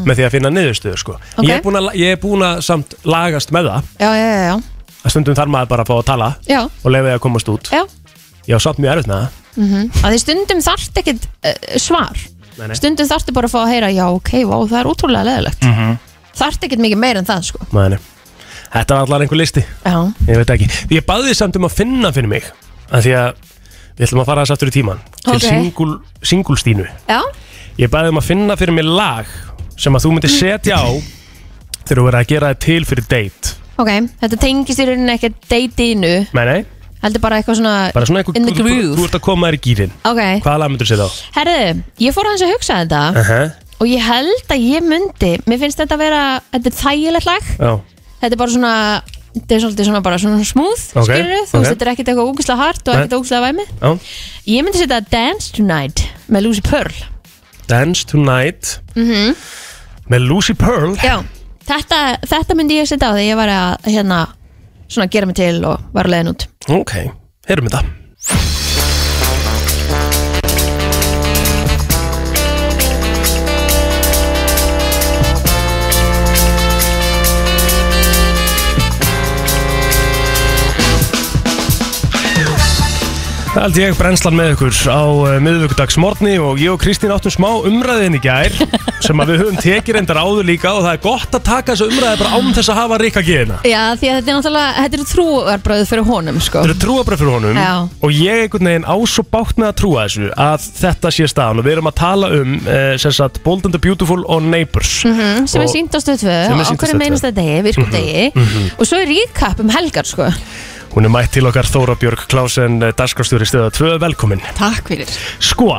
[SPEAKER 1] Með því að finna niðurstöður sko
[SPEAKER 2] Ok.
[SPEAKER 1] Ég er búin að- Ég er búin að samt lagast með það
[SPEAKER 2] já, já, já, já,
[SPEAKER 1] Að stundum þarf maður bara að fá að tala
[SPEAKER 2] já,
[SPEAKER 1] Og leifa því að komast út
[SPEAKER 2] já.
[SPEAKER 1] Ég á samt mjög erfitt með það
[SPEAKER 2] Mm. Að því stundum þarft ekkit uh, svar
[SPEAKER 1] Nei, nei.
[SPEAKER 2] Stundum þarftu bara að fá að heyra Já, ok, vá, það er útrúlega leðilegt mm
[SPEAKER 1] Mhm.
[SPEAKER 2] Þarft ekkit mikið meir en það, sko
[SPEAKER 1] Nei, nei. Þetta var allar einhver listi
[SPEAKER 2] Já,
[SPEAKER 1] Ég veit ekki Ég baði samt um að finna fyrir mig af Því að við ætlum að fara þess aftur í tíman Til
[SPEAKER 2] Ok.
[SPEAKER 1] okay. singulstínu
[SPEAKER 2] já,
[SPEAKER 1] Ég baði um að finna fyrir mig lag Sem að þú myndir setja á Þegar þú verður að gera það til fyrir date
[SPEAKER 2] ok Þetta tengist í rauninni ekkit deytinu
[SPEAKER 1] Nei, nei,
[SPEAKER 2] Heldur bara eitthvað svona,
[SPEAKER 1] bara svona einhver
[SPEAKER 2] In the
[SPEAKER 1] þú- þú- Þú
[SPEAKER 2] groove
[SPEAKER 1] ert að koma þér í gýrin
[SPEAKER 2] Ok,
[SPEAKER 1] Hvaða lag myndir setja á?
[SPEAKER 2] herðu, ég fór aðeins að hugsa þetta
[SPEAKER 1] Uh -huh.
[SPEAKER 2] og ég held að ég myndi mér finnst þetta að vera, þetta er þægilegt lag
[SPEAKER 1] Já,
[SPEAKER 2] þetta er bara svona þetta er svolítið svona bara svona smooth
[SPEAKER 1] Ok,
[SPEAKER 2] okay, skilur þú
[SPEAKER 1] ok.
[SPEAKER 2] veist, þetta er ekkert eitthvað ógæslega hart og
[SPEAKER 1] Nei.
[SPEAKER 2] ekkert ógæslega væmið
[SPEAKER 1] já
[SPEAKER 2] ég myndi setja Dance Tonight með Lucy Pearl
[SPEAKER 1] Dance Tonight
[SPEAKER 2] Mhm.
[SPEAKER 1] Með Lucy Pearl
[SPEAKER 2] já, þetta, þetta myndi ég setja á þegar ég var að hérna svona gera mig til og var að leiðin út
[SPEAKER 1] Ok, heyrum þetta Það held ég brennslan með ykkur á uh, miðvíkudagsmorni og ég og Kristín áttum smá umræðin í gær sem að við höfum tekið reyndar áður líka og það er gott að taka þessu umræði bara án þess að hafa hérna. ríka geðina.
[SPEAKER 2] já, því að þetta er náttúrulega þetta eru trúarbröð fyrir honum sko
[SPEAKER 1] Þetta eru trúabröð fyrir honum
[SPEAKER 2] Já.
[SPEAKER 1] og ég einhvern veginn á svo bátt með að trúa þessu að þetta sé staðan og við erum að tala um uh, sem sagt Bold and the Beautiful og Neighbors
[SPEAKER 2] Mhm, sem er
[SPEAKER 1] Og-
[SPEAKER 2] sínt á stöð 2
[SPEAKER 1] Sem er
[SPEAKER 2] á
[SPEAKER 1] sýnt á
[SPEAKER 2] hverju
[SPEAKER 1] Stöð 2.
[SPEAKER 2] meinasta degi, virku degi og svo er recap um helgar sko
[SPEAKER 1] Hún er mætt til okkar Þóra Björg Klásen, dagskrástjóri stöða 2, velkomin
[SPEAKER 9] Takk fyrir
[SPEAKER 1] Sko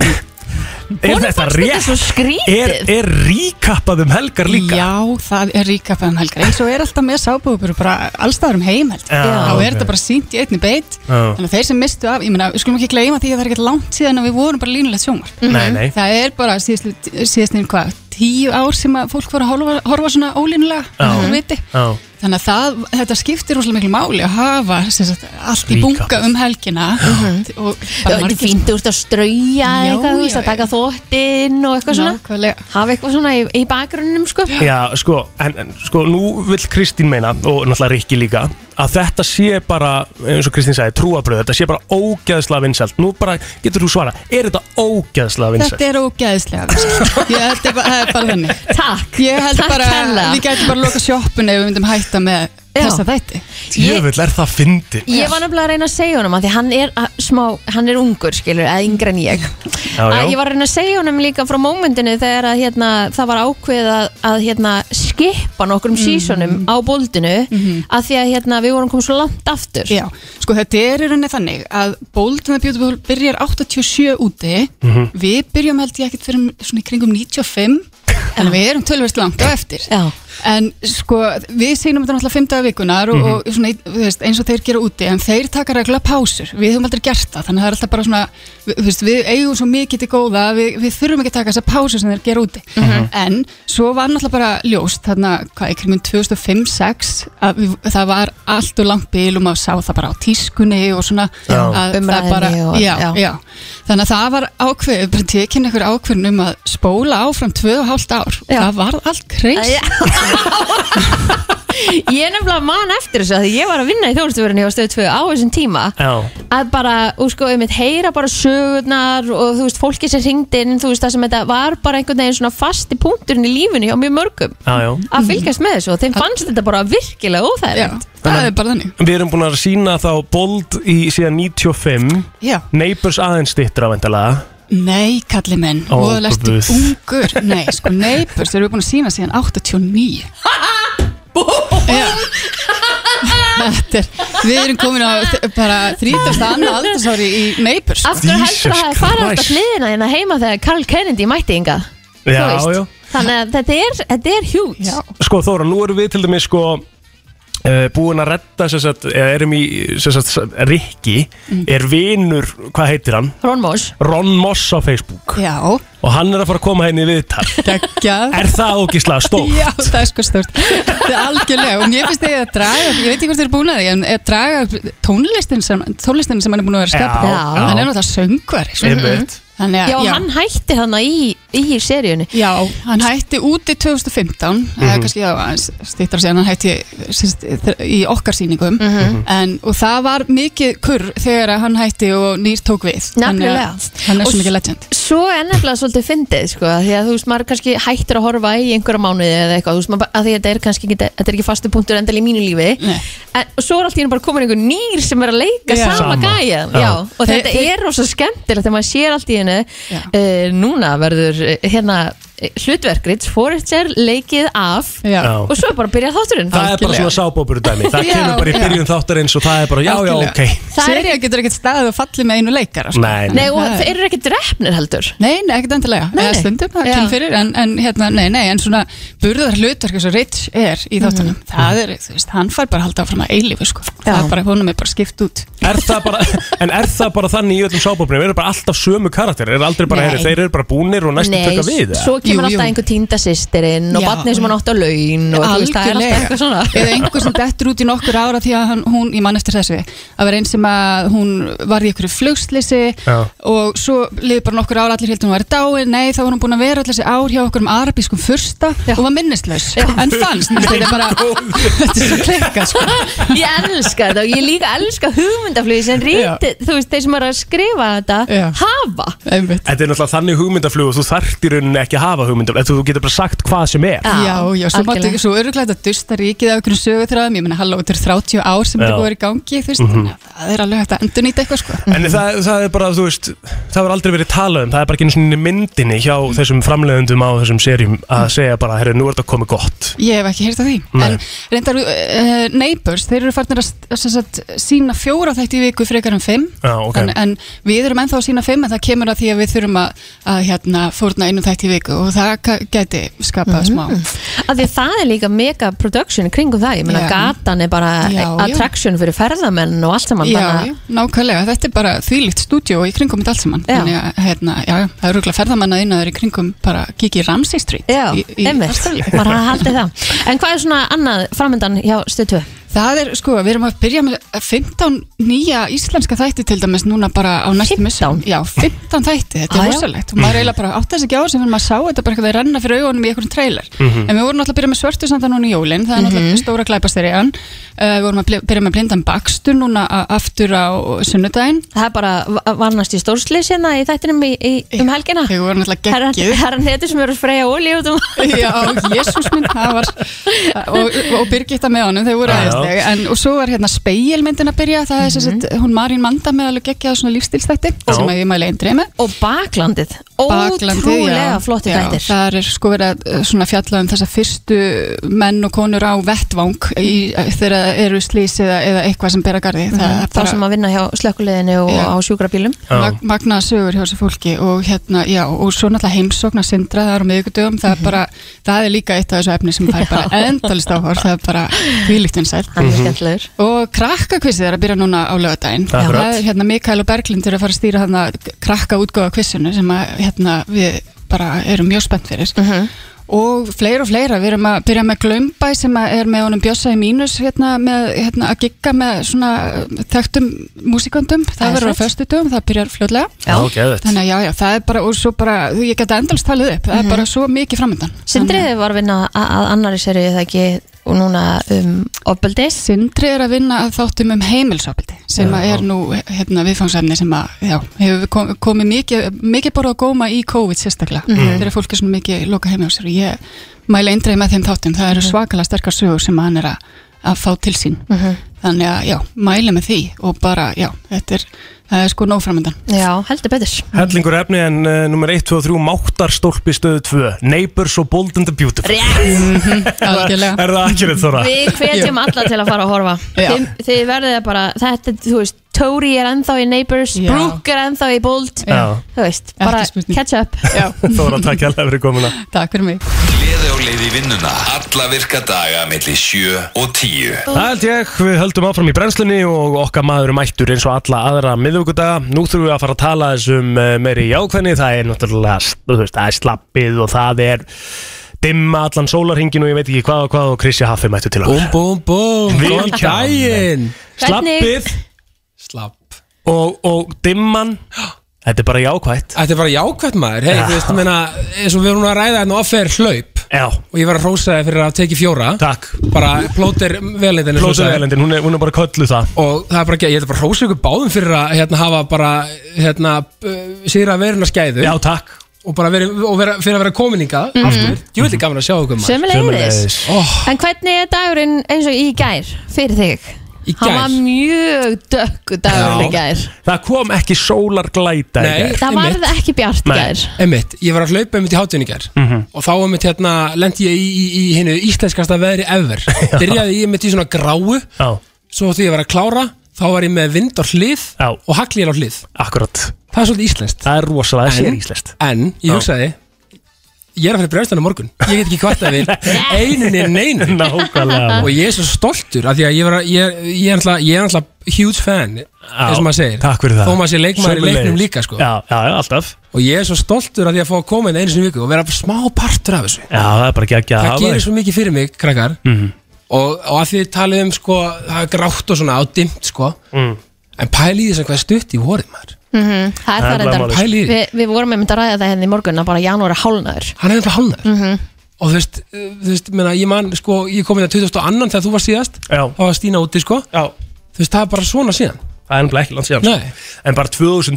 [SPEAKER 1] Er
[SPEAKER 2] Honum
[SPEAKER 1] þetta
[SPEAKER 2] fannst þetta
[SPEAKER 1] rétt?
[SPEAKER 2] svo skrítið.
[SPEAKER 1] Er, er ríkappað um helgar líka?
[SPEAKER 9] Já, það er ríka fæðan helgar eins og er alltaf með sábúfur bara allstaðar um heim held ég.
[SPEAKER 1] Já,
[SPEAKER 9] þá
[SPEAKER 1] ok.
[SPEAKER 9] er þetta bara sínt í einni beitt
[SPEAKER 1] Já.
[SPEAKER 9] þannig að þeir sem mistu af, ég meina, við skulum ekki gleyma því að það er ekkert langt síðan að við vorum bara línulegt sjómar
[SPEAKER 1] Nei, nei
[SPEAKER 9] það er bara síðast, síðast nefn hvað tíu ár sem að fólk var að horfa, horfa svona ólínulega þú viti.
[SPEAKER 1] Já,
[SPEAKER 9] þannig að það, þetta skiptir rosalega miklu máli að hafa sem sagt, allt í
[SPEAKER 1] Recap.
[SPEAKER 9] bunga um helgina
[SPEAKER 1] Mhm.
[SPEAKER 9] og bara
[SPEAKER 2] Þetta er
[SPEAKER 9] margir-
[SPEAKER 2] fínt, þú ert að strauja
[SPEAKER 9] Já,
[SPEAKER 2] eitthvað, þú veist,
[SPEAKER 9] já,
[SPEAKER 2] að taka þóttinn og eitthvað svona
[SPEAKER 9] Nákvæmlega.
[SPEAKER 2] hafa eitthvað svona í, í bakgrunnum, sko
[SPEAKER 1] já sko, en, en sko, nú vill Kristín meina og náttúrulega Rikki líka að þetta sé bara, eins og Kristín sagði, trúabröð þetta sé bara ógeðslega vinsælt Nú bara, getur þú svara, er þetta ógeðslega vinsælt?
[SPEAKER 9] Þetta er ógæðislega vinsælt. Ég held að það er bara þannig
[SPEAKER 2] Takk,
[SPEAKER 9] Ég held
[SPEAKER 2] takk
[SPEAKER 9] bara,
[SPEAKER 2] hella
[SPEAKER 9] við gætum bara að loka sjoppun ef við myndum hætta með
[SPEAKER 2] Já.
[SPEAKER 9] þessa þætti
[SPEAKER 1] Jöfull, er það fyndið?
[SPEAKER 2] Ég var nefnilega að reyna að segja honum að því hann er að, smá, hann er ungur, skilur, eða yngri en ég
[SPEAKER 1] Já, já.
[SPEAKER 2] að ég var að reyna að segja honum líka frá mómentinu þegar að hérna, það var ákveð að, að hérna, skipa nokkrum
[SPEAKER 1] Mhm.
[SPEAKER 2] sísonum á bóldinu að því að hérna, við vorum komið svo langt aftur
[SPEAKER 9] Já, sko þetta er í rauninni þannig að Bold and the Beautiful byrjar 87 úti Við byrjum held ég ekkert fyrir svona í kringum 95 En við erum tölvist langt á eftir
[SPEAKER 2] Já.
[SPEAKER 9] En sko, við sýnum þetta náttúrulega fimm daga vikunar og, og svona, í- þú veist, eins og þeir gera úti En þeir taka regla pásur, við höfum aldrei gert það Þannig að það er alltaf bara svona, við, þú veist, við eigum svo mikið til góða að Við, við þurfum ekki að taka þessa pásur sem þeir gera úti En svo var náttúrulega bara ljóst, þarna, hvað, í kringum 2005-06 Að við, það var allt og langt bíl og maður sá það bara á tískunni og svona
[SPEAKER 1] Já.
[SPEAKER 9] að það
[SPEAKER 2] Umræðinni
[SPEAKER 9] bara,
[SPEAKER 2] og-
[SPEAKER 9] já,
[SPEAKER 2] já.
[SPEAKER 9] já. þannig að það var ákveð bara tekin einhver ákveðin um að spóla áfram tvö og hálft ár
[SPEAKER 2] Já.
[SPEAKER 9] það var allt kreis
[SPEAKER 2] Æ, Ég nefnilega man eftir þessu að því ég var að vinna í þjónustuförunni á stöðu 2 á þessum tíma
[SPEAKER 1] Já,
[SPEAKER 2] að bara, og sko, um heyra bara sögurnar og þú veist, fólki sem hringdi inn þú veist, það sem þetta var bara einhvern veginn svona fasti punkturinn í lífinu hjá mjög mörgum
[SPEAKER 1] já, já
[SPEAKER 2] að fylgjast með þessu og þeim fannst þetta bara virkilega
[SPEAKER 9] já,
[SPEAKER 2] óþægilegt
[SPEAKER 9] það er bara þannig
[SPEAKER 1] Við erum búin að sína þá Bold í síðan 95
[SPEAKER 9] já.
[SPEAKER 1] Neighbors aðeins stittra vendalega
[SPEAKER 9] nei, kalli menn,
[SPEAKER 1] Ó,
[SPEAKER 9] og lestu
[SPEAKER 1] guð.
[SPEAKER 9] ungur nei, sko, neipur, þeir eru búin að sína síðan 89 já Þetta er, við erum komin á þ- bara 30. annar aldursári í Neighbors sko.
[SPEAKER 2] Aftur heldur að
[SPEAKER 1] Jesus
[SPEAKER 2] það hefði farið alltaf
[SPEAKER 1] Christ.
[SPEAKER 2] hliðina hérna heima þegar Karl Kennedy mætti ynga
[SPEAKER 1] Já, já
[SPEAKER 2] Þannig að þetta er, þetta er hjúts
[SPEAKER 9] Já.
[SPEAKER 1] Sko Þóra, nú erum við til dæmis sko uh, búin að redda sem sagt, eða erum í sem sagt, Rikki
[SPEAKER 9] Mm.
[SPEAKER 1] er vinur, hvað heitir hann?
[SPEAKER 2] Rónmós
[SPEAKER 1] Ron Moss á Facebook
[SPEAKER 9] Já,
[SPEAKER 1] og hann er að fara að koma henni við tal
[SPEAKER 9] geggjað
[SPEAKER 1] er það ógislega stór?
[SPEAKER 9] Já, það er sko stórt Það er algjörlega og mér finnst þið að draga ég veit ekki hvort þið er búin að því en að draga tónlistin sem, tónlistin sem hann er búin að vera að skapa
[SPEAKER 2] Já, já.
[SPEAKER 9] hann er náttúrulega söngvari sko.
[SPEAKER 1] Einmitt.
[SPEAKER 9] Þannig að-
[SPEAKER 2] Já, hann hætti hann í, í seríunni
[SPEAKER 9] Já, hann hætti úti 2015 mm
[SPEAKER 1] Mhm.
[SPEAKER 9] kannski já, stýttar síðan hann hætti sérst, í okkar sýningum
[SPEAKER 1] Mhm.
[SPEAKER 9] en, og það var mikið kurr þegar að hann hætti og nýr tók við Þannig að
[SPEAKER 2] Nefnilega.
[SPEAKER 9] hann er
[SPEAKER 2] Og
[SPEAKER 9] svo
[SPEAKER 2] s-
[SPEAKER 9] mikið legend
[SPEAKER 2] Svo er nefnilega svolítið fyndið sko, af því að þú veist, maður kannski hættur að horfa í einhverja mánuði eða eitthvað, þú veist, maður, bara- af því að þetta er kannski ekki, þetta er ekki fastu punktur endal í mínu lífi
[SPEAKER 9] Nei.
[SPEAKER 2] en og svo er allt í henni bara komin einhver nýr sem er að leika
[SPEAKER 9] Já.
[SPEAKER 2] sama,
[SPEAKER 1] Sama.
[SPEAKER 2] gæjan
[SPEAKER 1] Já.
[SPEAKER 2] já. og
[SPEAKER 9] Þeir-
[SPEAKER 2] þetta
[SPEAKER 9] þeir-
[SPEAKER 2] er rosa skemmtilegt þegar maður sér allt í henni
[SPEAKER 9] Já.
[SPEAKER 2] uh, núna verður eh, hérna eh, hlutverkrið, Forager leikið af
[SPEAKER 1] Já.
[SPEAKER 2] og svo er bara að byrja þátturinn
[SPEAKER 1] það er bara svona sábóburu dæmi það
[SPEAKER 9] Já,
[SPEAKER 1] kemur bara í
[SPEAKER 9] já.
[SPEAKER 1] byrjun þáttar eins og það er bara já, já, ok
[SPEAKER 2] Það er-
[SPEAKER 9] Serið getur ekkert staðið og fallið með einu leikara sko.
[SPEAKER 1] Nei,
[SPEAKER 2] Nei, og
[SPEAKER 9] Nei.
[SPEAKER 2] þeir eru ekki drefnir heldur
[SPEAKER 9] Nei, nei, ekkert endilega,
[SPEAKER 2] Nei,
[SPEAKER 9] eða
[SPEAKER 2] nei.
[SPEAKER 9] stundum, það
[SPEAKER 2] Já.
[SPEAKER 9] kemur fyrir en, en hérna, nei, nei, en svona burðar hlutverk eins og Rich er í þáttunum
[SPEAKER 2] Mhm.
[SPEAKER 9] það er, þú veist, hann fær bara að halda áfram að eilífu sko, það er bara, honum er bara skipt út
[SPEAKER 1] er það bara, en er það bara þannig í öllum sábóbunum eru bara alltaf sömu karakter er aldrei bara,
[SPEAKER 2] Nei.
[SPEAKER 1] heyrðu, þeir eru bara búnir og næstu
[SPEAKER 2] Nei,
[SPEAKER 1] tökka við
[SPEAKER 2] svo kemur
[SPEAKER 9] Jú, jú.
[SPEAKER 2] alltaf einhver týndasýstirinn og
[SPEAKER 9] Já.
[SPEAKER 2] barnið sem hann átti á laun og þú veist, það er alltaf eitthvað svona
[SPEAKER 9] eða einhver sem dettur út í nokkur ára því að hann, hún, ég man eftir þessu að vera einn sem að hún var í einhverju flugslisi
[SPEAKER 1] Já.
[SPEAKER 9] og svo liði bara nokkur ára allir heldur hún var dáin nei þá var hún búin að vera allir þessi ár hjá okkur um arabískum fursta og var minnislaus en fannst, þetta er bara þetta er svo klikka sko
[SPEAKER 2] Ég elska þetta og ég líka elska hugmyndaflögi sem ríti, þú veist, þeir sem eru að skrifa þetta
[SPEAKER 9] Já.
[SPEAKER 2] hafa
[SPEAKER 9] Einmitt.
[SPEAKER 1] Þetta er náttúrulega þannig hugmyndaflug og þú þarft í rauninni ekki að hafa hugmyndaflug þú þú getur bara sagt hvað sem er
[SPEAKER 9] Já, já, svo máttu
[SPEAKER 2] algjörlega.
[SPEAKER 9] ekki svo öruglega þetta dusta ríkið af einhverjum sögutræðum, ég meina halló, þetta er 30 ár sem
[SPEAKER 1] Já. Mhm.
[SPEAKER 9] þetta voru í gangi, þú veist, þannig að það er alveg hægt að endurnýta eitthvað sko.
[SPEAKER 1] En það, það er bara, þú veist, það var aldrei verið talað um, það er bara ekki einu sinni í myndinni hjá þessum framleiðendum á þessum serjum að segja bara, herru, nú er þetta komið gott.
[SPEAKER 9] Ég hef ekki heyrt af því
[SPEAKER 1] Nei.
[SPEAKER 9] En reyndar uh, Neighbors, þeir eru farnir að, að, sem sagt, sína fjóra þætti í viku frekar en fimm
[SPEAKER 1] Já, ok.
[SPEAKER 9] en, en við erum ennþá að sína fimm en það kemur að því að við þurfum að, að hérna, fórna einu þætti í viku og það ka- gæti
[SPEAKER 2] Mhm.
[SPEAKER 9] skapað smá
[SPEAKER 2] Af því það er líka mega production í kringum það, ég meina
[SPEAKER 9] Já.
[SPEAKER 2] gatan er bara
[SPEAKER 9] Já, já.
[SPEAKER 2] attraction fyrir ferðamenn og allt saman
[SPEAKER 9] Já,
[SPEAKER 2] þannig að-
[SPEAKER 9] já, nákvæmlega, þetta er bara þvílíkt stúdíó í kringum þetta allt saman
[SPEAKER 2] Já.
[SPEAKER 9] Þannig að, hérna, já, já, það eru rúglega ferðamanna innaður í kringum bara kikið í Ramsey Street
[SPEAKER 2] Já,
[SPEAKER 9] í, í
[SPEAKER 2] einmitt,
[SPEAKER 9] Ástralíu.
[SPEAKER 2] maður hafði haldið það En hvað er svona annað framöndan hjá stötu?
[SPEAKER 9] Það er, sko, við erum að byrja með 15 nýja íslenska þætti til dæmis núna bara á næstu
[SPEAKER 2] 15?
[SPEAKER 9] missum. Já, 15 þætti, þetta
[SPEAKER 2] Ah,
[SPEAKER 9] er
[SPEAKER 2] já.
[SPEAKER 9] rosalegt. Og maður eiginlega bara átt þess ekki á þess að maður sá þetta bara eitthvað að renna fyrir augunum í einhvern trailer. En við vorum náttúrulega að byrja með svörtu samt núna í jólinn,
[SPEAKER 2] Mhm.
[SPEAKER 9] það er náttúrulega stóra glæpasterjan. Uh, við vorum að bli- byrja með blindan bakstur núna a- aftur á sunnudaginn.
[SPEAKER 2] Það er bara vannast í stórslis hérna í þættinum í, í, um helgina
[SPEAKER 9] Við vorum náttúrulega
[SPEAKER 2] Herran,
[SPEAKER 9] geggið.
[SPEAKER 2] herran heti sem eru að freyja olíu út um
[SPEAKER 9] Já, jésús minn, það var og, og Birgitta með honum, þau voru
[SPEAKER 1] Já, já.
[SPEAKER 9] aðeinsleg en, og svo var hérna speilmyndin að byrja það er sem sagt, hún Marín Manda með alveg geggjað svona lífstilstætti sem að ég mæli eindrið með
[SPEAKER 2] og baklandið,
[SPEAKER 9] Baklandi,
[SPEAKER 2] ótrúlega flotti
[SPEAKER 9] já,
[SPEAKER 2] þættir
[SPEAKER 9] Það er sko verið að eh, svona fjalla um þessa fyrstu menn og konur á vettvang í, eh, þegar það eru slís eða, eða eitthvað sem bera garði það er
[SPEAKER 2] Mhm. þá
[SPEAKER 9] bara
[SPEAKER 2] sem að vinna hjá slökkuleðinu og
[SPEAKER 9] Já.
[SPEAKER 2] á sjúkrabílum
[SPEAKER 1] Já.
[SPEAKER 9] mag- magnaða sögur hjá þessu fólki og hérna, já, og svo náttúrulega heimsókna sindra það er á miðvikudöfum, það er bara það er líka eitt af þessu efni sem fær bara endalist áhor, það er bara hvílíkt vinsælt
[SPEAKER 2] hann
[SPEAKER 1] Mhm.
[SPEAKER 2] er skemmtilegur
[SPEAKER 9] og krakkakvissið er að byrja núna á lögadaginn
[SPEAKER 1] Akkurat.
[SPEAKER 9] það er hérna Mikael og Berglind eru að fara að stýra þarna krakka útgóða kvissinu sem að hérna við bara erum mjög spennt fyrir og fleira og fleira, við erum að byrja með Glömbæ sem að er með honum Bjössa í mínus hérna, með, hérna að gigga með svona uh, þekktum músikandum
[SPEAKER 2] Það er
[SPEAKER 9] það verður á
[SPEAKER 2] fett.
[SPEAKER 9] föstudum, það byrjar fljótlega
[SPEAKER 1] Já, geðvett.
[SPEAKER 9] þannig að já, já, það er bara, og svo bara þú- ég geta endalst talið upp,
[SPEAKER 2] Mhm.
[SPEAKER 9] það er bara svo mikið framöndan
[SPEAKER 2] Sindriði var að vinna að að annari serið það ekki og núna um opbeldis
[SPEAKER 9] Sindri er að vinna að þáttum um heimilsopildi sem að er nú hérna, viðfangsefni sem að já, hefur kom- komið mikið, mikið bara að góma í COVID sérstaklega þegar fólk er svona mikið loka heimi á sér og ég mæla eindreið með þeim þáttum það eru svakalega sterkar sögur sem að hann er að, að fá til sín þannig að já, mæla með því og bara já, þetta er það er sko nóframöndan
[SPEAKER 2] Já, heldur betur
[SPEAKER 1] Hellingur efni en uh, nummer 1, 2 og 3 Máttarstólpi stöðu 2 Neighbors og Bold and the Beautiful
[SPEAKER 2] Rétt,
[SPEAKER 9] algjörlega
[SPEAKER 1] Er það akkurat þóra?
[SPEAKER 2] við hvetjum alla til að fara að horfa
[SPEAKER 9] Já.
[SPEAKER 2] Þið, þið verðið að bara, þetta, þú veist Tóri er ennþá í Neighbors,
[SPEAKER 9] Já.
[SPEAKER 2] Brooke er ennþá í Bold
[SPEAKER 1] Já,
[SPEAKER 2] Þú veist, bara
[SPEAKER 9] spurning.
[SPEAKER 2] catch up
[SPEAKER 9] Já,
[SPEAKER 1] Þóra, takk hérlega fyrir komuna
[SPEAKER 9] takk fyrir mig
[SPEAKER 3] Gleði og leiði vinnuna Alla virka daga melli 7 og 10
[SPEAKER 1] Það held ég, við höldum áfram í brennslunni og okkar maður er mættur eins og alla aðra miðvíkudaga. Nú þurfum við að fara að tala þessum eh, meiri jákvæðni, það er náttúrulega, þú veist, það er slappið og það er dimma allan sólarhingin og ég veit ekki hvað og hvað og Krissi Haffi mættu til
[SPEAKER 10] Búm,
[SPEAKER 1] okkar.
[SPEAKER 10] búm, búm
[SPEAKER 1] Við-
[SPEAKER 10] Góðan daginn
[SPEAKER 1] Slappið
[SPEAKER 10] Slapp
[SPEAKER 1] og, og dimman, þetta er bara jákvætt.
[SPEAKER 10] Þetta er bara jákvæmt maður
[SPEAKER 1] Ah.
[SPEAKER 10] hey, Þú veist, ég meina, eins og við erum að ræða hérna offer hlaup
[SPEAKER 1] Já,
[SPEAKER 10] Og ég var að rósa þið fyrir að teki fjóra
[SPEAKER 1] takk.
[SPEAKER 10] Bara plóter velindin
[SPEAKER 1] Plótið Elendin, hún er, hún er bara kölluð það.
[SPEAKER 10] Og það er bara ekki, ég ætla bara að rósa ykkur báðum fyrir að hérna, hafa bara, hérna, uh, síðra veruna skæðu
[SPEAKER 1] Já, takk.
[SPEAKER 10] og bara verið, og vera, fyrir að vera komininga mm. aftur, ég vildi gaman að sjá okkur maður
[SPEAKER 2] Sömulegis
[SPEAKER 1] Sömuleiðis.
[SPEAKER 10] oh,
[SPEAKER 2] En hvernig er dagurinn eins og í gær fyrir þig?
[SPEAKER 10] Í
[SPEAKER 2] Hann
[SPEAKER 10] gær?
[SPEAKER 2] var mjög dökku dagurinn
[SPEAKER 10] Já.
[SPEAKER 2] í gær
[SPEAKER 1] Það kom ekki sólarglæta í
[SPEAKER 10] Nei.
[SPEAKER 1] gær.
[SPEAKER 2] Það
[SPEAKER 10] Einmitt.
[SPEAKER 2] varð ekki bjart
[SPEAKER 1] Nei.
[SPEAKER 2] gær
[SPEAKER 10] einmitt, ég var að hlaupa einmitt í hátvinningar mm
[SPEAKER 1] Mhm.
[SPEAKER 10] -hmm. og þá einmitt hérna lendi ég í, í, í hinnu íslenskasta veðri ever byrjaði ég einmitt í svona gráu
[SPEAKER 1] Já,
[SPEAKER 10] svo því ég var að klára, þá var ég með vind á hlið
[SPEAKER 1] Já.
[SPEAKER 10] og haglið á hlið
[SPEAKER 1] akkurat.
[SPEAKER 10] það er svolítið íslenskt
[SPEAKER 1] Það er rosalega, það
[SPEAKER 10] En-
[SPEAKER 1] sér íslest.
[SPEAKER 10] en ég
[SPEAKER 1] Já.
[SPEAKER 10] hugsaði ég er að fyrir bregðstæðan á morgun ég get ekki kvartað við eininni neinu
[SPEAKER 1] Nákvæmlega.
[SPEAKER 10] og ég er svo stoltur af því að ég, var, að- ég, ég er alltaf, ég er alltaf huge fan eins og maður segir
[SPEAKER 1] Takk fyrir það
[SPEAKER 10] þó maður sé leikmaður í
[SPEAKER 1] Sömuleiðis.
[SPEAKER 10] leiknum líka sko.
[SPEAKER 1] Já, já, já, alltaf
[SPEAKER 10] og ég er svo stoltur af því að fá að koma inn einu sinni í viku og vera smá partur af þessu
[SPEAKER 1] Já, það er bara geggja að
[SPEAKER 10] það
[SPEAKER 1] hafa
[SPEAKER 10] gerir
[SPEAKER 1] þig.
[SPEAKER 10] svo mikið fyrir mig, krakkar
[SPEAKER 1] Mhm.
[SPEAKER 10] og, og að því þið talið um sko, það er grátt og svona á dimt sko.
[SPEAKER 1] Mm.
[SPEAKER 10] en pæli í þess að hvað er stutt í vorið maður
[SPEAKER 2] Mhm, Það er
[SPEAKER 1] Það er
[SPEAKER 2] það reyndar
[SPEAKER 1] bara málið.
[SPEAKER 10] Pælið í því.
[SPEAKER 2] Vi, Við vorum einmitt að ræða það henni í morgun að bara janúar er hálnaður
[SPEAKER 10] hann er nefnilega hálnar og þú veist, uh, þú veist menna, ég man, sko, ég kom inn að 22 þegar þú var síðast
[SPEAKER 1] Já,
[SPEAKER 10] þá var Stína úti sko.
[SPEAKER 1] já
[SPEAKER 10] þú veist, það er bara svona síðan
[SPEAKER 1] Það er nefnilega ekki langt síðan
[SPEAKER 10] Nei.
[SPEAKER 1] sko. En bara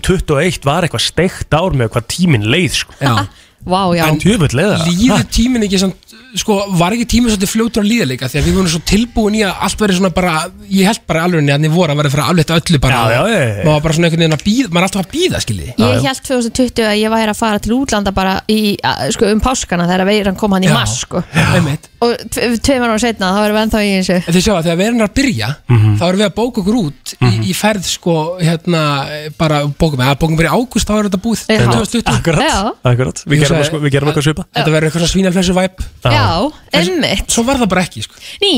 [SPEAKER 1] 2021 var eitthvað steikt ár með hvað tíminn leið sko.
[SPEAKER 10] Já.
[SPEAKER 2] Vá, já
[SPEAKER 10] En
[SPEAKER 1] Tjöfull leið það
[SPEAKER 10] líður tíminn ekki samt, sko, var ekki tíminn svolítið fljótur að líða líka því að við vorum svo tilbúin í að allt verið svona bara ég held bara alveg niður að niður voru að vera fyrir að aflétta öllu bara
[SPEAKER 1] Já, já, já, já.
[SPEAKER 10] maður var bara svona einhvern veginn að býða, maður er alltaf að býða skiljiði
[SPEAKER 2] Ég held 2020 að ég væri að fara til útlanda bara í, að- sko, um páskana þegar veiran kom hann í
[SPEAKER 10] Já.
[SPEAKER 2] mars sko.
[SPEAKER 10] einmitt
[SPEAKER 2] og tve- tveimur ára setna þá erum við ennþá í þessu
[SPEAKER 10] En þið sjáu að þegar verðin er að byrja
[SPEAKER 1] Mhm.
[SPEAKER 10] þá erum við að bóka okkur út í, í ferð sko hérna bara bókum eða bókum bara í ágúst þá er þetta búið
[SPEAKER 2] Já.
[SPEAKER 10] 2020
[SPEAKER 2] Já.
[SPEAKER 1] Akkurat, akkurat Við
[SPEAKER 10] Ég
[SPEAKER 1] gerum,
[SPEAKER 10] sagði-
[SPEAKER 1] sko, við gerum eitthvað svipa
[SPEAKER 10] þetta verður eitthvað svona svínalflesu væp
[SPEAKER 2] Já, einmitt
[SPEAKER 10] svo var það bara ekki sko
[SPEAKER 2] Ný,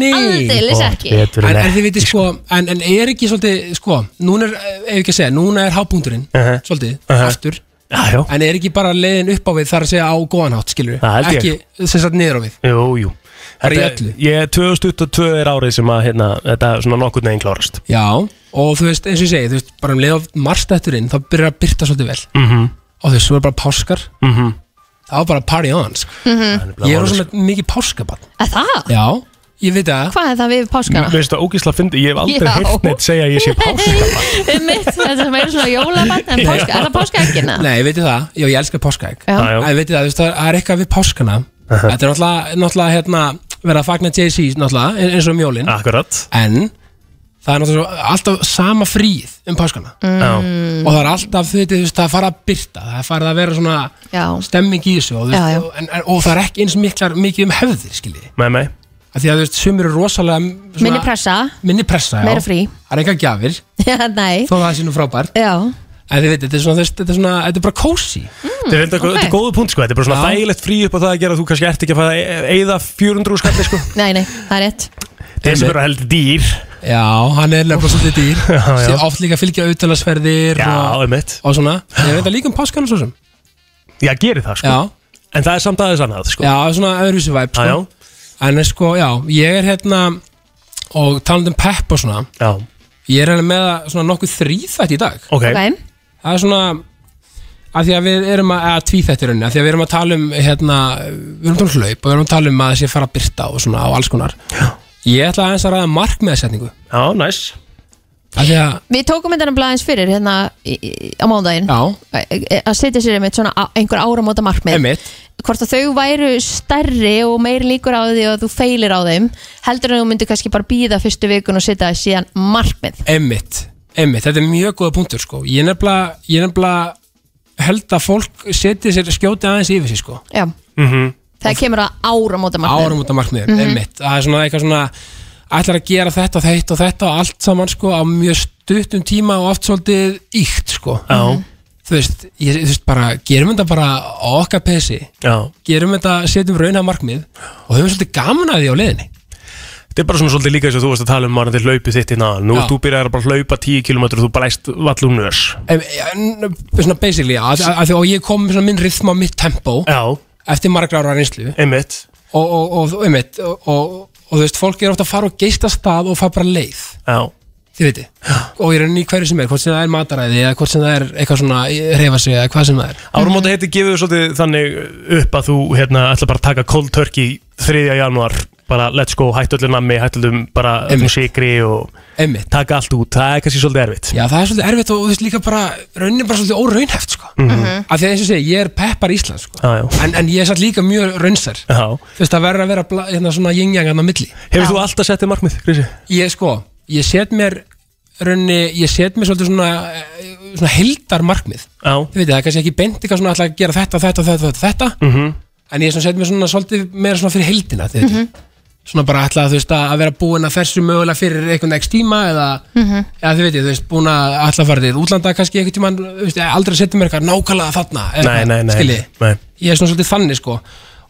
[SPEAKER 10] Nei.
[SPEAKER 2] aldeilis ekki
[SPEAKER 1] betur en
[SPEAKER 10] En, en
[SPEAKER 1] ekki
[SPEAKER 10] þið veitir sko, en, en er ekki svolítið, sko, núna er, ef ég ekki að segja, núna er hápunkturinn,
[SPEAKER 1] Mhm.
[SPEAKER 10] svolítið,
[SPEAKER 1] Mhm.
[SPEAKER 10] aftur,
[SPEAKER 1] Já, já,
[SPEAKER 10] en er ekki bara leiðin upp á við þar að segja á góðan hátt, skilur við,
[SPEAKER 1] Það held ég.
[SPEAKER 10] ekki sem sagt niður á við.
[SPEAKER 1] jú, jú
[SPEAKER 10] Bara í
[SPEAKER 1] Þetta-
[SPEAKER 10] öllu.
[SPEAKER 1] Ég, 2022 er árið sem að hérna, þetta er svona nokkurn veginn klárast
[SPEAKER 10] Já, og þú veist, eins og ég segi, þú veist, bara um leið á marstætturinn, þá byrjar að byrta svolítið vel,
[SPEAKER 1] mm -hmm.
[SPEAKER 10] og þú veist, svo er bara páskar,
[SPEAKER 1] Mm -hmm.
[SPEAKER 10] þá er bara party on, sko. Ég er svona mikið páskabann.
[SPEAKER 2] Að það?
[SPEAKER 10] Já, ég veit að,
[SPEAKER 2] Hvað er það við páskana?
[SPEAKER 1] Mér finnst það ógísla fyndi, ég hef aldrei
[SPEAKER 2] Já.
[SPEAKER 1] heyrt neitt segja að ég sé páskabann
[SPEAKER 2] Mitt, þetta sem er svona jólabann en páska, er það páskaeggina?
[SPEAKER 10] nei, ég veit það, já, ég elska páskaegg.
[SPEAKER 2] Já.
[SPEAKER 1] Já, já.
[SPEAKER 10] En veitir það, þú veist, það er eitthvað við páskana Þetta er náttúrulega, náttúrulega hérna, verið að fagna Jay-Z náttúrulega, eins og mjólin
[SPEAKER 1] Akkurat
[SPEAKER 10] En það er náttúrulega svo- alltaf sama fríð um páskana
[SPEAKER 1] mm.
[SPEAKER 10] Og það er alltaf, þú veit, þú veist, það er farið að byrta Það er farið að vera svona
[SPEAKER 2] Já,
[SPEAKER 10] stemming í þessu Og, þú veist,
[SPEAKER 2] Já, já.
[SPEAKER 10] og, en, en- og það er ekki eins miklar mikið um hefðir, skiljiði
[SPEAKER 1] Með mig
[SPEAKER 10] Af Því að þú veist, sumir eru rosalega svona,
[SPEAKER 2] minni pressa
[SPEAKER 10] Minni pressa, já
[SPEAKER 2] Meira frí.
[SPEAKER 10] Það er eitthvað gjafir,
[SPEAKER 2] Já, nei
[SPEAKER 10] þó það sé nú frábært
[SPEAKER 2] Já,
[SPEAKER 10] En þið veit, þetta er svona, þú veist, þetta er svona, þetta er bara kósi
[SPEAKER 1] Þetta er reyndar-
[SPEAKER 2] ok.
[SPEAKER 1] þetta er góðu punkt sko, þetta er bara svona
[SPEAKER 10] Já.
[SPEAKER 1] þægilegt frí upp á það að gera að þú kannski ert ekki að fara að eigða 400 úr skalli sko
[SPEAKER 2] nei, nei, það er rétt
[SPEAKER 1] Þeir sem eru að heldur dýr
[SPEAKER 10] Já, hann er nefnilega svolítið dýr
[SPEAKER 1] já.
[SPEAKER 10] Sér Oft líka fylgja auðvitaðsferðir
[SPEAKER 1] Já,
[SPEAKER 10] og,
[SPEAKER 1] einmitt
[SPEAKER 10] og svona Ég veit að líka um páskana svo sem
[SPEAKER 1] Já, gerir það sko
[SPEAKER 10] Já,
[SPEAKER 1] En það er samt aðeins annað sko Ah,
[SPEAKER 10] já svona öðruvísi væp
[SPEAKER 1] Já, já,
[SPEAKER 10] sko. En sko, já, ég er hérna Og talandi um pepp og svona
[SPEAKER 1] já,
[SPEAKER 10] Ég er hérna með að svona nokkuð þrýþætt í dag
[SPEAKER 1] ok
[SPEAKER 2] Ok,
[SPEAKER 10] Það er svona að því að við erum að, að tvíþætt í rauninni að því að við erum að tala um hérna, við erum að tala um hlaup og við erum að tala um að þessi fara að byrta og svona og alls konar já. ég ætla aðeins að ræða markmiðasetningu
[SPEAKER 1] Já, næs
[SPEAKER 10] að því að,
[SPEAKER 2] við tókum þetta nefnilega aðeins fyrir hérna í, í, á mánudaginn
[SPEAKER 10] já,
[SPEAKER 2] að setja sér einmitt svona á- einhver áramóta markmið
[SPEAKER 10] emitt
[SPEAKER 2] hvort að þau væru stærri og meir líkur á því og þú feilir á þeim heldur en þú myndir kannski bara býða fyrstu vikun og setja þér síðan markmið
[SPEAKER 10] Emmitt Einmitt, þetta er mjög góða punktur sko. Ég nefnilega, ég nefnilega held að fólk setji sér skjóti aðeins yfir sig sko.
[SPEAKER 2] Já,
[SPEAKER 10] mm
[SPEAKER 1] Mhm.
[SPEAKER 10] -hmm.
[SPEAKER 2] það kemur að áramóta
[SPEAKER 10] Árum út af markmiðum,
[SPEAKER 2] Mhm.
[SPEAKER 10] einmitt Það er svona eitthvað svona ætlar að gera þetta og þetta og þetta og allt saman sko á mjög stuttum tíma og oft svolítið íkt sko
[SPEAKER 1] Já.
[SPEAKER 10] Þú veist, ég, þú veist bara, gerum þetta bara á okkar pesi
[SPEAKER 1] Já.
[SPEAKER 10] Gerum þetta, setjum raunha markmið og höfum svolítið gaman að því á leiðinni
[SPEAKER 1] Þetta er bara svona svolítið líka eins og þú varst að tala um varandi hlaupið þitt hérna áðan. Nú
[SPEAKER 10] Já.
[SPEAKER 1] ert þú byrjar bara að hlaupa 10 km og þú blæst vallunus
[SPEAKER 10] Em, en, Svona basically, að, að, að, og ég kom með svona minn rithma, mitt tempo
[SPEAKER 1] Já.
[SPEAKER 10] Eftir margra ára reynslu
[SPEAKER 1] Einmitt
[SPEAKER 10] Og, og, og, einmitt, og, og, og, þú veist, fólk er ofta að fara og geista stað og fara bara leið
[SPEAKER 1] Já
[SPEAKER 10] þið veitir, og ég rauninni í hverju sem er hvort sem það er mataræði eða hvort sem það er eitthvað svona reyfa sig eða hvað sem það er
[SPEAKER 1] Árumóta heiti gefur þú svolítið þannig upp að þú hérna ætla bara að taka cold turkey 3. janúar bara let's go, hætt öllum nammi, hætt öllum bara öllum sigri og
[SPEAKER 10] Einmitt.
[SPEAKER 1] taka allt út, það er kannski svolítið erfitt
[SPEAKER 10] Já, það er svolítið erfitt og þú veist líka bara rauninni bara svolítið óraunheft sko. mm
[SPEAKER 1] Mhm.
[SPEAKER 10] af því að eins og ég segi, ég er peppar Ísland sko.
[SPEAKER 1] Já, já.
[SPEAKER 10] en, en ég er satt líka mjög raunsar
[SPEAKER 1] Já.
[SPEAKER 10] þú veist, það verður að vera bla, hérna, svona yin-yang hann á milli
[SPEAKER 1] Hefur þú alltaf sett þér markmið, Krissi?
[SPEAKER 10] Ég sko, ég set mér rauninni, ég set mér svolítið svona eh, svona heldar markmið
[SPEAKER 1] Já.
[SPEAKER 10] þið veitir, það er kannski ekki beint eitthvað svona ætla að gera þetta, þetta, þetta, þetta, þetta
[SPEAKER 1] Mm -hmm.
[SPEAKER 10] en ég svona set mér svona svolítið meira svona fyrir heldina þið veitir svona bara ætla að þú veist að að vera búin að fersu mögulega fyrir einhvern x tíma eða
[SPEAKER 2] Mhm.
[SPEAKER 10] eða þið veitir, þú veist, búin að ætla að fara til útlanda kannski einhvern tímann, þú veist, aldrei setja mér eitthvað nákvæmlega þarna eða
[SPEAKER 1] Nei,
[SPEAKER 10] eitthvað,
[SPEAKER 1] nei, nei,
[SPEAKER 10] skiljiði.
[SPEAKER 1] nei.
[SPEAKER 10] ég er svona svolítið þannig sko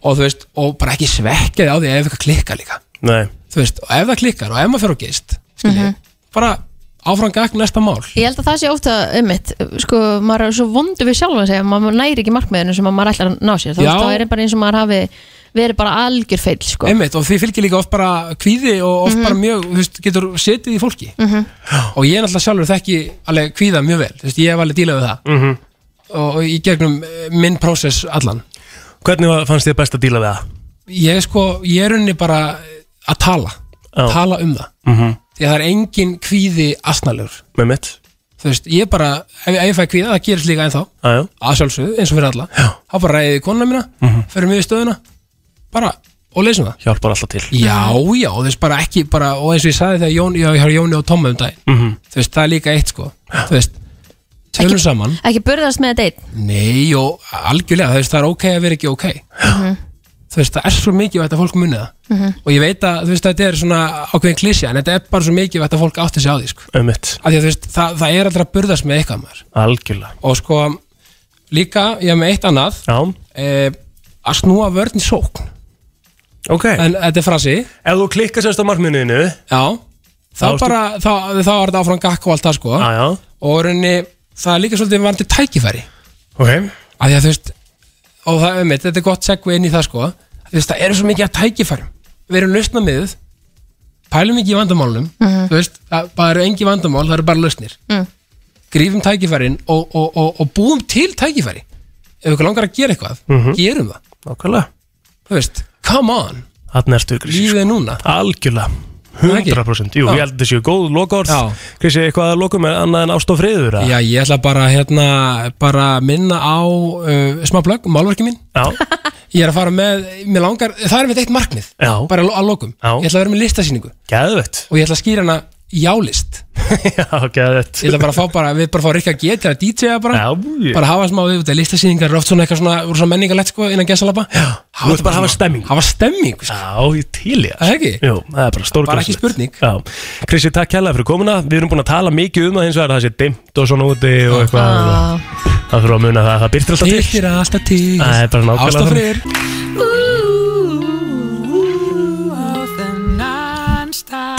[SPEAKER 10] og þú veist, og bara ekki svekkjaði á því ef eitthvað klikkar líka
[SPEAKER 1] Nei
[SPEAKER 10] þú veist, og ef það klikkar og ef maður fer á geist skilji,
[SPEAKER 2] Mhm.
[SPEAKER 10] bara áfram gagn næsta mál
[SPEAKER 2] Ég held að það sé ofta ummitt sko, maður er svo vondur við sjálfa sig að maður næri ekki markmiðinu sem að maður ætlar að ná sér þá
[SPEAKER 10] Já.
[SPEAKER 2] þá er það bara eins og maður hafi verið bara algjör feil sko.
[SPEAKER 10] einmitt, og því fylgir líka oft bara kvíði og oft
[SPEAKER 2] Mhm.
[SPEAKER 10] bara mjög, þú veist, getur setið í fólki
[SPEAKER 2] Mhm.
[SPEAKER 10] og ég er náttúrulega sjálfur þekki alveg kvíða mjög vel, þú veist, ég hef alveg dílað við það
[SPEAKER 1] mm -hmm.
[SPEAKER 10] og, og í gegnum eh, minn prósess allan
[SPEAKER 1] Hvernig var- fannst þér best að díla við það?
[SPEAKER 10] ég sko, ég er unni bara að tala,
[SPEAKER 1] Já.
[SPEAKER 10] tala um það
[SPEAKER 1] Mm -hmm.
[SPEAKER 10] því að það er engin kvíði asnalur
[SPEAKER 1] Með mitt
[SPEAKER 10] þú veist, ég bara, ef, ef ég fæ kvíða, það gerist líka ennþá
[SPEAKER 1] Já,
[SPEAKER 10] að sjálfsögðu, eins og fyrir alla Já. þá bara ræðið konuna mína,
[SPEAKER 1] Mhm.
[SPEAKER 10] förum við í stöðuna bara, og leysum það
[SPEAKER 1] Hjálpar alltaf til
[SPEAKER 10] já, já, þú veist, bara ekki bara, og eins og ég sagði þegar Jón, já, ég har Jóni og Tomma um daginn
[SPEAKER 1] Mhm.
[SPEAKER 10] þú veist, það er líka eitt, sko þú veist, tölum saman
[SPEAKER 2] ekki burðast með þetta einn
[SPEAKER 10] nei, og algjörlega, þú veist, það er ok að vera ekki ok
[SPEAKER 2] Mhm.
[SPEAKER 10] þú veist, það er svo mikið að fólk munið það
[SPEAKER 2] Mhm.
[SPEAKER 10] og ég veit að, þú veist, þetta er svona ákveðin klísja, en þetta er bara svo mikið að fólk átti sig á því, sko
[SPEAKER 1] Ömmitt,
[SPEAKER 10] Af því að, þú veist, það, það er allra að burðast með eitthvað maður
[SPEAKER 1] algjörlega
[SPEAKER 10] og sko líka ég hef með eitt annað e, að snúa vörn í sókn
[SPEAKER 1] okay.
[SPEAKER 10] en þetta er frasi
[SPEAKER 1] Ef þú klikkar semst á markmiðinu
[SPEAKER 10] Já, þá,
[SPEAKER 1] Þá ertu-
[SPEAKER 10] bara, þá, þá er þetta áfram gakk og allt það sko
[SPEAKER 1] Já, já.
[SPEAKER 10] og í rauninni, það er líka svolítið varandi tækifæri
[SPEAKER 1] okay.
[SPEAKER 10] að því að þú veist og það um þetta er gott segvi inn í það sko þú veist, það eru svo mikið að tækifærum við erum lausna miðuð pælum ekki í vandamálunum
[SPEAKER 2] Mhm.
[SPEAKER 10] þú veist, það bara eru engi vandamál, það eru bara lausnir
[SPEAKER 2] mm.
[SPEAKER 10] grífum tækifærin og, og, og, og búum til tækifæri ef ykkur langar að gera eitthvað,
[SPEAKER 1] Mhm.
[SPEAKER 10] gerum það
[SPEAKER 1] Nákvæmlega
[SPEAKER 10] þú veist, come on
[SPEAKER 1] Þannig erstu Krissi
[SPEAKER 10] Lífið er núna
[SPEAKER 1] Algjörlega
[SPEAKER 10] Það ekki?
[SPEAKER 1] 100% Jú,
[SPEAKER 10] Já.
[SPEAKER 1] ég held að þetta séu góð lokaorð Krissi, eitthvað að lokum er annað en ást og friður eða?
[SPEAKER 10] Já, ég ætla bara hérna, bara minna á uh, smá blögg, málverki mín
[SPEAKER 1] Já.
[SPEAKER 10] Ég er að fara með, mér langar það er mitt eitt markmið,
[SPEAKER 1] Já.
[SPEAKER 10] bara að lokum
[SPEAKER 1] Já.
[SPEAKER 10] Ég ætla að vera með listasýningu
[SPEAKER 1] Geðvett
[SPEAKER 10] og ég ætla að skýra hana jálist
[SPEAKER 1] Já, geðvett
[SPEAKER 10] Ég ætla bara að fá bara, við bara fá Rikka G til að DJ-a bara
[SPEAKER 1] Já, ég-
[SPEAKER 10] Bara hafa smá við, þetta listasýningar er oft svona eitthvað svona, voru svona menningarlegt sko innan gesalaba Já,
[SPEAKER 1] Þú ert bara að hafa stemming
[SPEAKER 10] Hafa stemming sko.
[SPEAKER 1] Já, ég til ég
[SPEAKER 10] Það ekki?
[SPEAKER 1] Jú, það er bara stórkvæmst
[SPEAKER 10] Bara ekki spurning.
[SPEAKER 1] Já, Krissi, takk hella fyrir komuna Við erum búin að tala mikið um það hins vegar Það sé dimmt og svona úti og eitthvað
[SPEAKER 2] Ah,
[SPEAKER 10] Já.
[SPEAKER 1] Það þurfa að muna það, það byrtir alltaf til
[SPEAKER 10] Byrtir alltaf til
[SPEAKER 1] Það er bara nákvæmlega
[SPEAKER 10] Ást og
[SPEAKER 1] þannig.
[SPEAKER 10] friður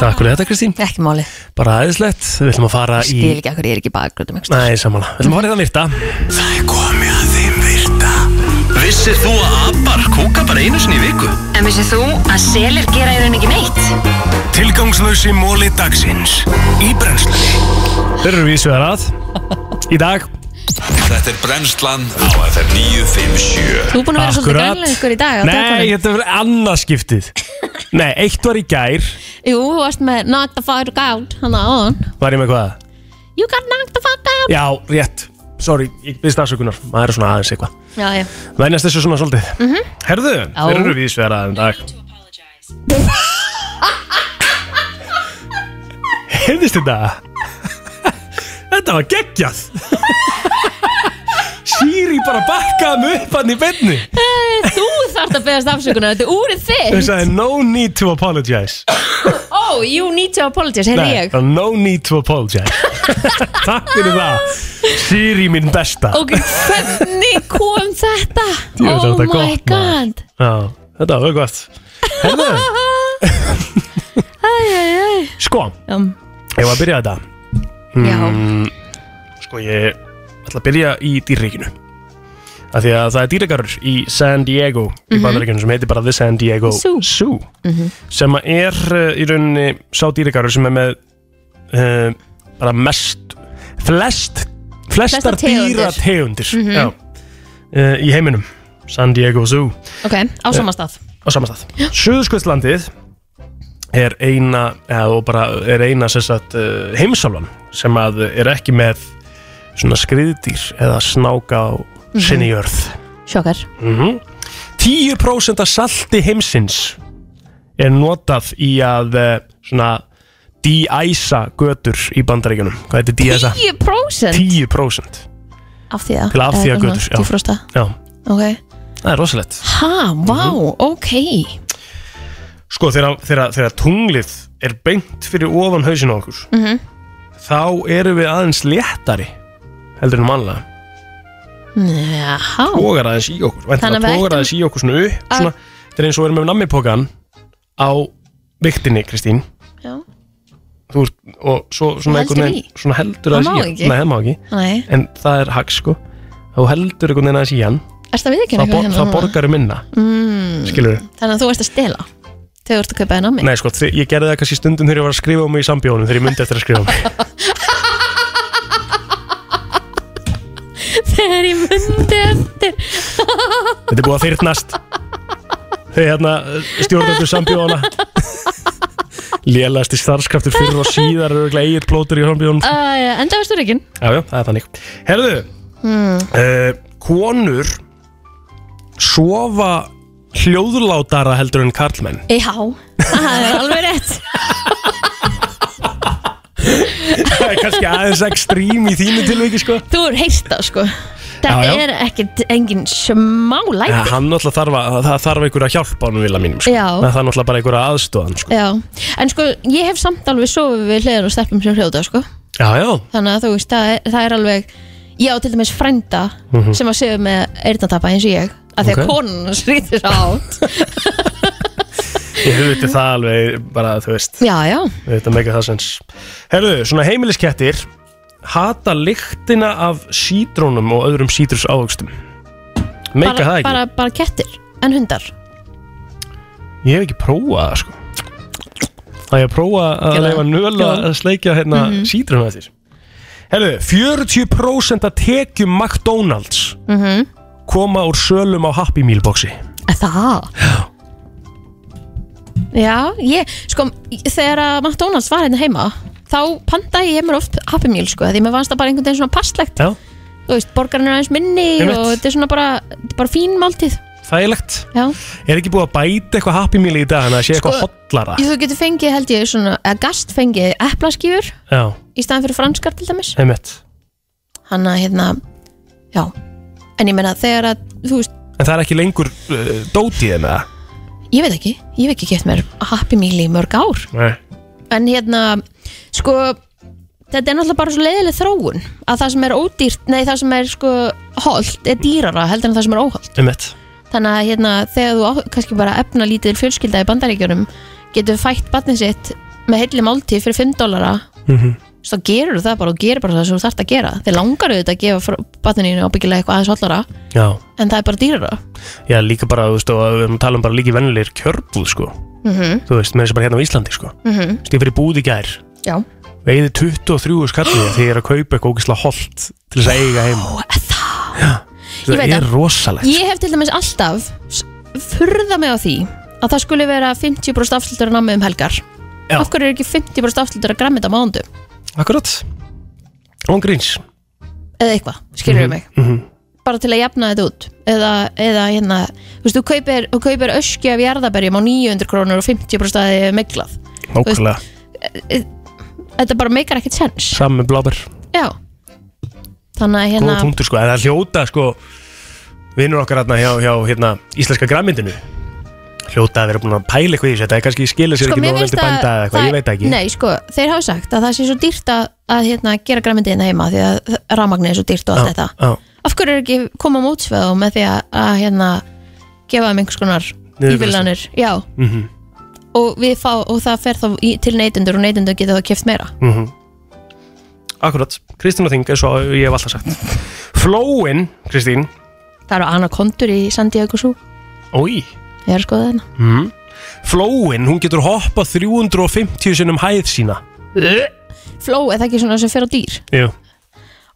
[SPEAKER 1] Takk fyrir þetta Kristín
[SPEAKER 2] Ekki máli
[SPEAKER 1] Bara aðeinslegt, við ætlum að fara í
[SPEAKER 2] skil ekki akkur ég er ekki um bakgröndum
[SPEAKER 1] Nei, samanlega, við ætlum að fara í það virta
[SPEAKER 3] Það er komið að þeim virta Vissir þú að abar kúka bara einu sinni í viku?
[SPEAKER 8] En vissið þú að selir gera í rauninni ekki neitt?
[SPEAKER 3] Tilgangslösi móli dagsins Í brennslunni
[SPEAKER 1] Þeir eru vísuðar að Í dag
[SPEAKER 11] Þetta er brennslan á FM 957
[SPEAKER 2] Þú er búin að vera svolítið
[SPEAKER 1] Akkurat.
[SPEAKER 2] grænleikur í dag á
[SPEAKER 1] Nei,
[SPEAKER 2] dagskráni.
[SPEAKER 1] þetta var annað skiptið Nei, eitt var í gær
[SPEAKER 2] Jú, þú varst með knock the fuck out hana on
[SPEAKER 1] Var ég með hvað?
[SPEAKER 2] You got knocked the fuck out
[SPEAKER 1] Já, rétt Sorry, ég byrst afsökunar Maður er svona aðeins eitthvað
[SPEAKER 2] Já, já
[SPEAKER 1] Vænast þessu svona svolítið
[SPEAKER 2] Mhm.
[SPEAKER 1] Herðu,
[SPEAKER 2] Já.
[SPEAKER 1] þeir eru vísuðar að um dag Heyrðist þetta? Þetta var geggjað Sýri bara bakkaði mig upp hann í beinni
[SPEAKER 2] Þú þarft að beðast afsökunar, þetta er úrið
[SPEAKER 1] Þau
[SPEAKER 2] þitt
[SPEAKER 1] sagði no need to apologize
[SPEAKER 2] Oh, you need to apologize, heyrði
[SPEAKER 1] Nei,
[SPEAKER 2] ég
[SPEAKER 1] það var no need to apologize Takk fyrir það Sýri mín besta
[SPEAKER 2] Ok, hvernig kom þetta?
[SPEAKER 1] Djú,
[SPEAKER 2] oh
[SPEAKER 1] þetta er
[SPEAKER 2] my
[SPEAKER 1] gott, maður.
[SPEAKER 2] god
[SPEAKER 1] Já, þetta var gott Herðu,
[SPEAKER 2] Æ, æ, æ
[SPEAKER 1] sko
[SPEAKER 2] um,
[SPEAKER 1] ég var að byrja þetta mm, Sko ég ætla að byrja í dýrreikinu Af því að það er dýrreikarur í San Diego Í
[SPEAKER 12] Mhm.
[SPEAKER 1] bandaríkjunum sem heitir bara The San Diego
[SPEAKER 12] Zoo.
[SPEAKER 1] Zoo
[SPEAKER 2] Mhm.
[SPEAKER 1] Sem að er uh, í rauninni sá dýrreikarur sem er með uh, Bara mest Flest Flestar
[SPEAKER 2] Flestar tegundir.
[SPEAKER 1] dýrategundir
[SPEAKER 2] Mhm.
[SPEAKER 1] Já uh, Í heiminum San Diego Zoo
[SPEAKER 2] Ok, á sama stað
[SPEAKER 1] á samastað Suðurskvistlandið er eina eða, og bara er eina sem sagt, uh, heimsálfan sem að er ekki með svona skriðdýr eða snáka á sinni jörð
[SPEAKER 2] Sjokkar
[SPEAKER 1] mm 10% af salti heimsins er notað í að uh, svona de-æsa götur í bandaríkjunum hvað heitir de-æsa?
[SPEAKER 2] 10%
[SPEAKER 1] 10%
[SPEAKER 2] Af því að
[SPEAKER 1] til að afþýja götur já.
[SPEAKER 2] Tífrosta
[SPEAKER 1] já,
[SPEAKER 2] Ok
[SPEAKER 1] það er rosalegt
[SPEAKER 2] Ha, vá,
[SPEAKER 1] Mhm.
[SPEAKER 2] ok
[SPEAKER 1] Sko þegar, þegar, þegar tunglið er beint fyrir ofan hausinu okkur
[SPEAKER 2] mm -hmm.
[SPEAKER 1] þá erum við aðeins léttari heldur en mannlega
[SPEAKER 2] Jaha
[SPEAKER 1] tógar aðeins í okkur
[SPEAKER 2] Þannig að
[SPEAKER 1] væntanlega
[SPEAKER 2] við
[SPEAKER 1] tógar
[SPEAKER 2] ættum-
[SPEAKER 1] aðeins í okkur svona upp svona, þetta er eins og við erum með nammipokan á viktinni Kristín
[SPEAKER 2] Já.
[SPEAKER 1] þú ert og svo svona
[SPEAKER 2] Og heldur
[SPEAKER 1] einhvern
[SPEAKER 2] í.
[SPEAKER 1] veginn svona heldur
[SPEAKER 2] Það
[SPEAKER 1] aðeins í
[SPEAKER 2] má
[SPEAKER 1] hann.
[SPEAKER 2] ekki.
[SPEAKER 1] nei, það má ekki
[SPEAKER 2] Nei,
[SPEAKER 1] en það er hag sko þú heldur einhvern veginn aðeins í hann
[SPEAKER 2] erst að við ekki
[SPEAKER 1] þá, bor, þá borgarum minna
[SPEAKER 2] mm.
[SPEAKER 1] skilur
[SPEAKER 2] Þannig að þú ert að stela Þegar þú ert að kaupa þér námi
[SPEAKER 1] Nei sko, þi- ég gerði það kannski stundum þegar ég var að skrifa um mig í sambjónum þegar ég myndi eftir að skrifa um mig
[SPEAKER 2] Þegar ég myndi eftir
[SPEAKER 1] Þetta er búið að þyrnast Þegar hérna stjórnendur sambjóna Lélægasti starfskraftur fyrir og síðar er auðvitað eigin plótur í sambjónum
[SPEAKER 2] Æ, Enda veistur ekki
[SPEAKER 1] Jájá, það er þannig Herðu,
[SPEAKER 2] hmm.
[SPEAKER 1] uh, konur sofa hljóðlátara heldur en karlmenn
[SPEAKER 2] Já, það er alveg rétt
[SPEAKER 1] Það er kannski aðeins ekstrím í þínu tilviki sko
[SPEAKER 2] Þú er heyrst það sko Þetta
[SPEAKER 1] Já, já.
[SPEAKER 2] er ekkit engin smá læti
[SPEAKER 1] Ja, hann náttúrulega þarf, að, það þarf einhverja hjálp á hann vila mínum sko.
[SPEAKER 2] Já.
[SPEAKER 1] Það þarf náttúrulega bara einhverja aðstóðan sko.
[SPEAKER 2] Já, en sko ég hef samt alveg sofið við hliðar og stelpum sem hljóta sko
[SPEAKER 1] Já, já,
[SPEAKER 2] þannig að þú veist, það er, það er alveg ég á til dæmis frænda
[SPEAKER 1] Mhm.
[SPEAKER 2] sem að séu með eyrnatappa eins og ég að því að
[SPEAKER 1] Ok.
[SPEAKER 2] konun skrýtir sá átt
[SPEAKER 1] ég hluti það alveg bara, þú veist
[SPEAKER 2] Já, já,
[SPEAKER 1] Þetta meika það sens Herðu, svona heimiliskettir Hata lyktina af sítrónum og öðrum sítrus ávægstum Meika það
[SPEAKER 2] bara,
[SPEAKER 1] ekki
[SPEAKER 2] bara, bara kettir en hundar
[SPEAKER 1] Ég hef ekki prófað það sko Það ég að prófa
[SPEAKER 12] Gerðu
[SPEAKER 1] að
[SPEAKER 12] það.
[SPEAKER 1] leifa nöla
[SPEAKER 12] Gerðu það.
[SPEAKER 1] að sleikja hérna mm
[SPEAKER 12] Mhm.
[SPEAKER 1] sítruna eftir Herðu, 40% að tekjum McDonalds
[SPEAKER 2] mm
[SPEAKER 12] Mhm.
[SPEAKER 2] -hmm.
[SPEAKER 1] koma úr sölum á Happy Meal boxi
[SPEAKER 2] Það Já, ég, sko þegar að McDonalds var hérna heima þá pantaði ég mér oft Happy Meal sko, því mér fannst það bara einhvern veginn svona passlegt
[SPEAKER 1] Já.
[SPEAKER 2] þú veist, borgarinn er aðeins minni
[SPEAKER 1] Einmitt.
[SPEAKER 2] og þetta er svona bara, þetta er bara fín máltíð
[SPEAKER 1] Þægilegt
[SPEAKER 2] Já
[SPEAKER 1] Er ekki búið að bæta eitthvað Happy Meal í dag Þannig að sé
[SPEAKER 2] Sko,
[SPEAKER 1] eitthvað hotlara
[SPEAKER 2] Ég, þú getur fengið held ég svona, eða gast fengið eplaskýfur
[SPEAKER 1] Já,
[SPEAKER 2] í staðan fyrir franskar til dæmis
[SPEAKER 1] einmitt
[SPEAKER 2] hann að hérna, já en ég meina þegar að, þú veist,
[SPEAKER 1] En það er ekki lengur uh, dótið með það
[SPEAKER 2] ég veit ekki ég hef ekki gett mér Happy Meal í mörg ár
[SPEAKER 1] Nei
[SPEAKER 2] en hérna, sko þetta er náttúrulega bara svo leiðileg þróun að það sem er ódýrt, nei það sem er sko holdt, er dýrara heldur en það sem er óholdt
[SPEAKER 1] Einmitt
[SPEAKER 2] þannig að hérna, þegar þú á- kannski bara efna lítil fjölskylda í bandaríkjunum getur fætt batnið sitt með heilli máltíð fyrir 5 dólara
[SPEAKER 1] Mhm.
[SPEAKER 2] þá gerur það bara og gerur bara það sem þú þarft að gera þið langar auðvitað að gefa batnininu ábyggilega eitthvað aðeins hollara
[SPEAKER 1] Já,
[SPEAKER 2] en það er bara dýrara
[SPEAKER 1] já líka bara, þú veist, og við erum að tala um bara líki vennilegir kjörbúð, sko
[SPEAKER 2] mm -hmm.
[SPEAKER 1] Þú veist, með þessi bara hérna á Íslandi, sko Þú veist, ég fyrir búð í gær
[SPEAKER 2] Já
[SPEAKER 1] Veiði 23 skallið því ég er að kaupa eitthvað ógislega holt til þess að eiga heima
[SPEAKER 2] Ég
[SPEAKER 1] Það
[SPEAKER 2] veit
[SPEAKER 1] er
[SPEAKER 2] það.
[SPEAKER 1] rosalegt
[SPEAKER 2] Ég hef til dæmis alltaf s- furðað mig á því að það skulle vera 50% afslutur að námi um helgar
[SPEAKER 1] Já.
[SPEAKER 2] Af hverju er ekki 50% afslutur að græmita mándu
[SPEAKER 1] Akkurat Án gríns
[SPEAKER 2] eða eitthvað, skilur mig
[SPEAKER 1] Mhm.
[SPEAKER 2] bara til að jafna þetta út eða, eða hérna, þú veist, þú kaupir, þú kaupir öskju af jarðaberjum á 900 krónur og 50% að þið er meglað
[SPEAKER 1] Nákvæmlega
[SPEAKER 2] Þetta bara meikar ekkert sens
[SPEAKER 1] Samme blabber
[SPEAKER 2] Já, þannig
[SPEAKER 1] Góð
[SPEAKER 2] að hérna
[SPEAKER 1] punktur sko, en það er hljóta sko vinnur okkar hérna hjá, hjá hérna, íslenska grammyndinu hljóta að vera búin að pæla eitthvað í þessu þetta er kannski skilja sér ekki
[SPEAKER 2] sko, mér
[SPEAKER 1] nóg vel
[SPEAKER 2] finnst
[SPEAKER 1] til bænda eða eitthvað,
[SPEAKER 2] það-
[SPEAKER 1] ég veit það ekki
[SPEAKER 2] Nei, sko, þeir hafa sagt að það sé svo dýrt að, að hérna, gera græmyndina heima því að rafmagni er svo dýrt og allt þetta
[SPEAKER 1] á,
[SPEAKER 2] Af hverju er ekki koma mótsveðu með því að, að hérna, gefa þeim einhvers konar
[SPEAKER 1] Niðurgreiðslu.
[SPEAKER 2] ívillanir Já,
[SPEAKER 1] mm -hmm,
[SPEAKER 2] og, við fá, og það fer þá í, til neytundur og neytundur geta þá keft meira
[SPEAKER 1] mm Akkurat, Kristín og Þing eins og ég hef alltaf sagt Flóin, Kristín
[SPEAKER 2] Það eru anakondur í San Diego Zoo
[SPEAKER 1] Ói
[SPEAKER 2] Ég er að skoða hérna. þarna
[SPEAKER 1] mm. Flóin, hún getur hoppað 350 sinnum hæð sína
[SPEAKER 2] Fló, er það ekki svona sem fer á dýr?
[SPEAKER 1] Jú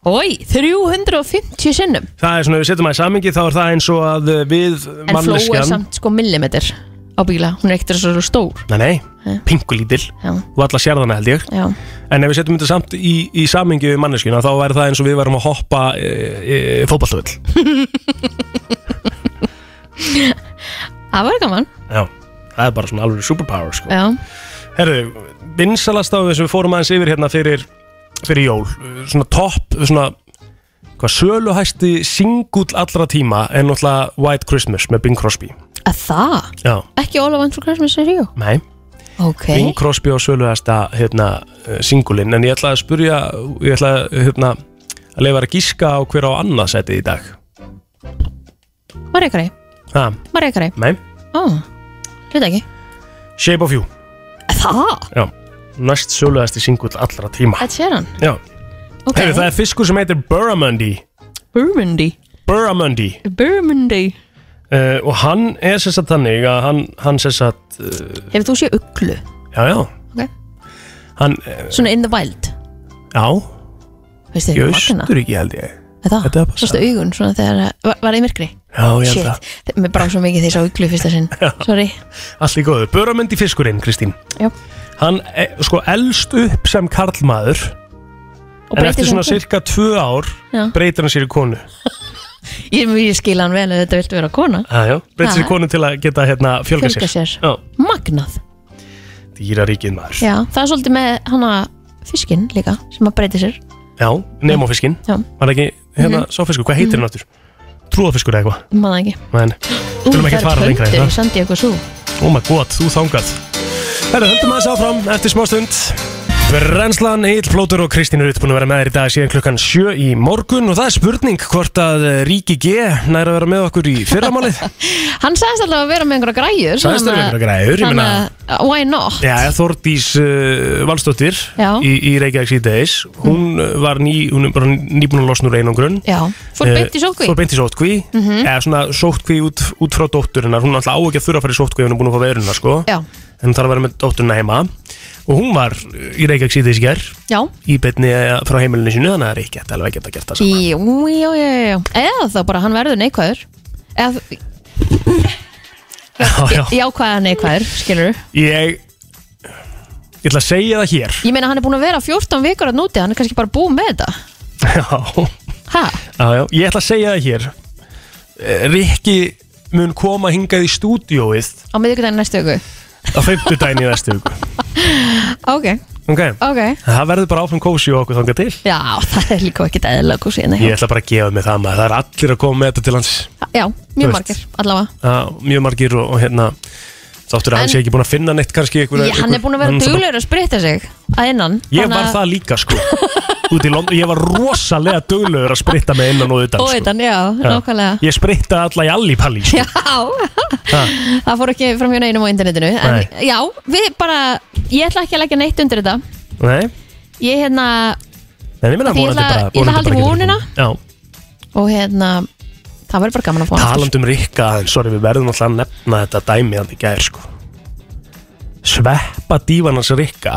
[SPEAKER 2] Ói, 350 sinnum
[SPEAKER 1] Það er svona, við setjum að í samingi þá er það eins og að uh, við
[SPEAKER 2] En fló
[SPEAKER 1] manneskjan
[SPEAKER 2] er samt sko millimetr á bíla Hún er ekkert svo stór
[SPEAKER 1] Nei, nei, pingulítil og alla sérðana held ég
[SPEAKER 2] Já.
[SPEAKER 1] en ef við setjum þetta samt í, í samingi við manneskina þá væri það eins og við værum að hoppa e, e, fótballtöðl
[SPEAKER 2] Það var gaman
[SPEAKER 1] Já, það er bara svona alveg superpower sko.
[SPEAKER 2] Já,
[SPEAKER 1] Herðu, vinsalast á þessu við fórum aðeins yfir hérna fyrir, fyrir jól svona topp, svona hvað söluhæsti singull allra tíma er náttúrulega White Christmas með Bing Crosby
[SPEAKER 2] að það
[SPEAKER 1] Já,
[SPEAKER 2] Ekki All I Want For Christmas is You
[SPEAKER 1] nei
[SPEAKER 2] Ok,
[SPEAKER 1] Bing Crosby á söluhæsta hérna, singulinn en ég ætla að spurja ég ætla að, hérna, að leifa að gíska á hver á annað seti í dag
[SPEAKER 2] Marja Kari
[SPEAKER 1] ha,
[SPEAKER 2] Marja Kari
[SPEAKER 1] Nei,
[SPEAKER 2] Ó, hlut ekki
[SPEAKER 1] Shape of You
[SPEAKER 2] Að Það,
[SPEAKER 1] Já, næst söluhæsti singull allra tíma
[SPEAKER 2] þetta sé hann
[SPEAKER 1] Já,
[SPEAKER 2] Ok.
[SPEAKER 1] Heyrðu, það er fiskur sem heitir Burramundi
[SPEAKER 2] Burmundi
[SPEAKER 1] Burramundi
[SPEAKER 2] Burmundi
[SPEAKER 1] uh, og hann er sér satt þannig að hann, hann sér satt uh,
[SPEAKER 2] Hefur þú séð uglu?
[SPEAKER 1] já, já
[SPEAKER 2] Ok.
[SPEAKER 1] hann, uh,
[SPEAKER 2] Svona in the wild
[SPEAKER 1] já,
[SPEAKER 2] Veistu
[SPEAKER 1] í
[SPEAKER 2] ekki magna?
[SPEAKER 1] Austuríki held ég
[SPEAKER 2] Að Það,
[SPEAKER 1] Þetta er bara
[SPEAKER 2] sástu augun svona þegar var, var í myrkri
[SPEAKER 1] Já, ég held það.
[SPEAKER 2] Shit, mér brá svo mikið þegar ég sá uglu fyrsta sinn Sorry
[SPEAKER 1] Allt í góðu, Burramundi fiskurinn, Kristín
[SPEAKER 2] Já.
[SPEAKER 1] Hann eh, sko elst upp sem karlmaður
[SPEAKER 2] Og
[SPEAKER 1] en
[SPEAKER 2] breytir
[SPEAKER 1] eftir
[SPEAKER 2] sér
[SPEAKER 1] svona
[SPEAKER 2] í konu.
[SPEAKER 1] cirka tvö ár
[SPEAKER 2] Já.
[SPEAKER 1] breytir hann sér í konu
[SPEAKER 2] Ég, ég skil hann vel að þetta viltu vera kona
[SPEAKER 1] Aðjó, breytir sér í
[SPEAKER 2] Ha.
[SPEAKER 1] konu til að geta hérna, fjölga,
[SPEAKER 2] Fjölga sér.
[SPEAKER 1] Já,
[SPEAKER 2] Magnað
[SPEAKER 1] dýraríkið maður
[SPEAKER 2] Já, það er svolítið með hana fiskinn líka sem að breyti sér
[SPEAKER 1] Já, nemofiskin
[SPEAKER 2] Já.
[SPEAKER 1] Var ekki, hérna,
[SPEAKER 2] Mhm.
[SPEAKER 1] sá fiskur, hvað heitir hann áttur? Trúðafiskur eða eitthvað
[SPEAKER 2] Maður ekki
[SPEAKER 1] Men,
[SPEAKER 2] Ú,
[SPEAKER 1] Þurfum
[SPEAKER 2] það
[SPEAKER 1] ekki að
[SPEAKER 2] er
[SPEAKER 1] fara lengra í
[SPEAKER 2] pöntur í
[SPEAKER 1] það.
[SPEAKER 2] San Diego Zoo
[SPEAKER 1] Oh my god, þú þangað Herru, höldum aðeins áfram eftir smá stund Brennslan, Egil Plótur og Kristín Rutt búin að vera með þér í dag síðan klukkan 7 í morgun og það er spurning hvort að eh, Ríki G næra að vera með okkur í fyrramálið
[SPEAKER 2] Hann sagðist alltaf að vera með einhverja græjur
[SPEAKER 1] Sagðist vera
[SPEAKER 2] þannig
[SPEAKER 1] með
[SPEAKER 2] að-
[SPEAKER 1] einhverjar græjur, ég
[SPEAKER 2] þannig
[SPEAKER 1] meina-
[SPEAKER 2] að- uh, Why not?
[SPEAKER 1] Já, Þordís uh, Valstóttir
[SPEAKER 2] Já.
[SPEAKER 1] í, í Reykjavík síðdeis hún eh, var ný, hún er bara nýbúin að losna úr einangrun
[SPEAKER 2] Já, fór beint í sótkví?
[SPEAKER 1] Eh, Fór beint í sótkví,
[SPEAKER 2] Mhm.
[SPEAKER 1] eða svona sótkví út, út frá dótturinnar, hún alltaf á ekki að þurfa að fara í sótkví ef hún er búin að fá veiruna sko
[SPEAKER 2] Já.
[SPEAKER 1] en hún þarf að vera með dótturina heima og hún var eh, í Reykjavík síðdeis í ger
[SPEAKER 2] Já.
[SPEAKER 1] í beinni eh, frá heimilinu sínu þannig að það er ekki alveg ekki að geta gert það saman
[SPEAKER 2] Jú, jú, jú, jú Eða þá bara hann verður neikvæður Eða
[SPEAKER 1] já, já.
[SPEAKER 2] jákvæða neikvæður, skilur
[SPEAKER 1] Ég, ég ætla að segja það hér
[SPEAKER 2] Ég meina hann er búin að vera 14 vikur að núti Hann er kannski bara búin með þetta
[SPEAKER 1] Já
[SPEAKER 2] Ha?
[SPEAKER 1] Já, já, ég ætla að segja það hér Eh, Rikki mun koma hingað í stúdíóið
[SPEAKER 2] Á miðvikudaginn næstu viku
[SPEAKER 1] á fimmtudaginn í næstu viku
[SPEAKER 2] Ok,
[SPEAKER 1] Ok,
[SPEAKER 2] ok
[SPEAKER 1] það verður bara áfram kósi og okkur þangað til
[SPEAKER 2] Já, það er líka ekkert eðlilega kúsi nei.
[SPEAKER 1] Ég ætla bara að gefa mig það maður, það er allir að koma með þetta til hans
[SPEAKER 2] Já,
[SPEAKER 1] Þú
[SPEAKER 2] mjög
[SPEAKER 1] veist.
[SPEAKER 2] margir, allavega
[SPEAKER 1] Já, Mjög margir og, og hérna Þáttur að hann
[SPEAKER 2] En-
[SPEAKER 1] sé ekki búin að finna neitt kannski einhver,
[SPEAKER 2] Já, hann er búin að vera duglegur að spritta sig að innan
[SPEAKER 1] Ég
[SPEAKER 2] þannig
[SPEAKER 1] var
[SPEAKER 2] að-
[SPEAKER 1] það líka sko Út í London, ég var rosalega duglegur að spritta með innan og utan
[SPEAKER 2] Og
[SPEAKER 1] sko.
[SPEAKER 2] utan, já, nákvæmlega.
[SPEAKER 1] Ég spritta alla í allipalli sko.
[SPEAKER 2] Já, það fór ekki fram hjá neinum á internetinu en,
[SPEAKER 1] Nei.
[SPEAKER 2] Já, við bara Ég ætla ekki að leggja neitt undir þetta
[SPEAKER 1] Nei,
[SPEAKER 2] Ég hérna,
[SPEAKER 1] en ég meina
[SPEAKER 2] Því ég
[SPEAKER 1] vonandi
[SPEAKER 2] ætla-
[SPEAKER 1] bara
[SPEAKER 2] ég ætla að
[SPEAKER 1] vonandi
[SPEAKER 2] halda í
[SPEAKER 1] bara
[SPEAKER 2] vonina.
[SPEAKER 1] getur- Já
[SPEAKER 2] og hérna Það verður bara gaman að fá hann aftur.
[SPEAKER 1] Taland um Rikka, aðeins, sorry, við verðum alltaf að nefna þetta dæmi hann í gær, sko. Sveppa dífanans Rikka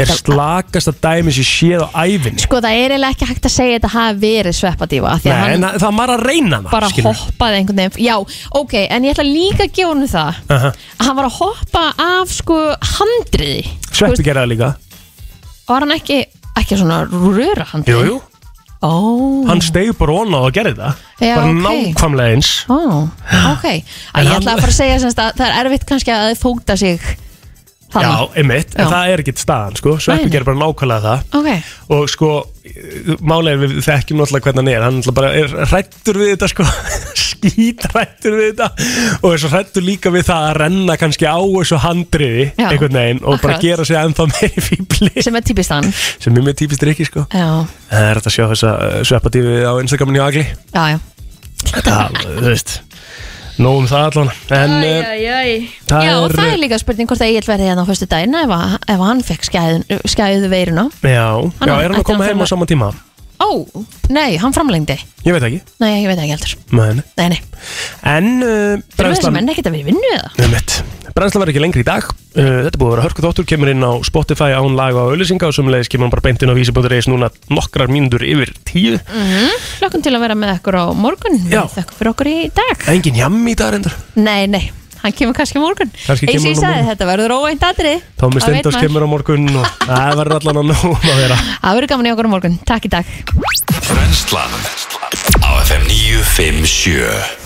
[SPEAKER 1] er slakasta dæmi sem séð á ævinni.
[SPEAKER 2] Sko, það er eiginlega ekki hægt að segja þetta hafi verið sveppadífa Því að
[SPEAKER 1] Nei, en
[SPEAKER 2] hann
[SPEAKER 1] það það var að reyna það,
[SPEAKER 2] bara hoppaði einhvern veginn Já, ok, en ég ætla líka að gefa hann það
[SPEAKER 1] Aha.
[SPEAKER 2] að Hann var að hoppa af sko handriði
[SPEAKER 1] Sveppi gerði það líka.
[SPEAKER 2] Var hann ekki, ekki svona röra handriði?
[SPEAKER 1] Jú, jú.
[SPEAKER 2] Ó.
[SPEAKER 1] Hann steig bara onna og gerði það.
[SPEAKER 2] Já,
[SPEAKER 1] bara
[SPEAKER 2] ok.
[SPEAKER 1] nákvæmlega eins.
[SPEAKER 2] Ó, ok, að
[SPEAKER 1] En
[SPEAKER 2] ég
[SPEAKER 1] hann-
[SPEAKER 2] ætla að fara að segja semst að það er erfitt kannski að þið fóta sig
[SPEAKER 1] Já,
[SPEAKER 2] þarna.
[SPEAKER 1] einmitt,
[SPEAKER 2] Já.
[SPEAKER 1] en það er ekkert staðan sko.
[SPEAKER 2] Nei,
[SPEAKER 1] Sveppi
[SPEAKER 2] nei.
[SPEAKER 1] gerir bara nákvæmlega það
[SPEAKER 2] Ok,
[SPEAKER 1] og sko, málega við þekkjum náttúrulega hvernig hann er, hann náttúrulega bara er hrættur við þetta sko, skítrættur við þetta og er svo hrættur líka við það að renna kannski á þessu handriði
[SPEAKER 2] Já,
[SPEAKER 1] einhvern veginn og bara
[SPEAKER 2] akkurat.
[SPEAKER 1] gera sig ennþá meiri fíbli
[SPEAKER 2] sem er típist hann
[SPEAKER 1] sem er mjög típist rikki sko
[SPEAKER 2] Já,
[SPEAKER 1] það er hægt að sjá þessa sveppadífi á Instagramin í Agli
[SPEAKER 2] já, já
[SPEAKER 1] það, þú veist nóg um það allan en eh,
[SPEAKER 2] Æjæjæj
[SPEAKER 1] það
[SPEAKER 2] Já, og
[SPEAKER 1] er-
[SPEAKER 2] það er líka spurning hvort að Egil verði hérna á fyrstu daginn ef, að- ef hann fekk skæðu, skæðu veiruna
[SPEAKER 1] já,
[SPEAKER 2] Hann
[SPEAKER 1] já,
[SPEAKER 2] á-
[SPEAKER 1] er hann
[SPEAKER 2] ætti
[SPEAKER 1] að koma
[SPEAKER 2] hann
[SPEAKER 1] heim á
[SPEAKER 2] þurfa-
[SPEAKER 1] sama tíma
[SPEAKER 2] Ó, nei, hann framlengdi
[SPEAKER 1] ég veit ekki,
[SPEAKER 2] Nei, ég veit ekki heldur
[SPEAKER 1] menn
[SPEAKER 2] Nei, nei,
[SPEAKER 1] en uh,
[SPEAKER 2] fyrir þessi
[SPEAKER 1] brennslan
[SPEAKER 2] menn ekkert að vera í vinnu eða
[SPEAKER 1] Nefnitt. Brænsla var ekki lengri í dag Uh, Þetta er búið að vera hörku þáttur, kemur inn á Spotify án laga og auðlýsinga og sumulegis kemur hann bara beint inn á vísi.reis núna nokkrar mínútur yfir tíu
[SPEAKER 2] Mhm. Hlökkum til að vera með ykkur á morgun
[SPEAKER 1] Já.
[SPEAKER 2] Þökkum fyrir okkur í dag
[SPEAKER 1] Engin jam í dag reyndar
[SPEAKER 2] Nei, nei, hann kemur kannski á morgun
[SPEAKER 1] Kannski
[SPEAKER 2] Eins og
[SPEAKER 1] kemur hann
[SPEAKER 2] ég
[SPEAKER 1] á
[SPEAKER 2] sagði,
[SPEAKER 1] morgun.
[SPEAKER 2] þetta verður óvænt atrið
[SPEAKER 1] Þá með stendast kemur á morgun og það verður allan að nóg um að vera
[SPEAKER 2] Það verður gaman í okkur á morgun, takk í dag
[SPEAKER 11] Brennslan á FM 957